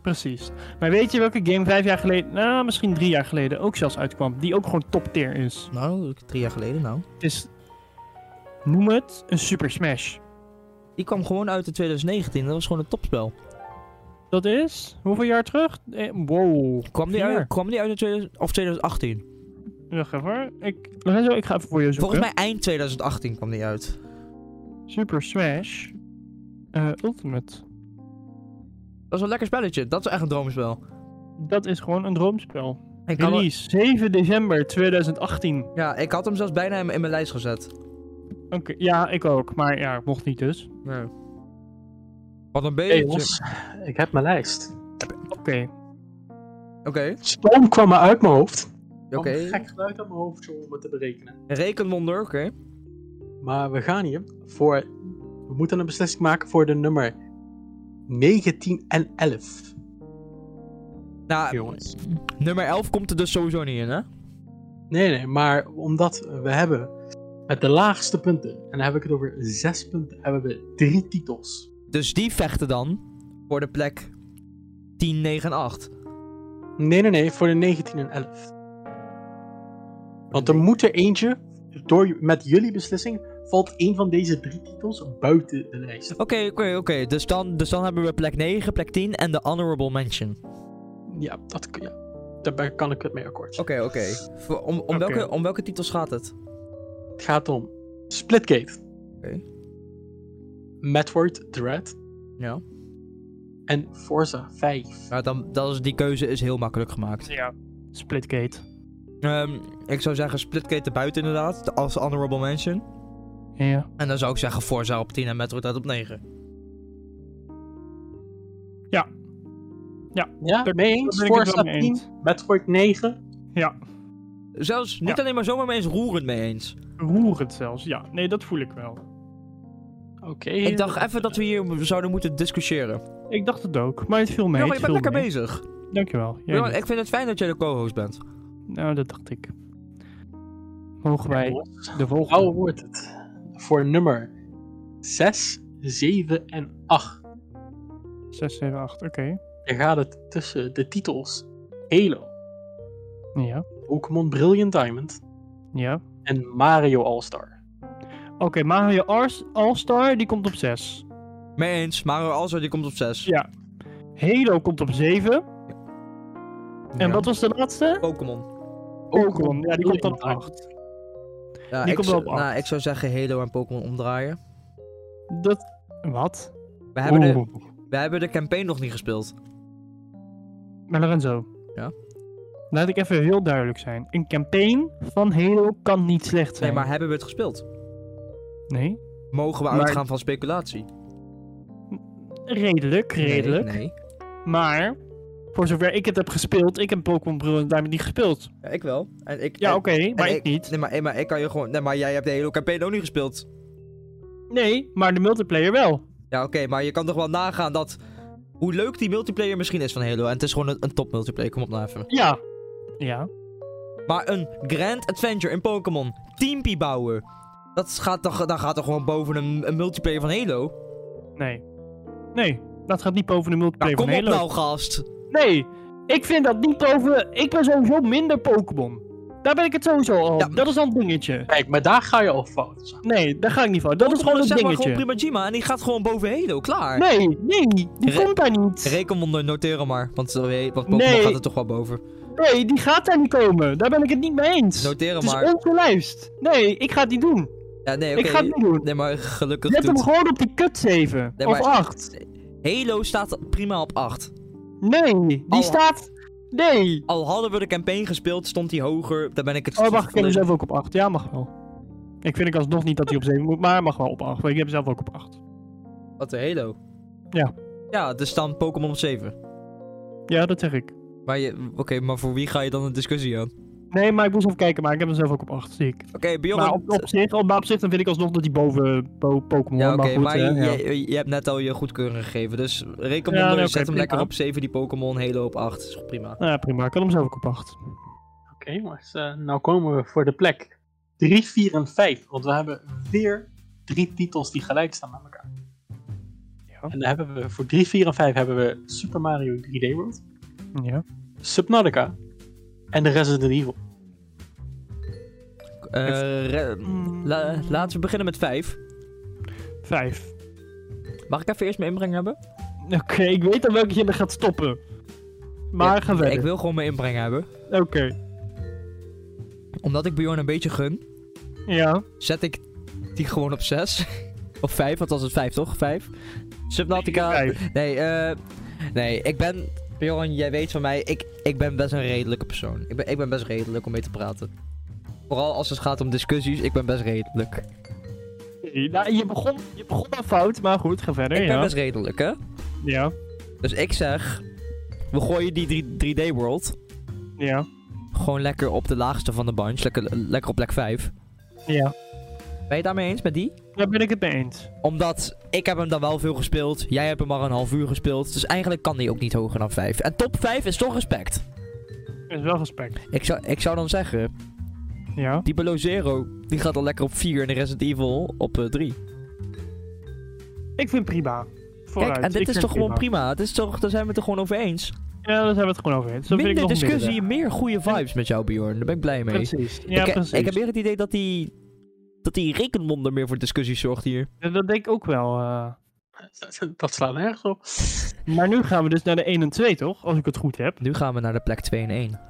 Speaker 2: Precies. Maar weet je welke game vijf jaar geleden, nou misschien drie jaar geleden, ook zelfs uitkwam? Die ook gewoon top tier is.
Speaker 1: Nou, drie jaar geleden nou.
Speaker 2: Het is, noem het, een Super Smash.
Speaker 1: Die kwam gewoon uit in 2019, dat was gewoon een topspel.
Speaker 2: Dat is, hoeveel jaar terug? Eh, wow.
Speaker 1: Kwam die,
Speaker 2: Vier.
Speaker 1: uit, kwam die uit in 2000 of 2018?
Speaker 2: Wacht even hoor. Ik, Lorenzo, ik ga even voor je zoeken.
Speaker 1: Volgens mij eind 2018 kwam die uit.
Speaker 2: Super Smash eh, Ultimate.
Speaker 1: Dat is een lekker spelletje, dat is echt een droomspel.
Speaker 2: Dat is gewoon een droomspel.
Speaker 1: Ik had, hem-
Speaker 2: Release 7 december 2018. Oké,
Speaker 1: ja, ik had hem zelfs bijna in, in mijn lijst gezet.
Speaker 2: ja, ik ook. Maar ja, mocht niet dus.
Speaker 1: Wat een
Speaker 3: Hey,
Speaker 1: beetje.
Speaker 3: Jos, ik heb mijn lijst.
Speaker 2: Oké.
Speaker 1: Oké,
Speaker 3: Stoom kwam maar uit mijn hoofd.
Speaker 1: oké.
Speaker 3: Kwam een gek geluid uit mijn hoofd zo om het te berekenen.
Speaker 1: Rekenwonder, oké.
Speaker 3: Maar we gaan hier voor... We moeten een beslissing maken voor de nummer 19 en 11.
Speaker 1: Nou,
Speaker 3: Jongens.
Speaker 1: nummer 11 komt er dus sowieso niet in, hè?
Speaker 3: Nee, nee, maar omdat we hebben met de laagste punten, en dan heb ik het over zes punten, hebben we drie titels.
Speaker 1: Dus die vechten dan voor de plek 10, 9, 8.
Speaker 3: Nee, nee, nee, voor de 19 en 11. Want er moet er eentje, door, met jullie beslissing, valt één van deze drie titels buiten de lijst.
Speaker 2: Oh.
Speaker 1: Oké, oké, oké. Dus, dan, dus dan hebben we plek 9, plek 10 en de honorable mention.
Speaker 3: Ja, dat, kun- ja, daar kan ik het mee akkoord.
Speaker 1: Oké, oké. Voor- Om, om,
Speaker 2: Oké.
Speaker 1: welke, om welke titels gaat het?
Speaker 3: Het gaat om Splitgate.
Speaker 1: Oké.
Speaker 3: Metroid Dread
Speaker 1: Ja.
Speaker 3: en Forza 5.
Speaker 1: Maar dan, dat is, die keuze is heel makkelijk gemaakt.
Speaker 2: Ja. Splitgate.
Speaker 1: Ehm, ik zou zeggen Splitgate erbuiten inderdaad, de- als honorable mention.
Speaker 2: Ja.
Speaker 1: En dan zou ik zeggen Forza op 10 en Metroid Dread op 9.
Speaker 3: Ja,
Speaker 2: Daar-
Speaker 3: mee
Speaker 2: daar
Speaker 3: eens.
Speaker 2: ben ik het
Speaker 3: Forza
Speaker 2: wel mee
Speaker 3: 10,
Speaker 2: eens.
Speaker 3: Metroid 9
Speaker 1: Zelfs niet
Speaker 2: Ja.
Speaker 1: alleen maar zomaar mee eens, roerend mee eens.
Speaker 2: Roer het zelfs. Ja, nee, dat voel ik wel.
Speaker 3: Oké.
Speaker 1: Ik dacht even dat we hier zouden moeten discussiëren.
Speaker 2: Ik dacht het ook. Maar het viel mee.
Speaker 1: ja, maar je
Speaker 2: het
Speaker 1: bent
Speaker 2: viel
Speaker 1: lekker
Speaker 2: mee.
Speaker 1: bezig.
Speaker 2: Dankjewel. Jij
Speaker 1: Bjorn,
Speaker 2: niet.
Speaker 1: ik vind het fijn dat jij de co-host bent.
Speaker 2: Nou, dat dacht ik. Mogen wij
Speaker 3: Jongens,
Speaker 2: de volgende...
Speaker 3: Hoe wordt het? Voor nummer 6, 7 en 8.
Speaker 2: 6, 7, 8. Oké.
Speaker 3: Er gaat het tussen de titels Halo,
Speaker 2: Ja.
Speaker 3: Pokémon Brilliant Diamond
Speaker 2: Ja.
Speaker 3: en Mario All-Star.
Speaker 2: Oké, Mario Ars- All-Star, die komt op 6.
Speaker 1: Mee eens, Mario Alzo die komt op 6.
Speaker 2: Ja. Halo komt op 7. En wat was de laatste?
Speaker 1: Pokémon.
Speaker 2: Pokémon. Ja, die komt dan op
Speaker 3: Brilliant
Speaker 2: 8.
Speaker 1: Ja,
Speaker 2: Die
Speaker 1: ik
Speaker 2: komt wel
Speaker 1: z-
Speaker 2: op acht.
Speaker 1: Nou, ik zou zeggen Halo en Pokémon omdraaien.
Speaker 2: Dat... Wat?
Speaker 1: We hebben, de,
Speaker 2: Oeh.
Speaker 1: we hebben de campaign nog niet gespeeld.
Speaker 2: Maar Lorenzo.
Speaker 1: Ja?
Speaker 2: Laat ik even heel duidelijk zijn. Een campaign van Halo kan niet slecht
Speaker 1: Nee,
Speaker 2: zijn.
Speaker 1: maar hebben we het gespeeld?
Speaker 2: Nee?
Speaker 1: Mogen we
Speaker 2: Maar-
Speaker 1: uitgaan van speculatie?
Speaker 2: Redelijk, redelijk.
Speaker 1: Nee, nee.
Speaker 2: Maar, voor zover ik het heb gespeeld, ik heb Pokémon Brilliant Diamond niet gespeeld.
Speaker 1: Ja, ik wel. En ik,
Speaker 2: Ja,
Speaker 1: en-
Speaker 2: oké, maar
Speaker 1: en
Speaker 2: ik niet.
Speaker 1: Nee maar, eh, maar ik kan je gewoon... Nee, maar jij hebt de hele campaign ook niet gespeeld.
Speaker 2: Nee, maar de multiplayer wel.
Speaker 1: Ja, oké, maar je kan toch wel nagaan dat... Hoe leuk die multiplayer misschien is van Halo. En het is gewoon een, een top multiplayer, kom op nou even.
Speaker 2: Ja. Ja.
Speaker 1: Maar een Grand Adventure in Pokémon. Teampie bouwen. Dat gaat toch, dat gaat toch gewoon boven een, een multiplayer van Halo? Nou,
Speaker 2: Nee. Nee, dat gaat niet boven de
Speaker 1: Nou,
Speaker 2: multiplayer
Speaker 1: kom
Speaker 2: van
Speaker 1: op
Speaker 2: Halo.
Speaker 1: nou, gast.
Speaker 2: Nee, ik vind dat niet boven... Ik ben sowieso minder Pokémon. Daar ben ik het sowieso al.
Speaker 1: Ja.
Speaker 2: Dat is al een dingetje.
Speaker 3: Kijk, maar daar ga je al fout.
Speaker 2: Nee, daar ga ik niet van. Dat is
Speaker 1: Pokémon
Speaker 2: gewoon een
Speaker 1: zeg maar
Speaker 2: dingetje.
Speaker 1: gewoon Primajima en die gaat gewoon boven Halo, klaar.
Speaker 2: Nee, nee, die
Speaker 1: Re-
Speaker 2: komt daar niet.
Speaker 1: Rekenwonder noteren maar, want, eh, want Pokémon
Speaker 2: Nee.
Speaker 1: gaat er toch wel boven.
Speaker 2: Nee, die gaat daar niet komen. Daar ben ik het niet mee eens.
Speaker 1: Noteren
Speaker 2: Het is
Speaker 1: maar.
Speaker 2: onze lijst. Nee, ik ga het niet doen.
Speaker 1: Ja, nee,
Speaker 2: Ik
Speaker 1: oké.
Speaker 2: ga het niet doen.
Speaker 1: Nee, maar gelukkig
Speaker 2: Zet hem
Speaker 1: doet...
Speaker 2: gewoon op die kut 7.
Speaker 1: Nee,
Speaker 2: of
Speaker 1: maar-
Speaker 2: 8.
Speaker 1: Halo staat prima op 8.
Speaker 2: Nee, die
Speaker 1: Oh.
Speaker 2: staat... Nee.
Speaker 1: Al hadden we de campaign gespeeld, stond hij hoger. Daar ben ik het
Speaker 2: Oh, wacht, ik heb hem
Speaker 1: volledig-
Speaker 2: zelf ook op 8. Ja, mag wel. Ik vind ik alsnog niet dat hij op 7 moet, maar hij mag wel op 8. Ik heb hem zelf ook op 8.
Speaker 1: Wat, de Halo?
Speaker 2: Ja.
Speaker 1: Ja, dus dan Pokémon op 7.
Speaker 2: Ja, dat zeg ik.
Speaker 1: Maar je... Oké, maar voor wie ga je dan een discussie aan? Oké,
Speaker 2: Nee, maar ik moest even kijken, maar ik heb hem zelf ook op 8, zie ik.
Speaker 1: Bjorn...
Speaker 2: Maar Nou, op, op zich, op, maar op zich dan vind ik alsnog dat hij boven po- Pokémon...
Speaker 1: Ja, oké,
Speaker 2: maar goed,
Speaker 1: maar
Speaker 2: hè, ja.
Speaker 1: je, je hebt net al je goedkeuring gegeven, dus reken
Speaker 2: Ja,
Speaker 1: hem onder,
Speaker 2: nee, oké,
Speaker 1: zet hem
Speaker 2: prima.
Speaker 1: lekker op 7, die Pokémon, Halo op 8, is goed, prima.
Speaker 2: Ja, prima. Ik had hem zelf ook op 8.
Speaker 3: Oké, jongens, eh, nou komen we voor de plek 3, 4 en 5. Want we hebben weer drie titels die gelijk staan aan elkaar.
Speaker 2: Ja.
Speaker 3: En dan hebben we voor 3, 4 en 5 hebben we Super Mario 3D World,
Speaker 2: Ja.
Speaker 3: Subnautica en de Resident Evil.
Speaker 1: Eh, re- la- laten we beginnen met 5.
Speaker 2: 5.
Speaker 1: Mag ik even eerst mijn inbreng hebben?
Speaker 2: Oké, ik weet al welke je me gaat stoppen. Maar
Speaker 1: Ja,
Speaker 2: ga verder.
Speaker 1: Ik wil gewoon mijn inbreng hebben.
Speaker 2: Oké.
Speaker 1: Omdat ik Bjorn een beetje gun,
Speaker 2: Ja.
Speaker 1: zet ik die gewoon op 6. of 5, want was het 5 toch? 5. Subnautica.
Speaker 2: Vijf.
Speaker 1: Nee, eh nee, ik ben... Bjorn, jij weet van mij, ik, ik ben best een redelijke persoon. Ik ben, ik ben best redelijk om mee te praten. Vooral als het gaat om discussies, ik ben best redelijk.
Speaker 2: Oké, Nou, je begon, je begon al fout, maar goed, ga verder.
Speaker 1: ik ben
Speaker 2: ja.
Speaker 1: best redelijk, hè?
Speaker 2: ja.
Speaker 1: Dus ik zeg, we gooien die 3, 3D World
Speaker 2: Ja.
Speaker 1: gewoon lekker op de laagste van de bunch. Lekker, lekker op plek 5.
Speaker 2: Ja.
Speaker 1: Ben je het daarmee eens met die?
Speaker 2: Daar ben ik het mee eens.
Speaker 1: Omdat ik heb hem dan wel veel gespeeld. Jij hebt hem maar een half uur gespeeld. Dus eigenlijk kan die ook niet hoger dan 5. En top 5 is toch respect.
Speaker 2: Is wel respect.
Speaker 1: Ik zou, ik zou dan zeggen,
Speaker 2: Ja.
Speaker 1: die Below Zero, die gaat al lekker op 4 en de Resident Evil op eh, 3.
Speaker 2: Ik vind prima. Vooruit.
Speaker 1: Kijk, en
Speaker 2: Ik
Speaker 1: dit is
Speaker 2: vind
Speaker 1: toch gewoon prima. Het is toch, daar zijn we het er gewoon over eens.
Speaker 2: Ja, daar zijn we het gewoon over eens. Dat vind ik
Speaker 1: Minder
Speaker 2: nog
Speaker 1: discussie,
Speaker 2: midden.
Speaker 1: meer goede vibes met jou Bjorn. Daar ben ik blij mee.
Speaker 2: Precies. Ja,
Speaker 1: ik,
Speaker 2: precies.
Speaker 1: ik heb weer het idee dat die, dat die rekenwonder meer voor discussie zorgt hier.
Speaker 2: Ja, Dat denk ik ook wel. eh.
Speaker 3: Dat slaat nergens op.
Speaker 2: Maar nu gaan we dus naar de 1 en 2, toch? Als ik het goed heb.
Speaker 1: Nu gaan we naar de plek 2 en 1.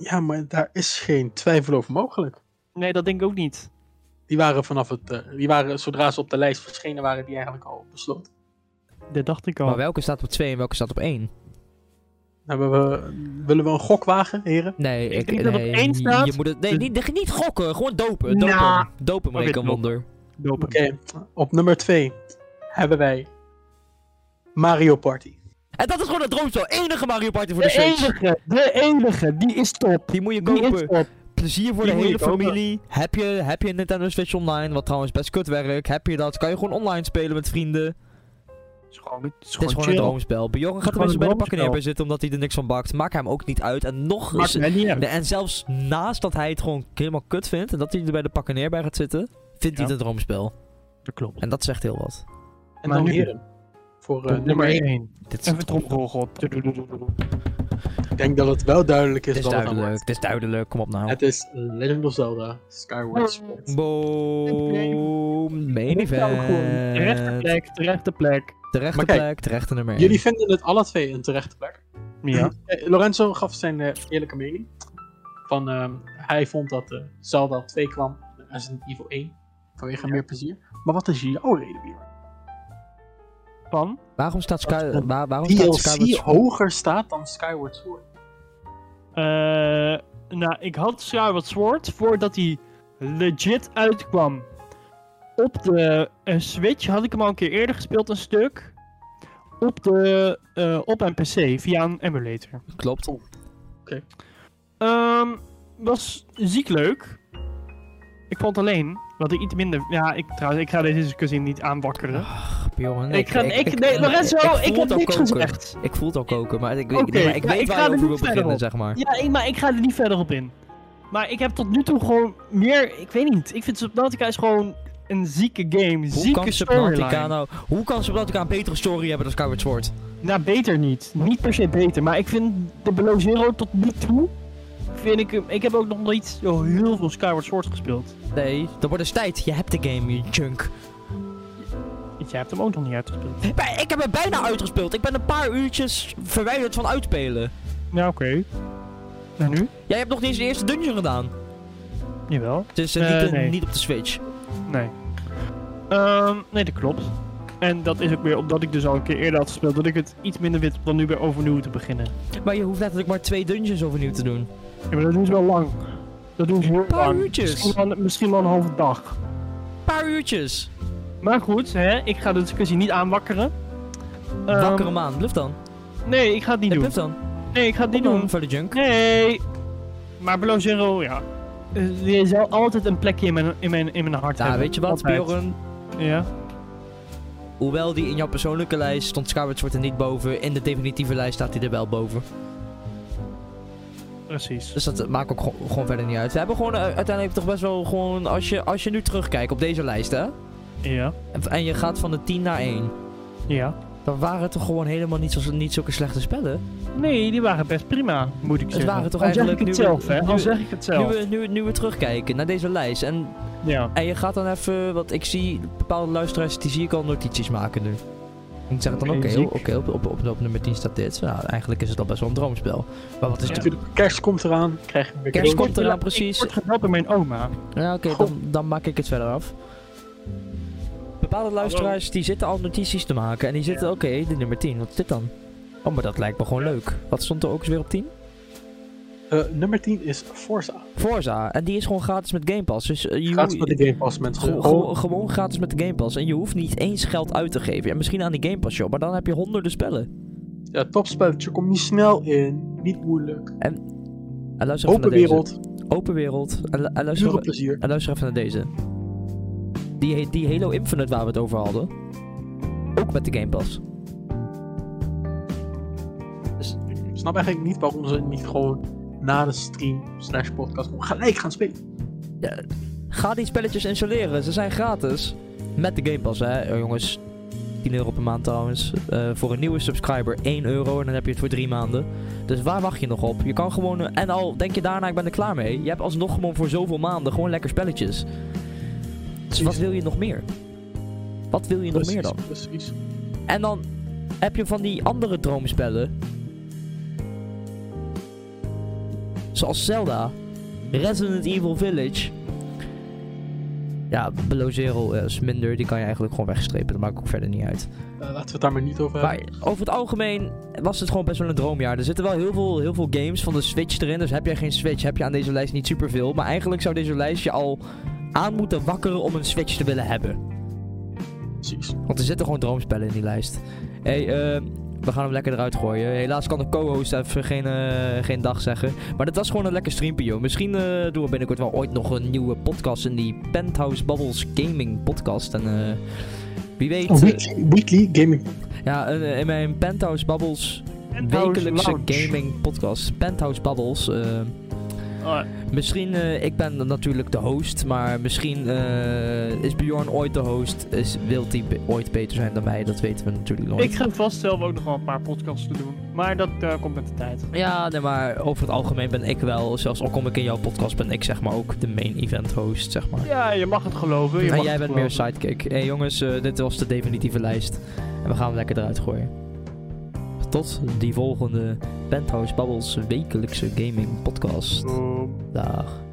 Speaker 3: Ja, maar daar is geen twijfel over mogelijk.
Speaker 2: Nee, dat denk ik ook niet.
Speaker 3: Die waren vanaf het, eh, die waren, zodra ze op de lijst verschenen, waren die eigenlijk al besloten.
Speaker 2: Dat dacht ik al.
Speaker 1: Maar welke staat op 2 en welke staat op 1?
Speaker 3: Dan hebben we, willen we een gok wagen, heren?
Speaker 1: Nee,
Speaker 2: Ik
Speaker 1: ik,
Speaker 2: denk dat op
Speaker 1: nee,
Speaker 2: één staat- Dus-
Speaker 1: Je moet het, nee, niet, niet gokken, gewoon dopen. Dopen,
Speaker 2: Nou.
Speaker 1: dopen
Speaker 2: Oké,
Speaker 1: rekenwonder.
Speaker 2: Dopen.
Speaker 3: Oké, op nummer 2 hebben wij Mario Party.
Speaker 1: En dat is gewoon een droomspel. Enige Mario Party voor de,
Speaker 2: De
Speaker 1: Switch.
Speaker 2: enige, de enige, die is top.
Speaker 1: Die moet je
Speaker 2: Die is
Speaker 1: kopen.
Speaker 2: top.
Speaker 1: Plezier voor
Speaker 2: Die
Speaker 1: de
Speaker 2: moet je
Speaker 1: hele
Speaker 2: kopen.
Speaker 1: familie. Heb je, heb je een Nintendo Switch Online, wat trouwens best kut werkt. Heb je dat, kan je gewoon online spelen met vrienden.
Speaker 2: Het is gewoon, het is
Speaker 1: Het is
Speaker 2: gewoon
Speaker 1: gewoon
Speaker 2: chill.
Speaker 1: een droomspel. Bjorn gaat er
Speaker 2: Gewoon
Speaker 1: mensen bij de
Speaker 2: een
Speaker 1: pakken neer
Speaker 2: droomspel.
Speaker 1: bij zitten omdat hij er niks van bakt. Maak hem ook niet uit. En nog
Speaker 2: Maakt
Speaker 1: is,
Speaker 2: mij niet uit.
Speaker 1: Nee, en zelfs naast dat hij het gewoon helemaal kut vindt en dat hij er bij de pakken neer bij gaat zitten, vindt hij
Speaker 2: Ja.
Speaker 1: het een droomspel.
Speaker 2: Dat klopt.
Speaker 1: En dat zegt heel wat.
Speaker 3: En
Speaker 2: Maar
Speaker 3: dan
Speaker 2: nu-
Speaker 3: heren. Voor eh, nummer
Speaker 2: nummer
Speaker 3: 1.
Speaker 2: 1.
Speaker 1: Dit is,
Speaker 2: Even tromgeroffel.
Speaker 3: Ik denk dat het wel duidelijk is.
Speaker 1: dit is
Speaker 3: wat we gaan
Speaker 1: duidelijk,
Speaker 3: maken.
Speaker 1: dit is duidelijk, kom op nou.
Speaker 3: Het is Legend of Zelda Skyward Sword.
Speaker 1: Boom, main
Speaker 2: Terechte
Speaker 1: event.
Speaker 2: plek, terechte plek.
Speaker 1: Terechte
Speaker 3: Maar kijk,
Speaker 1: plek, terechte nummer één.
Speaker 3: Jullie vinden het alle twee een terechte plek.
Speaker 2: Ja.
Speaker 3: Eh, Lorenzo gaf zijn eh, eerlijke mening. Van, ehm, hij vond dat eh, Zelda op 2 kwam en Resident Evil 1. Vanwege meer plezier. Maar wat is jouw reden, Bjorn?
Speaker 2: Van?
Speaker 1: Waarom staat Sky...
Speaker 3: Dat-
Speaker 1: waar- waarom staat
Speaker 3: DLC
Speaker 1: Skyward...
Speaker 3: hoger staat dan Skyward Sword.
Speaker 2: Eh, nou, ik had Skyward Sword voordat hij legit uitkwam. Op de eh, Switch had ik hem al een keer eerder gespeeld, een stuk. Op, de, eh, op mijn PC, via een emulator.
Speaker 1: Klopt.
Speaker 2: Ehm, was ziek leuk. Ik vond alleen dat ik iets minder. Ja, ik, trouwens, ik ga deze discussie niet aanwakkeren.
Speaker 1: Jongen,
Speaker 2: ik ga. Ik, Ah, nee, Lorenzo, ik,
Speaker 1: voel
Speaker 2: heb
Speaker 1: het al
Speaker 2: niks
Speaker 1: koken.
Speaker 2: gezegd.
Speaker 1: Ik voel het al koken, maar ik, weet-
Speaker 2: Oké,
Speaker 1: nee, maar ik
Speaker 2: ja,
Speaker 1: weet
Speaker 2: ik
Speaker 1: waar
Speaker 2: ga
Speaker 1: je
Speaker 2: er
Speaker 1: over wil
Speaker 2: niet verder
Speaker 1: beginnen,
Speaker 2: op.
Speaker 1: zeg maar.
Speaker 2: Ja, ik, maar ik ga er niet verder op in. Maar ik heb tot nu toe gewoon meer. Ik weet niet. Ik vind Subnautica is gewoon een zieke game.
Speaker 1: Hoe
Speaker 2: zieke
Speaker 1: kan Subnautica
Speaker 2: storyline.
Speaker 1: nou... Hoe kan Subnautica een betere story hebben dan Skyward Sword?
Speaker 2: Nou, beter niet. Niet per se beter. Maar ik vind de Below Zero tot nu toe. Vind ik, hem- ik heb ook nog nooit zo heel veel Skyward Sword gespeeld.
Speaker 1: Nee, dan wordt het tijd. Je hebt de game, je junk.
Speaker 2: Jij hebt hem ook nog niet uitgespeeld.
Speaker 1: Maar ik heb het bijna uitgespeeld. Ik ben een paar uurtjes verwijderd van uitspelen.
Speaker 2: Ja, oké. En nu?
Speaker 1: Jij hebt nog niet eens de eerste dungeon gedaan.
Speaker 2: Jawel.
Speaker 1: Dus eh,
Speaker 2: Eh,
Speaker 1: niet, eh,
Speaker 2: nee.
Speaker 1: niet op de Switch.
Speaker 2: Nee. Ehm, nee, dat klopt. En dat is ook weer omdat ik dus al een keer eerder had gespeeld, dat ik het iets minder wit dan nu weer overnieuw te beginnen.
Speaker 1: Maar je hoeft letterlijk maar twee dungeons overnieuw te doen.
Speaker 2: Ja, maar dat doen ze wel lang. Dat doen ze heel
Speaker 1: paar
Speaker 2: lang.
Speaker 1: uurtjes.
Speaker 2: Misschien wel, een- misschien wel een halve dag.
Speaker 1: Paar uurtjes.
Speaker 2: Maar goed, hè, ik ga dus de discussie niet aanwakkeren. Ehm,
Speaker 1: Wakkere maan. Bluf dan.
Speaker 2: Nee, ik ga het niet
Speaker 1: Nee,
Speaker 2: doen.
Speaker 1: bluf dan.
Speaker 2: Nee, ik ga het niet doen.
Speaker 1: Voor de junk.
Speaker 2: Nee. Maar Below Zero, ja. Eh, Er is wel altijd een plekje in mijn, in mijn, in mijn hart
Speaker 1: Nou,
Speaker 2: hebben.
Speaker 1: weet je wat,
Speaker 2: Altijd.
Speaker 1: Bjorn?
Speaker 2: Ja.
Speaker 1: Hoewel die in jouw persoonlijke lijst stond Skyward Sword er niet boven, in de definitieve lijst staat hij er wel boven.
Speaker 2: Precies.
Speaker 1: Dus dat eh, maakt ook gewoon, gewoon verder niet uit. We hebben gewoon eh, uiteindelijk toch best wel gewoon, als je, als je nu terugkijkt op deze lijst, hè?
Speaker 2: Ja.
Speaker 1: En, en je gaat van de 10 naar 1.
Speaker 2: Ja.
Speaker 1: Dan waren het toch gewoon helemaal niet, zo, niet zulke slechte spellen?
Speaker 2: Nee, die waren best prima, moet ik
Speaker 1: Het
Speaker 2: zeggen.
Speaker 1: waren toch
Speaker 2: Al
Speaker 1: eigenlijk
Speaker 2: zeg ik het
Speaker 1: nu-
Speaker 2: zelf, hè?
Speaker 1: nu-
Speaker 2: Dan zeg ik het
Speaker 1: Nu
Speaker 2: zelf.
Speaker 1: we, nu, nu we terugkijken naar deze lijst. En,
Speaker 2: Ja.
Speaker 1: en je gaat dan even, want ik zie bepaalde luisteraars, die zie ik al notities maken nu. Ik zeg dan, oké,
Speaker 2: Muziek.
Speaker 1: oké, op, op, op, op nummer 10 staat dit. Nou, eigenlijk is het al best wel een droomspel. Maar wat is
Speaker 2: Ja.
Speaker 1: de
Speaker 3: Dus Natuurlijk, kerst komt eraan. Krijg je weer
Speaker 1: kerst
Speaker 3: cadeautjes.
Speaker 1: komt eraan
Speaker 2: Ik
Speaker 1: precies?
Speaker 2: word gebeld door mijn oma.
Speaker 1: Ja, oké,
Speaker 3: Goh.
Speaker 1: dan, dan maak ik het verder af. Bepaalde luisteraars die zitten al notities te maken en die zitten, oké, de nummer 10, wat is dit dan? Oh, maar dat lijkt me gewoon leuk. Wat stond er ook eens weer op 10?
Speaker 3: Eh, nummer 10 is Forza.
Speaker 1: Forza, en die is gewoon gratis met Game Pass. Dus eh, je,
Speaker 3: Gaat met de Game Pass, mensen.
Speaker 1: Ge-
Speaker 3: Gewoon-
Speaker 1: ge- gewoon gratis met de Game Pass. En je hoeft niet eens geld uit te geven. Ja, misschien aan die Game Pass show, maar dan heb je honderden spellen.
Speaker 3: Ja, topspelletje. Kom je snel in. Niet moeilijk.
Speaker 1: En luister even
Speaker 3: Open
Speaker 1: naar deze.
Speaker 3: wereld.
Speaker 1: Open wereld. En, lu- en luister,
Speaker 3: Pure plezier.
Speaker 1: en luister even naar deze. Die, he- die Halo Infinite waar we het over hadden. Ook met de Game Pass.
Speaker 3: Ik snap eigenlijk niet waarom ze niet gewoon na de stream slash podcast gewoon gelijk gaan spelen.
Speaker 1: Ga die spelletjes installeren. Ze zijn gratis. Met de Game Pass, hè. Oh, jongens, 10 euro per maand trouwens. Eh, voor een nieuwe subscriber 1 euro en dan heb je het voor 3 maanden. Dus waar wacht je nog op? Je kan gewoon... eh, en al denk je daarna, ik ben er klaar mee. Je hebt alsnog gewoon voor zoveel maanden gewoon lekker spelletjes. Dus wat wil je nog meer? Wat wil je nog meer dan?
Speaker 3: Precies.
Speaker 1: En dan heb je van die andere droomspellen. Zoals Zelda, Resident Evil Village. Ja, Below Zero eh, is minder. Die kan je eigenlijk gewoon wegstrepen. Dat maakt ook verder niet uit.
Speaker 3: Eh, laten we het daar maar niet over hebben.
Speaker 1: Maar over het algemeen was het gewoon best wel een droomjaar. Er zitten wel heel veel, heel veel games van de Switch erin. Dus heb jij geen Switch, heb je aan deze lijst niet superveel. Maar eigenlijk zou deze lijst je al aan moeten wakkeren om een Switch te willen hebben.
Speaker 3: Precies.
Speaker 1: Want er zitten gewoon droomspellen in die lijst. hey, eh, we gaan hem lekker eruit gooien. Helaas kan de co-host even geen, eh, geen dag zeggen. Maar dit was gewoon een lekker streampje, joh. Misschien eh, doen we binnenkort wel ooit nog een nieuwe podcast in die Penthouse Bubbles Gaming podcast. En eh, wie weet...
Speaker 3: Oh,
Speaker 1: eh,
Speaker 3: weekly, weekly gaming.
Speaker 1: ja, eh, in mijn Penthouse Bubbles
Speaker 2: Penthouse
Speaker 1: wekelijkse
Speaker 2: Lounge.
Speaker 1: gaming podcast. Penthouse Bubbles. eh,
Speaker 2: Oh,
Speaker 1: Misschien, eh, ik ben natuurlijk de host, maar misschien eh, is Bjorn ooit de host. Is, wilt hij be- ooit beter zijn dan wij? Dat weten we natuurlijk nooit.
Speaker 2: ik ga vast zelf ook nog wel een paar podcasts te doen. Maar dat eh, komt met de tijd.
Speaker 1: Ja, nee, maar over het algemeen ben ik wel, zelfs al kom ik in jouw podcast, ben ik zeg maar ook de main event host, zeg maar.
Speaker 2: Ja, je mag het geloven. Je
Speaker 1: en
Speaker 2: mag
Speaker 1: jij
Speaker 2: het
Speaker 1: bent meer
Speaker 2: geloven.
Speaker 1: sidekick. Hé hey, jongens, eh, dit was de definitieve lijst. En we gaan hem lekker eruit gooien. Tot die volgende Penthouse Bubbles wekelijkse gaming podcast.
Speaker 2: Zo.
Speaker 1: Dag.